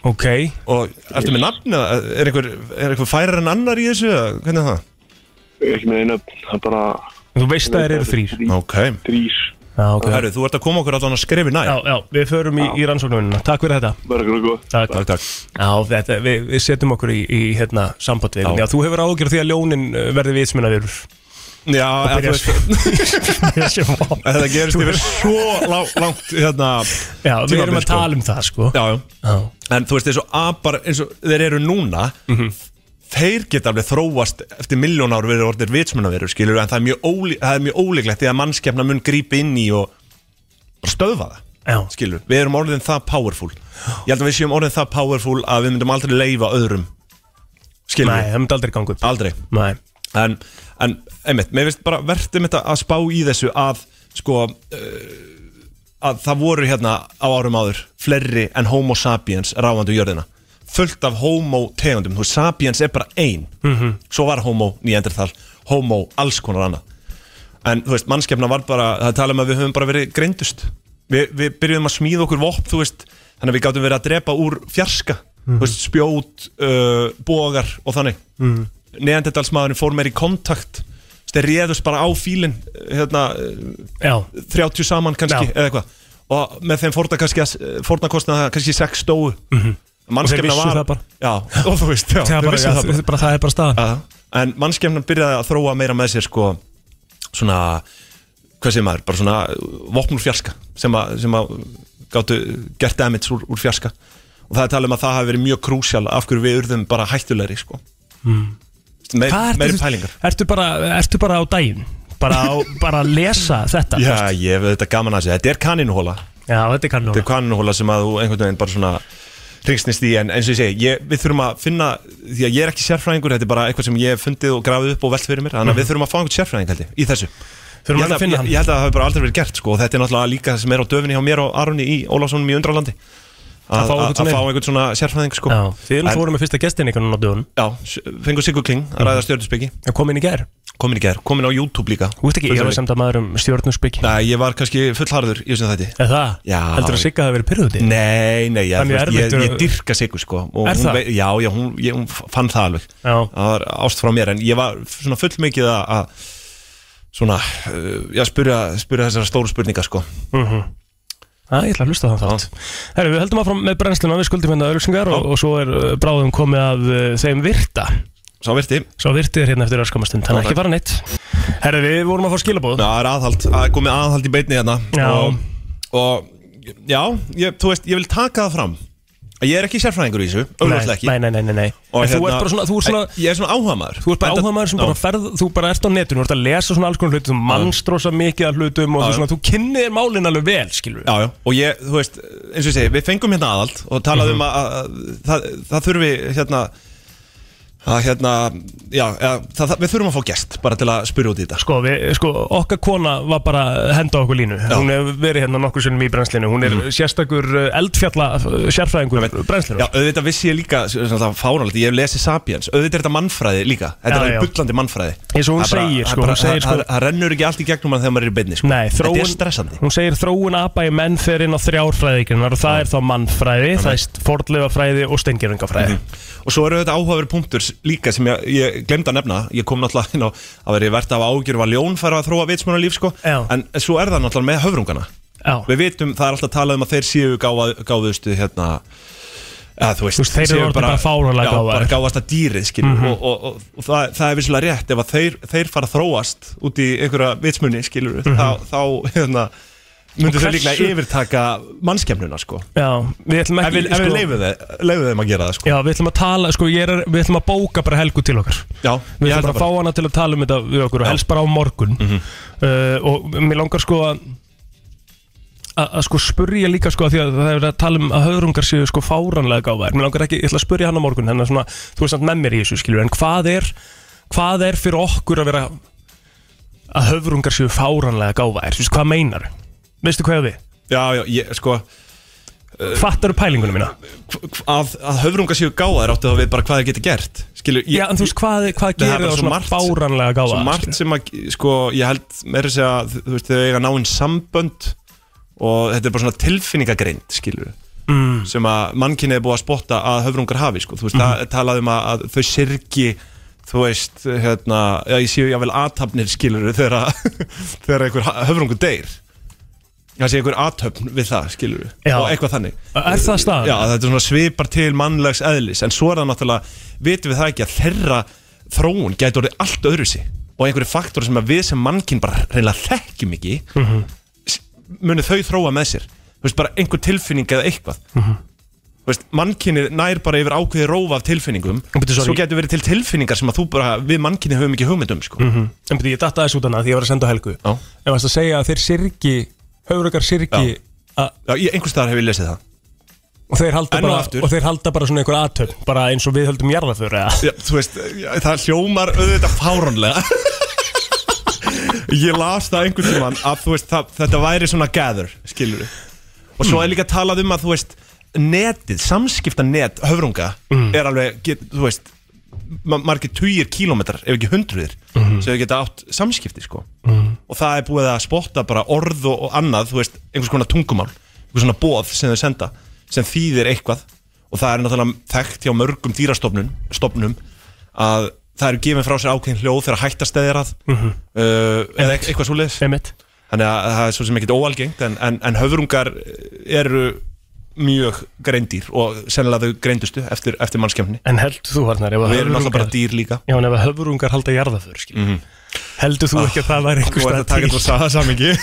Ok,
og ertu með nafn eða er einhver, er einhver færar en annar í þessu eða hvernig er það?
Ekki með einu, það er bara...
þú veist að þeir eru þrýr
ok,
Þrýr.
Já, ok
Herru, þú ert að koma okkur allan að skrifi næ
Já, já, við förum í, í rannsóknarvinnuna Takk fyrir þetta
Bergur og góð.
Takk,
takk, takk
Já, þetta, við, við setjum okkur í, í hérna, samband við
Já.
Já, þú hefur ágjörð því að ljónin eh, verði vitsmunavírur
Já, eða þú veist,
Já,
þetta gerist yfir svo lá, langt hérna,
við erum
Tímabil,
að
sko.
tala um það, sko
já, já.
Já,
En þú veist, eins og apar, eins og þeir eru núna
Mhm.
Þeir geta alveg þróast eftir miljón ár verið orðir vitsmunaveru, skilur En það er mjög, óli, það er mjög ólíklegt því að mannskefna mun grípi inn í og bara stöðva það
já,
Skilur, við erum orðin það powerful Ég held að við séum orðin það powerful að við myndum aldrei leifa öðrum Skilur,
nei, það myndi aldrei ganga upp
aldrei
Nei,
en, en einmitt, mér finnst bara verðum þetta að spá í þessu að sko uh, að það voru hérna á árum áður fleiri en homo sapiens ráðandi á jörðina fullt af homo tegundum þú veist, sapiens er bara ein -hmm. svo var homo nýjendertal homo alls konar annað en þú veist, mannskefna var bara, það tala um að við höfum bara verið greindust Vi, við byrjuðum að smíða okkur vopn, þú veist þannig að við gátum verið að drepa úr fjarska þú veist, spjót, uh, bógar og þannig mm. neandertalsmaðurinn fór meir í kontakt þú veist, þeir réðust bara á fílinn hérna, uh,
já,
30 saman kannski
Já.
eða eitthvað og með þeim fórna kannski fórna kostnaða kannski 6 stóu mm -hmm.
Mhm. Og þeir vissu það bara.
já, og þú veist, já,
það
þeir
er bara,
vissu það bara
bara, það er bara staðan
Já, en mannskefnan byrjaði að þróa meira með sér sko svona hvað segir maður, bara svona uh, vopn úr fjarska sem að, sem að gáttu gert damage úr, úr fjarska og það er talað um að það hafi verið mjög krúsjál af hverju við urðum bara hættulegri sko mm. meir,
Hmm. Hvað
meiri
ertu,
pælingar
ertu, bara, ertu bara á daginn? Bara, á, bara að lesa þetta
Já, ég hef þetta gaman að segja, þetta er kaninuhóla
já þetta kann
þetta er kaninuhóla sem að þú einhvern veginn bara svona hringsnist í en eins og ég segi, ég, við þurfum að finna því að ég er ekki sérfræðingur, þetta er bara eitthvað sem ég hef fundið og grafið upp og velt fyrir mér, þannig að við þurfum að fá einhvern sérfræðing held ég, í þessu
Mhm. Þurfum
ég
að
held,
finna
að,
hann.
ég, ég held að það hafi bara aldrei verið gert sko, og þetta er náttúrulega líka það sem er á döfinni hjá mér og Arunni í Ólafssonum í Undralandi
Að
að
fá
að-
einhvern svona
að fá
inn.
einhvern svona sérfræðing sko.
Já, þið erum
En-
fórum með fyrsta gestin einhvern á dögun
já, s- fengur Sigur Kling að
Mhm.
ræða stjórnusbyggi
Ég kom inn í gær
komin í gerð, komin á YouTube líka
Þú veist ekki, ég var samt að maður um stjórnusbyggi
Nei, ég var kannski fullharður í þessum þætti
Er það?
Já.
Heldur að Sigga hafi verið pyrrúti?
Nei, nei, ég,
Það er mjög
þú veist,
erfitt
ég, ég
að-
dyrka Sigur sko og
Er
hún
það?
vei- Já, já, hún, ég, hún fann það alveg
Já.
Það var ást frá mér En ég var svona fullmikið að- að Svona, uh, já, spurja, spurja þessara stóru spurninga sko
Já, ég ætla að hlusta á þann þátt. Herru, við höldum áfram með brennsluna, við skuldum hérna ölsingar og, og svo er uh, bráðum komið að uh, þeim virta.
Sá virti,
Svo virtið er hérna eftir örskamastund, þannig að
Já,
ekki fara neitt. Herru, við vorum að fá skilabóð.
Já, það er aðhald, það er komið aðhald í beinni hérna
Já.
Og, og já, ég, þú veist, ég vil taka það fram að Ég er ekki sérfræðingur í þessu, auðvitað ekki
Nei, nei, nei, nei, nei.
Og hérna-
En þú ert bara svona, þú ert svona,
Æ, Ég er svona áhamaður
þú ert bara áhagmaður sem bara ferð, þú bara ert á netinu, þú ert að lesa svona alls konar hlutum, þú mannstrosa mikið af hlutum og
Já,
þú
já.
svona, þú kynnir málin alveg vel, skilur við.
Já, já, og ég, þú veist, eins og ég segi, við fengum hérna aðald og
Mhm.
talaðum mm að, að það, það þurfi hérna að hérna, já, ja, það, það, við þurfum að fá gest bara til að spyrja út í þetta
Sko, við, sko, okkar kona var bara að henda á okkur línu Hún hefur verið hérna nokkur sinnum í brennslinu Hún er sérstakur uh, eldfjalla uh, sérfræðingur brennslinu
Mhm. Já, auðvitað vissi ég líka, svona fáránlegt, ég hef lesið Sapiens, auðvitað er þetta mannfræði líka,
Já,
þetta er
já.
alveg bullandi mannfræði
Eins og hún
Það er bara-
segir,
það er
sko,
bara-
hún segir,
það-
sko-
það- Það rennur ekki allt í gegnum hann þegar maður er í beinni, sko
Nei, þróun,
Þetta er stressandi
Hún segir þróun apa í menn fer inn á þrjárfræðikrinnar og það er þá mannfræði, það er fordleifafræði og steingerðingafræði
Mhm. Eh. Og svo eru þetta áhugaverið punktur s- líka sem ég, ég glemd að nefna Ég kom náttúrulega inn á að verið verðt af ágjur var ljón fara að þróa vitsmuna líf sko
Já.
En svo er það náttúrulega með höfrungana
Já,
Við vitum, það er alltaf talað um að þeir séu gáfa, gáðustu hérna Ja, þú veist,
Þú veist, þeir eru
séu
orðnir bara fáránlega
já,
gáfaðir. Mhm.
bara gáfasta dýrið skilur og, og, og, og það, það er vissulega rétt ef að þeir, þeir fara að þróast út í einhverja vitsmunni skilur þá, þá hérna, myndu
Mhm. Og
þau
hversu-
líklega yfirtaka mannskemnuna sko
Já, við ætlum
Ef
ekki sko-
við, ef við leifum þeim, leifum þeim að gera það sko
Já, við ætlum að tala, sko, ég er, við ætlum að bóka bara helgu til okkar
Já,
Við
ég held
ætlum
það
að fá hana til að tala um þetta við okkur og helst bara á morgun uh, Og mér langar sko að að að sko spurja líka sko að því að það er verið að tala um að höfrungar séu sko fáranlega gáðar Mér langar ekki, ég ætla að spurja hann á morgun Þannig að svona, þú er samt með mér í þessu skilur En hvað er, hvað er fyrir okkur að vera að höfrungar séu fáranlega gáðar Þú veist, hvað meinar? Veistu hvað ég á við?
Já, já, ég, sko
Fattar pælingunum mína?
Að, að höfrunga séu gáðar áttu þá við bara hvað þeir geti gert Skilur, ég,
Já, en þú veist, hvað, hvað
Það er
gerir
bara
það
svo
svona
margt-
fáranlega
svo
gáðar?
margt sem að, sko, ég held meira að segja, þú veist, þau eiga náinn sambönd og þetta er bara svona tilfinningagreind, skilur
Mm.
sem að mannkynni er búið að spotta að höfrungar hafi, sko, þú veist,
Mhm.
það talaði um að, að þau sirgi þú veist, hérna, já, ég séu jáfnvel aðtapnir skilur þegar, að- þegar einhver ha- höfrungur deyr það sé einhver aðtöpn við það skilur
Já.
og eitthvað þannig
Er það staðan?
Já, þetta er svona svipar til mannlegs eðlis en svo er það náttúrulega, vitum við það ekki að þeirra þróun gæti orðið allt öðru sig og einhverju faktor sem að við sem mannkinn bara reynilega þekkjum ekki
Mhm.
s- munu þau þróa með sér þú veist, bara einhver tilfinning eða eitthvað
Mhm.
þú veist, mannkinni nær bara yfir ákveði rófa af tilfinningum
Bíddu, sorry.
svo getur verið til tilfinningar sem að þú bara við mannkinni höfum ekki hugmyndum sko.
mm -hmm. En beti, ég datta aðeins út hana því ég var að senda á Helgu
Já.
En varst að segja að þeir sirgi Höfrökar sirgi
Já, ég, einhvers staðar hef ég lesið það
og þeir, halda
Enn og
bara,
aftur.
og þeir halda bara svona einhver aðtöfn Bara eins og við höldum jarðaför eða
Já, þú veist, já, það hljómar auðvitað fárónlega Ég las það einhvern tímann að þú veist, það, þetta væri svona gather, skilur Og svo er líka talað um að þú veist, netið, samskipta net, höfrunga
Mm.
Er alveg, get, þú veist, ma- margir tugir kílómetrar, ef ekki hundruðir
Mhm.
Sem þau geta átt samskipti, sko
Mhm.
Og það er búið að spotta bara orð og, og annað, þú veist, einhvers konar tungumál Einhvers svona boð sem þau senda, sem þýðir eitthvað Og það er náttúrulega þekkt hjá mörgum dýrastofnum stofnum, að það eru gefin frá sér ákveðin hljóð þegar hættast eðir að
Mhm.
uh, eða eit- eitthvað svo leiðis þannig að það er svo sem ekkit óalgengt en, en, en höfurungar eru mjög greindýr og sennilega þau greindustu eftir, eftir mannskemni
En heldur þú varnar ef að
Við
höfrungar-
erum náttúrulega bara dýr líka.
Já, en ef að höfrungar halda jarðaför skilur
Mhm. Ah,
Heldur þú ekki að það væri einhver
Þú ert
stað
að taka þetta úr samingi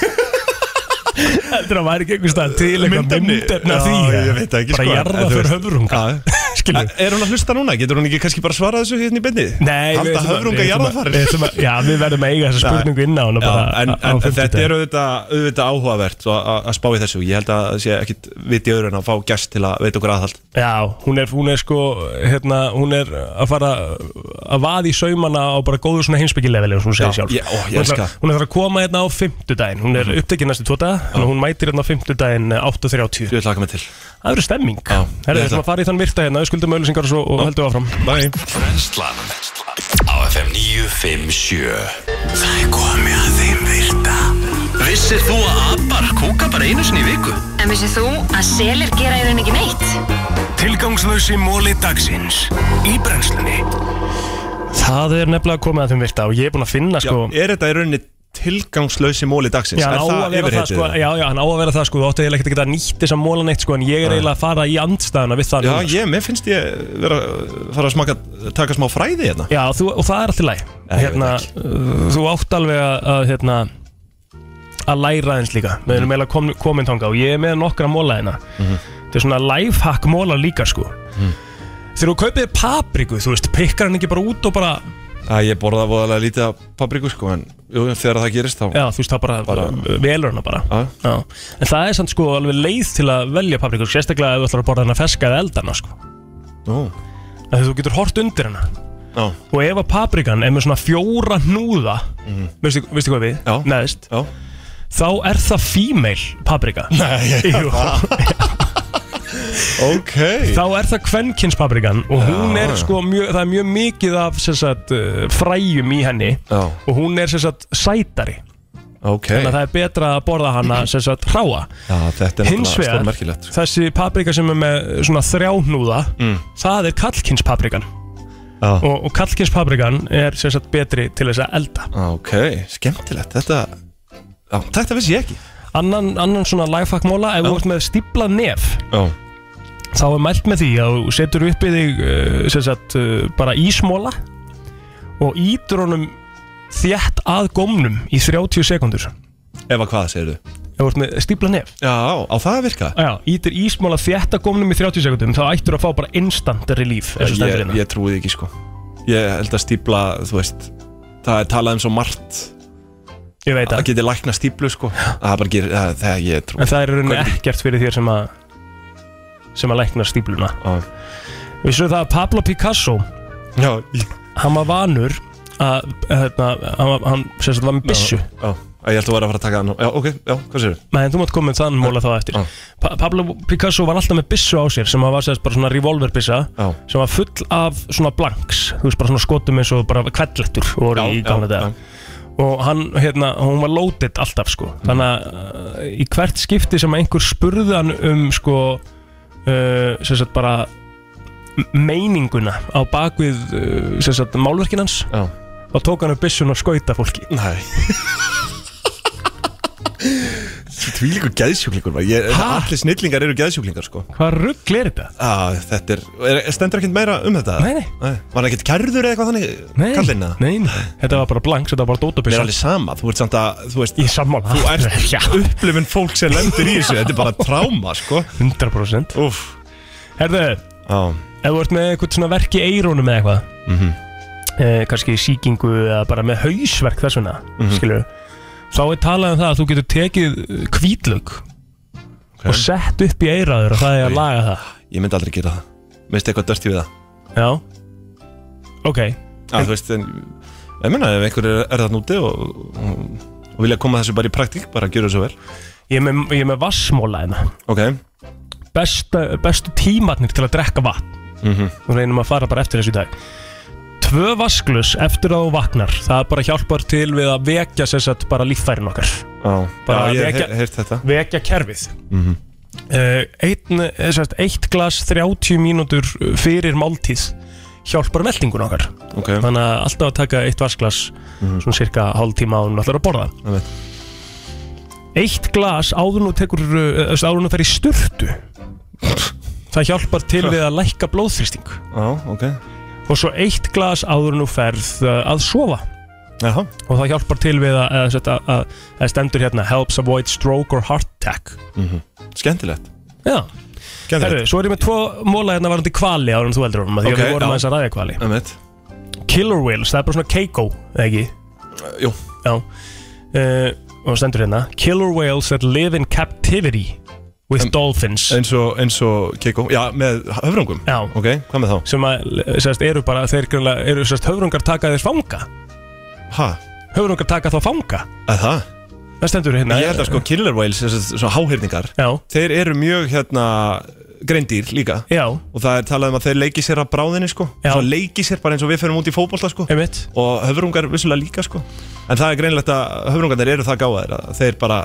Heldur það væri ekki einhver stað til eitthvað
Myndefni?
myndefna
Já,
því
ég veit það ekki,
Bara
sko, en- en þú
jarðaför
veist- ah.
höfrunga Skilur
Er hún að hlusta núna? Getur hún ekki kannski bara svarað þessu hérna í beinni?
Nei, við ætlum
Halda
að-
höfrunga
við ætlum að-
jarðafarir?
við ætlum að- Já, við verðum að eiga þessa spurningu inn á hana
Já,
bara
en,
á- á
en þetta
fimmtudaginn.
er auðvitað, auðvitað áhugavert að, að spá í þessu ég held að það sé ekkit viti öðru en að fá gæst til að veita okkur aðhald
Já, hún er, hún er sko hérna, hún er að fara að vaði í saumana á bara góðu svona heimsbyggileveli eins og hún segir
Já,
sjálf sko.
ég- ó, ég
Hún
elska
ætlar-
það. Mhm.
Hún er að fara að koma hérna á fimmtudaginn hún er upptekið næstu tvo daga þannig að hún mætir hérna á fimmtudaginn eh, 8.30
Ég ætla að koma til
Það verður stemming
Já,
Herðu,
ég
við ætlum að fara í þann virta hérna, við skuldum öllusingar og, svo, og höldum áfram
Bye
Brennslan á FM 957 Það er komið að þeim virta Vissir þú að abar kúka bara einu sinni í viku?
En vissið þú að selir gera í raun ekki neitt?
Tilgangslösi móli dagsins í brennslunni
Það er nefnilega komið að þeim virta og ég er búin að finna sko
Er þetta í rauninni tilgangslösi móli dagsins?
Já,
Er
hann á að vera það
yfirheitið?
sko, já, já, hann á að vera það sko, þú átti eiginlega ekkert að geta nýtt þess að móla neitt sko, en ég er
Nei.
eiginlega að fara í andstæðuna við það
Já,
núna, sko.
ég, mér finnst ég vera fara að smaka, taka smá fræði hérna
Já, þú, og það er alltaf læg
Nei, ég
hérna, uh, Þú átt alveg að, að, hérna, að læra eins líka Við erum eiginlega kom, komin þanga og ég er með nokkra móla hérna Þetta er svona lifehack móla líka sko Þegar þú kaupið papriku, þú veist, pikkar hann ekki bara út og bara
Æ, ég borða voðalega lítið af papriku sko en jú, þegar það gerist þá
Já, þú veist, það bara, bara velur hana bara
Já.
Já. En það er samt sko alveg leið til að velja papriku Sérstaklega ef þú ætlar að borða hana feska eða eldana sko
Ó.
Þegar þú getur hort undir hana
Já.
Og ef að paprikan er með svona fjóra hnúða veistu, veistu hvað við? Mhm. Já. Neðist
Já.
Þá er það female paprika
Nei,
Jú.
Ok
Þá er það kvenkins paprikan Og hún
Já,
er
já.
sko mjög, það er mjög mikið af sem sagt, uh, fræjum í henni
Já.
Og hún er sem sagt sætari
Ok
Þannig að Hérna, það er betra að borða hana sem sagt hráa
Já, þetta er
Hins
náttúrulega
vegar,
stórmerkilegt sko.
þessi paprika sem er með svona þrjáhnúða mm. Það er kallkinspaprikan
Já.
Og, og kallkinspaprikan er sem sagt betri til þess að elda
Ok, skemmtilegt, þetta Já, þetta vissi ég ekki
Annan, annan svona lagfakkmóla Ef þú ert með stíplað nef
Já.
Þá er mælt með því að þú setur upp í þig uh, sem sagt uh, bara ísmóla Og ítur honum þétt að gómnum í 30 sekundur
Ef að hvað segir þú?
Ef þú ert með stípla nef Já, á það virka Já, ítir ísmála þétta gómnum í 30 sekundum Þá ættur að fá bara instant relief eins og stendur
ég,
hérna.
ég trúi því ekki sko Ég held að stípla, þú veist Það er talað um svo margt
Ég veit
að Það geti lækna stíplu sko Það er bara gerir, það, það ég trú
En það er í rauninni ekkert fyrir þér sem að sem að lækna stípluna Við svo það að Pablo Picasso Já Hann var vanur að hérna, hann, var- hann sem sagt var með byssu
Já, já, ég held að vera að fara að taka það nú Já, ok, já, hvað sér
Nei, en þú mátt koma með þann móla þá eftir pa Pablo Picasso var alltaf með byssu á sér sem að var sérst bara svona revolverbissa sem var full af svona blanks þú veist bara svona skotum eins og bara kvellettur voru
Já,
í gamla
já,
dag og hann, hérna, hún var loaded alltaf sko
Mm.
þannig að uh, í hvert skipti sem að einhver spurði hann um sko uh, sem sagt bara m- meininguna á bakvið uh, sem sagt málverkin hans já. og tók hann upp byssun og skauta fólki Nei
Tvílíkur geðsjúklingur maður. ég,
Ha?
Allir snillingar eru geðsjúklingar sko
Hvað ruggl er þetta?
Já, þetta er, er Stendur ekkert meira um þetta?
Nei, nei
Var hann ekkert kærður eða eitthvað þannig?
Nei,
Kallinn eða?
nei, nei, þetta var bara blanks, þetta var bara
Mér
dótabissa
er alveg sama, þú ert samt að Þú veist,
Ég er sammála
þú ert
Já.
upplifin fólk sem lendir í þessu Þetta er bara tráma sko
100%
Úf.
Herðu,
Já.
ef þú ert með eitthvað svona verk í eirónum eða eitthvað
Mhm.
eh, kannski sýkingu eða bara með hausverk þess vegna, mm
Mhm.
þá er talað um það að þú getur tekið kvítlög og sett upp í eiraður og það er að laga það
Ég myndi aldrei gera það Mér finnst eitthvað dörti við það
Já, ok
Já, þú veist, en Ég meina, ef einhver er, er það núti og, og, og vilja koma þessu bara í praktík Bara að gera þessu vel
Ég er með, ég er með vassmóla hérna
Ok
Besta, Bestu tímarnir til að drekka vatn
Mhm.
og reynum að fara bara eftir þessu í dag Tvö vasklus eftir að þú vaknar það bara hjálpar til við að vekja sér satt bara líffærin okkar
Já,
Bara
já, ég
vekja-
hef heyrt þetta
vekja kerfið
Mhm.
uh, einn, eh, sem sagt, eitt glas 30 mínútur fyrir máltíð hjálpar meldingun okkar
Ok.
þannig að alltaf að taka eitt vasklas svona cirka hálf tíma án allar að borða
Mhm. Einmitt.
eitt glas áður nú tekur eh, þú veist, áður nú fer í sturtu það hjálpar til við að lækka blóðþrýsting
Já, ok
og svo eitt glas áður nú ferð eh, að sofa
Jaha.
og það hjálpar til við að, að, að, að, að stendur hérna helps avoid stroke or heart attack
mm Skemmtilegt
Já
Skemmtilegt.
Herru, svo er ég með tvo móla hérna varandi kvali árum þú eldur um, því
Ok,
að við vorum
já.
aðeins að ræða kvali
Emmett.
Killer Whales, það er bara svona keiko, eða ekki?
jú
Já uh, Og stendur hérna Killer Whales that live in captivity
Um,
with dolphins
Eins og, eins og Keiko Já, með höfrungum
Já
Ok, hvað með þá?
Sem að, sérst, eru bara, þeir grunlega, eru sérst höfrungar taka þeir fanga
Hæ?
Höfrungar taka þá fanga
Að það?
Það stendur hérna
Ég held að sko killer whales, þessi svona háhyrningar
Já.
Þeir eru mjög hérna greindýr líka
Já.
Og það er talað um að þeir leiki sér að bráðinni sko Já. Svo leiki sér bara eins og við fyrir út í fótbolta sko
Einmitt.
Og höfrungar vissulega líka sko En það er greinlegt að höfrungarnir eru það gáðir að Þeir bara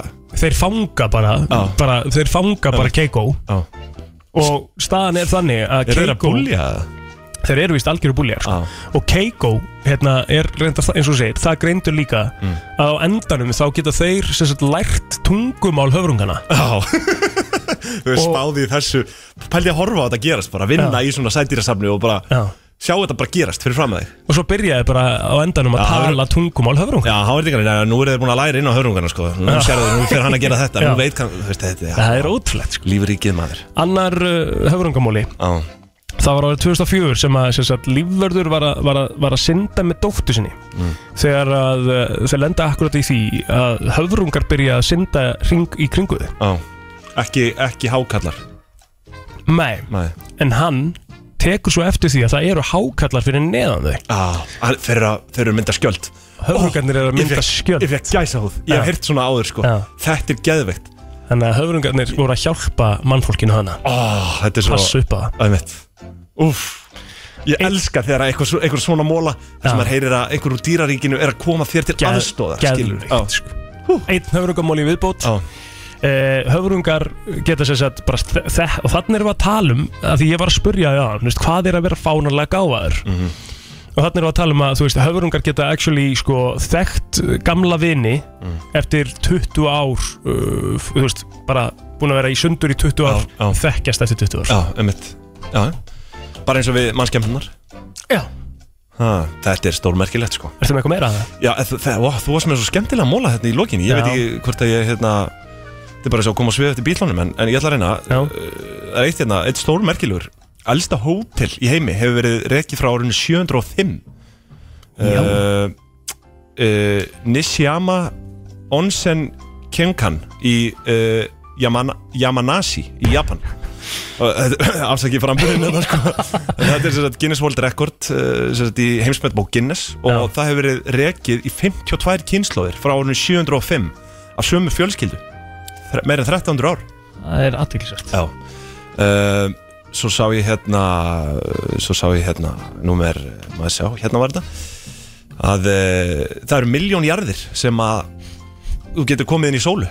Þeir fanga bara, bara Þeir fanga bara Keiko
Já.
Og staðan er þannig að
Eru þeir
Keiko
að búlja það?
Þeir eru vist algjöru búljar sko. Og Keiko hérna, er reyndar það- eins og þú segir Það greindur líka
Mm.
að á endanum þá geta þeir sem sagt, lært tungumál höfrungana
Já Þau og... spáði í þessu Pældi að horfa á þetta gerast bara Vinna í svona sætýrasafni og bara
Já.
Sjá þetta bara gerast fyrir fram að þig
Og svo byrjaði bara á endanum að
Já, það
tala tungumál höfrungana
Já, háverðingarinn, já, nú eru þeir búin að læra inn á hörungarna sko Nú
Já.
sérðu, nú fyrir hann að gera þetta
Já.
Nú veit kann, þú veist, þetta
Það er ótrúlegt sko.
Lífríkið maður
Annar uh, höfrungamóli
Já.
Það var árið 2004 sem að sem sagt, lífverður var, að- var, að- var að synda með dóttu sinni
Mm.
þegar að uh, þeir lenda akkurat í því að höfrungar byrja að synda ring í kringuðu
Já, ekki, ekki hákallar
Nei.
Nei.
en hann tekur svo eftir því að það eru hákallar fyrir neðan þau
Já, hann- Ah, þeir eru að- þeir eru að mynda skjöld
Höfrungarnir eru að mynda skjöld
Ég fekk gæsa húð,
Já.
ég hef heyrt svona áður sko
Já.
Þetta er geðveikt
Þannig að höfrungarnir voru að hjálpa mannfólkinu hana
oh, Þetta er svo
Passa upp á það.
Það er mitt Úf Ég elska þegar eitthvað, svo- eitthvað svona móla
Já.
sem maður heyrir að einhver úr dýraríkinu er að koma þér til
Geð-
aðstóðar
geðveikt, sko. Einn höfrungamóli viðbót
Já.
Eh, höfrungar geta sér sett bara þe- þe- og þannig erum við að tala um að því ég var að spurja já, veist, hvað er að vera fánarlega gáðaður
Mhm.
og þannig erum við að tala um að þú veist, höfrungar geta actually sko, þekkt eh, gamla vini
Mm.
eftir 20 ár uh, f- þú veist, bara búin að vera í sundur í 20 ár þekkjast eftir 20 ár
Já, einmitt Já, bara eins og við mannskemmunar
Já.
ha, Þetta er stórmerkilegt sko
Ertu
eh,
með eitthvað meira að það?
Já, þ- það, ó, þú varst með svo skemmtilega móla hérna í lokinni Ég
Já.
veit ekki hvort að ég hérna þetta er bara svo að koma á svið eftir bílunum en, en ég ætla að reyna uh, það er eitt hérna, eitt stór merkilegur elsta hótel í heimi hefur verið rekið frá árinu 705
Já.
uh, uh, Nishiyama Onsen Kenkan í uh, Yamana, Yamanashi í Japan Og þetta- afsakið framburðin þetta sko En þetta er sem sagt Guinness World Record uh, sem sagt í heimsmetbók Guinness og það hefur verið rekið í 52 kynnslóðir frá árinu 705 af sömu fjölskyldu Þre- meira en 1300 ár
Það er aðtiklisvægt
Já uh, Svo sá ég hérna Svo sá ég hérna Númer, maður sjá, hérna var þetta Að uh, það eru miljón jarðir Sem að Þú getur komið inn í sólu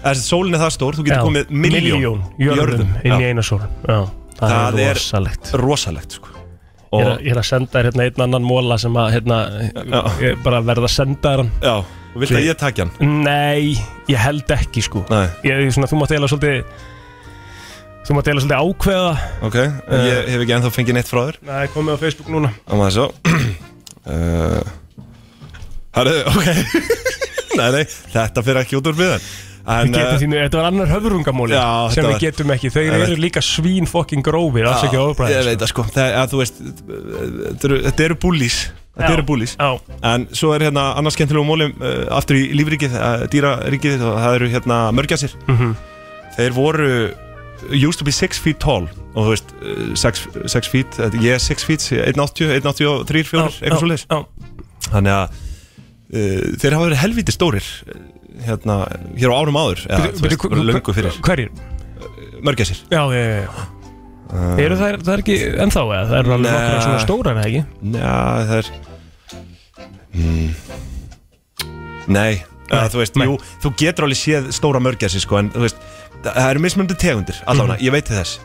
Eða sem sagt, Sólin er það stór, þú getur komið miljón,
Miljón jörðum inn í eina sól Já, það,
Það
er
er
rosalegt
Rosalegt sko
Ég er, að- ég er að senda þér hérna einn annan móla sem að hérna, ég er bara verð að senda þér hann
Já, og viltu að ég taki hann?
Nei, ég held ekki sko
Nei.
ég, svona, Þú mátt eiginlega svolítið Þú mátt eiginlega svolítið ákveða
Ok, en
Eh.
ég hef ekki ennþá fengið neitt frá þér
Nei, komið á Facebook núna
Það maður sjá uh, Herru, ok Nei, nei, þetta fyrir ekki út úr miðan eh,
Við getum þínu, þetta var annar höfurungamóli
Já,
sem
þetta
við
var-
getum ekki, þeir
Ég
eru
veit.
líka svín fokking grófir, alls ekki
Ég
ofræðis
veit það sko, það, að, þú veist þetta eru- Þetta eru búlís Þetta
Já,
eru búlís
já.
En svo er hérna annars skemmtilegum mólum uh, Aftur í lífrikið, uh, dýraríkið og Það eru hérna mörgjasir
Mhm.
Þeir voru eh, Used to be 6 feet tall Og þú veist, 6 uh, feet þetta- Ég er 6 feet, 1.80, 1.83, 4
Já,
Eitthvað svo leiðis
já.
Þannig að uh, þeir hafa verið helviti stórir uh, Hérna, hér á árum áður Eða,
Bíddu,
þú veist,
bíddu, hver-
voru löngu fyrir
Hverjir?
Mörgjasir
Já, já, já, já. Eru þær, það er ekki ennþá eða? Það eru alveg nokkra svona stórar eða ekki?
Já, það er mm. Nei, nei þú veist, jú, þú getur alveg séð stóra mörgjassi sko, en þú veist, það það eru mismunandi tegundir allavega, ég veit til þess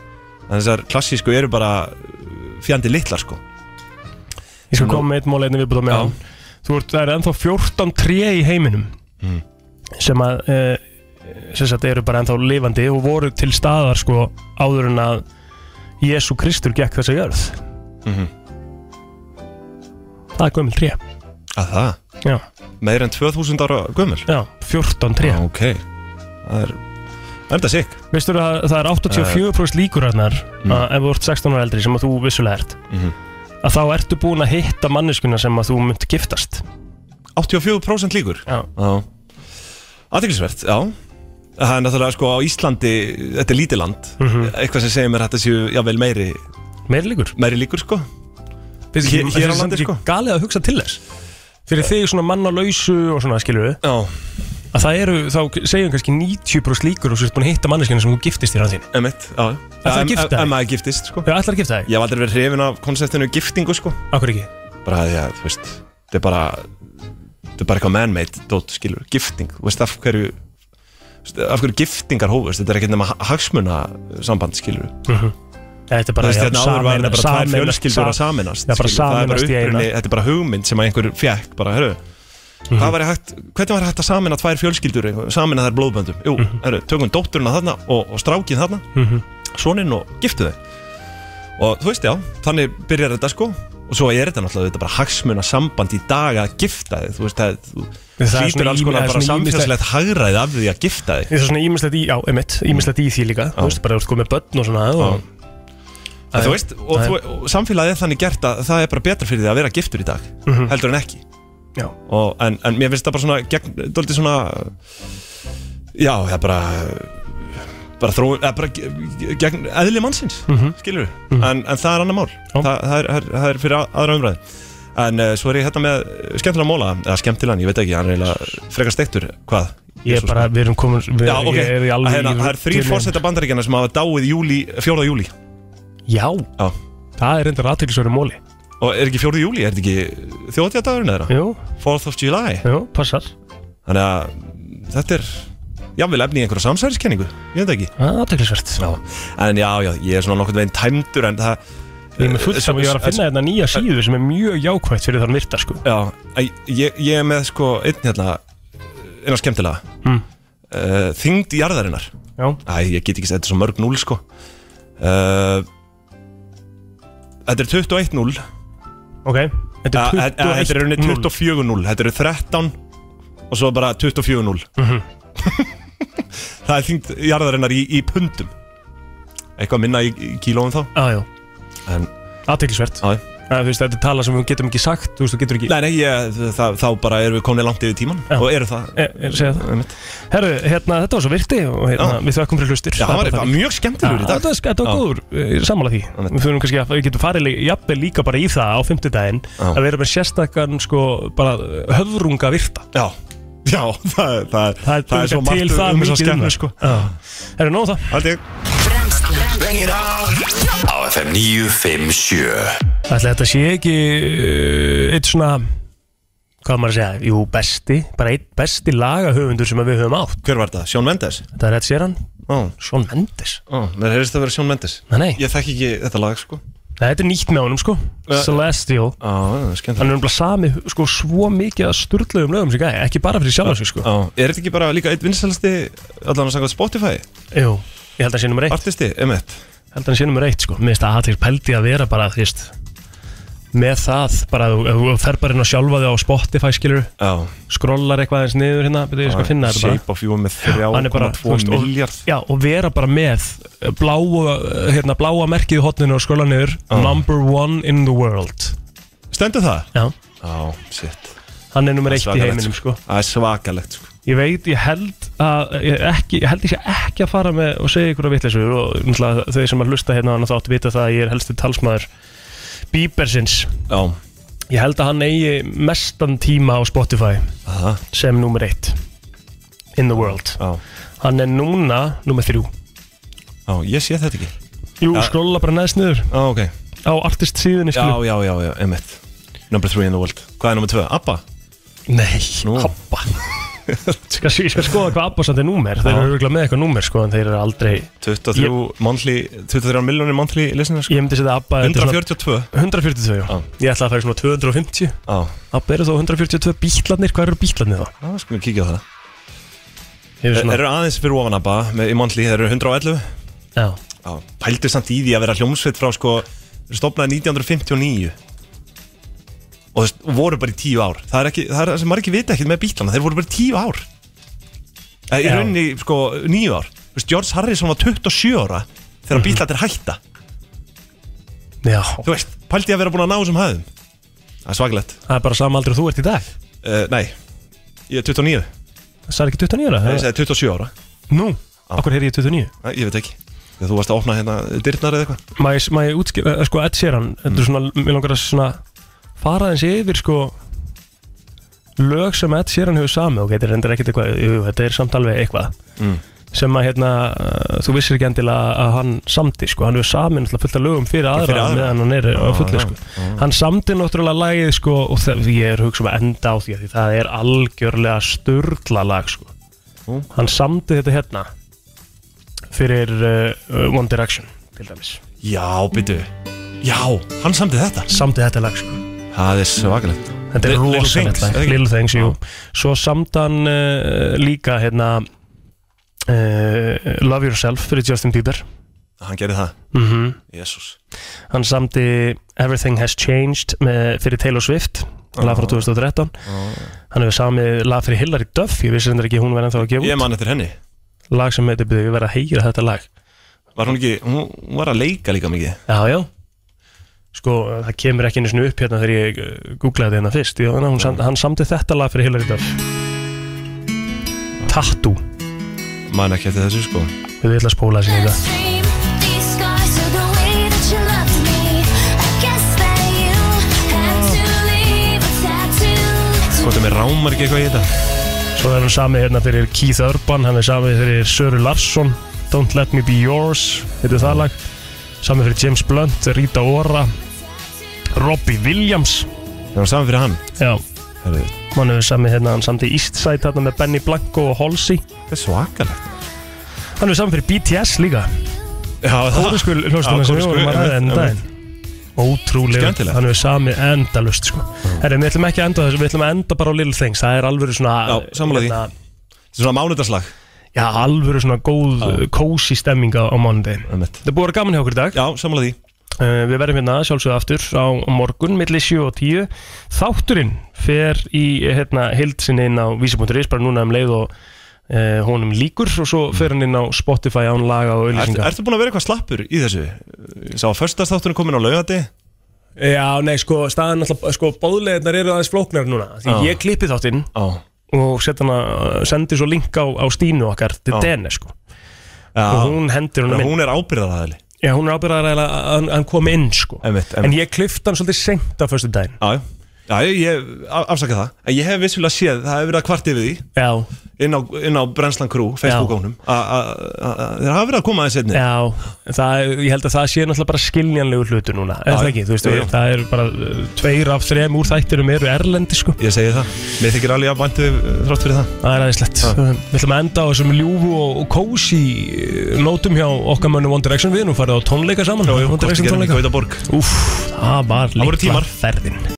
en þessar klassísku eru bara uh, fjandi litlar sko
Ég skal
Nú-
koma með eitt mól einnig viðbúta með hann Þú ert, það er ennþá 14 tré í heiminum
Mm.
sem að e, sem sagt eru bara ennþá lifandi og voru til staðar sko áður en að Jésu Kristur gekk þessa jörð
Mhm.
Það er gömul tré
að það,
Já.
meir en 2000 ára gömul
Já, 14 tré
ah, ok, það er það er þetta sikk
Veistu að það er 84% líkur hannar að ef þú ert 16 ára eldri sem að þú vissulega ert
Mhm.
að þá ertu búin að hitta manneskuna sem að þú munt giftast
84% líkur
Já,
Já Aðeinsvert, já Það er náttúrulega sko á Íslandi, þetta er lítið land
Mhm.
Eitthvað sem segir mér að þetta séu jável meiri
Meiri líkur?
Meiri líkur sko
Finnst
Hér,
ekki-
hér á
finnst
landi
ekki
sko
galið að hugsa til þess fyrir þig svona mann á lausu og svona skilur við
já.
að það eru, þá segjum kannski 90% líkur og svo ertu búin að hitta manneskina sem þú giftist þér að þín
Emitt, já
Ætlarðu að
Em-
gifta þig?
em- em maður giftist sko
Já, ætlar að gifta þig?
Ég hef aldrei verið hrifin af konseptinu giftingu sko
Akkur ekki?
Bara því að, þú veist, þetta er bara Þetta er bara eitthvað man-made dót, skilur Gifting, þú veist af hverju þú veist, Af hverju giftingar hófust Þetta er ekkert nema hagsmuna samband, skilur
Mhm. Eða Þetta er bara
Þú veist,
já,
þetta áður var
sameina-
þetta bara tvær
sameinast-
fjölskyldur að
sa-
saminast
Já, bara saminast í eina Mhm.
Þetta er bara hugmynd sem að einhver fjekk bara, herru, hvað var hægt hvernig var hægt að samina tvær fjölskyldur samina þær blóðböndum, jú, herru, tökum dótturina þarna og, og strákin þarna
Mhm.
soninn og giftu þau og þú veist, já, þannig byrjar þetta sko og svo er þetta náttúrulega þetta bara hagsmuna samband í dag að gifta þig þú veist, það, þú
Það er
hlýtur
svona
alls
ími- það
konar
er
bara
svona ýmislegt-
samfélagslegt hagræði af því að gifta þig
Það er svona ímislegt í, já, emitt, ímislegt í því líka þú veist, bara þú ert komið með börn og svona og,
En þú veist, og, þú, og samfélagið er þannig gert að það er bara betra fyrir því að vera giftur í dag
Mhm.
heldur en ekki
Já.
og, en, en mér finnst það bara svona gegn, dóldi svona já, það er bara bara þró, eða bara ge- gegn eðli mannsins,
Mhm.
skilur en, en það er annar mál, það, það, er, það er- það er fyrir að- aðra umræði en uh, svo er ég hérna með skemmtilega móla, eða skemmtilegan, ég veit ekki hann er eiginlega frekar steiktur, hvað?
Ég er bara, við erum komin við,
Já, ok,
ég er í alveg
Hérna,
í-
það er þrýr
til-
fórseta bandaríkjana sem hafa dáið júli, 4. júli
Já,
Já.
það er reyndar aðtöklisverið móli
Og er ekki 4. júli, er þetta ekki þjóðtíðadagurinn eða?
Jú
4th of July
Jú, passar
Þannig að mm, þetta er jafnvel efni í einhverja samsæriskenningu Ég veit ekki
Aðtöklisvert
Já, en já, já, ég er svona nokkurn veginn tæmdur en það
Ég er með fullt saman, ég var að finna þetta nýja síðu sem er mjög jákvætt fyrir þann virta sko
Já, en ég, ég er með sko einn hérna einn á skemmtilega
Mm.
uh, Þyngd í jarðarinnar
Já.
Æ, ég get ekki, þetta er svo mörg núl sko uh, Þetta er 21 núl
Ok, þetta
Að- að- að Þetta
er
er
21
rauninni 24-0 Þetta eru 13 og svo bara 24-0
Mhm.
það er þyngd jarðarinnar í, í pundum eitthvað minna í, í kílóum þá
aðjó
en
aðteglisvert þú veist þetta er tala sem við getum ekki sagt þú veist þú getur ekki
nei nei ég, það, þá bara erum við komnið langt yfir tíman og eru það
e, er, segja það herru hérna þetta var svo virti og hérna, við þökkum fyrir hlustir
Já, það var bara mjög skemmtilegur í dag.
þetta var, þetta var
Já.
góður eh, sammála því við þurfum kannski að við getum farið lí- jafnvel líka bara í það á fimmtudaginn að við erum með sérstakann sko bara höfrunga virta
já Já, það, það, það,
það er svo margt til það
um þessa
mikið um
skepnu,
það sko Herru, nóg um það
Aldrei
Á FM 957
Ætli þetta sé ekki uh, eitt svona hvað á maður að segja, jú besti bara eitt besti lagahöfundur sem að við höfum átt
Hver var þetta? Sjón Mendes?
Þetta er rétt sér hann
oh.
Sjón Mendes
Ó, mér heyrðist það að vera Sjón Mendes
Nei, nei.
Ég þekki ekki þetta lag sko
Nei, þetta er nýtt með honum sko
Ja.
Celestial
Á, það er skemmt
Hann er umlað sami sko svo mikið að sturðlegum lögum sem gæði, ekki bara fyrir sjálf sig sko
Á, er þetta ekki bara líka eitt vinsælasti allan að sanga Spotify?
Jú, ég held að hann sé nummer eitt
Artisti, emitt
Held að hann sé nummer eitt sko, mér finnst að aðeins pældi að vera bara, þú veist með það, bara ef þú- ef þú fer bara inn á sjálfa þig á Spotify skilur
Já.
scrollar eitthvað eins niður hérna byrju, ég skal finna þetta bara
Shape of You með
hann er bara, þú
3,2
veist, og-
miljard
Já, og vera bara með eh, bláa, eh, hérna, bláa merkið í hotninu og skrolla niður Number one in the world
Stendur það?
Já
Á, shit
Hann er nummer
Það
eitt í
svakalegt,
heiminum sko
Það er svakalegt sko
Ég veit, ég held að ég, ekki, ég held ég sé ekki að fara með og segja ykkur að vitlega svo og náttúrulega þau sem að hlusta hérna á hann þátt vita það að ég er helstu talsmaður Biebersins
Já
Ég held að hann eigi mestan tíma á Spotify
Aha.
sem nummer eitt in the world
Já.
Hann er núna nummer þrjú
Á, ég sé þetta ekki
Jú,
Já.
skrolla bara neðst niður
Á, ok
á artist síðunni
Já, já, já, já, emitt Number 3 in the world Hvað er nummer 2? Abba?
Nei,
Nú.
Abba Ska, Ég skal skoða hvað Abba samt er númer Þeir
Já.
eru örgulega með eitthvað númer sko en þeir eru aldrei
23 monthly 23 miljónir monthly listeners
Ég myndi setja Abba þetta er svona-
142
142, já. Ég ætla að færa svona 250
Á,
Abba eru þá 142 bítlarnir, hvað eru bítlarnir þá?
það skulum við kíkja á það
Hefur
Þeir
svona,
eru aðeins fyrir ofan Abba með, í monthly, þeir eru 111
já,
Já, pældu samt í því að vera hljómsveit frá sko, stopnaði 1959 og þú veist, voru bara í tíu ár það er, ekki, það er það sem margir vita ekkert með bílana þeir voru bara í tíu ár eða í
Já.
rauninni sko níu ár Þú veist, George Harrison var 27 ára þegar mm -hmm. hætta
já
þú veist, pældu ég að vera búin að ná þessum hæðum það er svaglegt
Það er bara sama aldrei og þú ert í dag
uh, nei, ég er 29
Það er ekki 29 ára?
ég segi 27 ára
Nú, okkur heyri ég 29
Æ, ég veit ekki Þegar þú varst að opna hérna dyrnar eða eitthvað
Má ég, má ég útskýra, eh, sko Ed Sheeran Þetta
Mm.
er svona, mér langar að svona fara þess yfir sko lög sem Ed Sheeran hefur sami ok, þetta er endur ekkert eitthvað, jú, jú, þetta er samt alveg eitthvað
Mm.
sem að hérna, eh, þú vissir ekki endilega að hann samti, sko, hann hefur sami náttúrulega fullt af lögum fyrir aðra,
fyrir aðra.
meðan hann er á
Já,
fullu,
já,
sko, hann samti náttúrulega lagið, sko, og það, ég er hugsa um að enda á því að því það er algjörlega sturgla lag, sko
Ú.
hann samti þetta hérna fyrir uh, One Direction, til dæmis
Já, byrju Já, hann samdi þetta
samti þetta lag sko.
Það er svakalegt
þetta er
Little Things,
rosalegt lag,
eða ekki?
Little Things jú. svo samt hann uh, líka hérna uh, Love Yourself fyrir Justin Bieber
Hann gerði það
mm
Jésús
hann samti Everything Has Changed með, fyrir Taylor Swift lag
Ah.
frá 2013 hann hefur samið lag fyrir Hillary Duff ég vissi hendur ekki hún verið ennþá að gefa
Ég
út
man eftir henni
lag sem heitir byrju, ég verið að heyra þetta lag
Var hún ekki, hún hún var að leika líka mikið
já já sko eh, það kemur ekki einu sinni upp hérna þegar ég eh, googlaði þetta hérna fyrst já, hann, sam, hann samti þetta lag fyrir Hillary Duff Tattoo
Man ekki eftir þessu sko
Við ætla að spóla þessi líka
Hvort er mér rámar ekki eitthvað í þetta
Svo er hann samið hérna fyrir Keith Urban Hann er samið fyrir Söru Larsson Don't Let Me Be Yours Þetta er það lag Samið fyrir James Blunt, Rita Ora Robbie Williams
Það var saman fyrir hann
Já,
Herru,
hann hefur samið hérna Hann samti Eastside hérna með Benny Blanco og Halsey
Þetta er svakalegt
Hann hefur samið fyrir BTS líka
Já,
Kóruskul
Já,
hljóðstofna sem við
kóruskul,
vorum að ræða enn
einmitt,
daginn Ótrúlega,
Skemmtilegt.
hann hefur samið endalust sko. Herri, við ætlum ekki að enda á þessu, við ætlum að enda bara á Little Things Það er alveg svona
Já, sammála því.
hérna,
Þetta er svona mánudarslag
Já, alveg svona góð, kósi stemming á á mánudaginn
Ömmett
Það er búið að vera gaman hjá okkur í dag
Já, samanlega því
uh, Við verðum hérna sjálfsögðu aftur á morgun milli 7 og 10 Þátturinn fer í hérna, hild sinni inn á vísi.is bara núna um leið og eh, honum líkur og svo fer hann inn á Spotify án laga og
Ertu,
auðlýsingar
ertu búin að vera eitthvað slappur í þessu? Ég Sá að förstastáttunum komin á laugati
Já, nei, sko, staðan alltaf, sko, bóðleginar eru aðeins flóknar núna Því
Já.
ég klippi þáttinn
Já.
og set hana, eh, sendi svo link á, á Stínu okkar til
Já.
Dene, sko Og hún hendir honum
Þannig að
inn.
Hún er ábyrðaraðali
Já, hún er ábyrðar að hann- hann kom inn, sko
einmitt,
En ég klifti hann svolítið seint á föstu daginn
Já, já. já ég- ég af- afsaka það En ég hef vissulega séð, það hefur verið að kvart yfir því
Já
Inn á, inn á Brensland Crew, Facebook-ónum Þeir hafa verið að koma aðeins einni
Já, það, ég held að það sé náttúrulega bara skiljanlegu hlutu núna Er
Já,
það ekki, þú veist,
jú, jú.
það eru bara uh, tveir af þrem úr þættinum eru erlendi, sko
Ég segi það, mér þykir alveg að bæntu eh, þrátt fyrir það
Það er aðeinslegt Við ætlum að enda á þessum ljúfu og og kósi eh, nótum hjá okkar mönnum One Direction Við erum farið á tónleika saman One
Hvort
Direction
ekki erum í
tónleika
Gautaborg
Úf, það var
voru
litla
tímar.
ferðin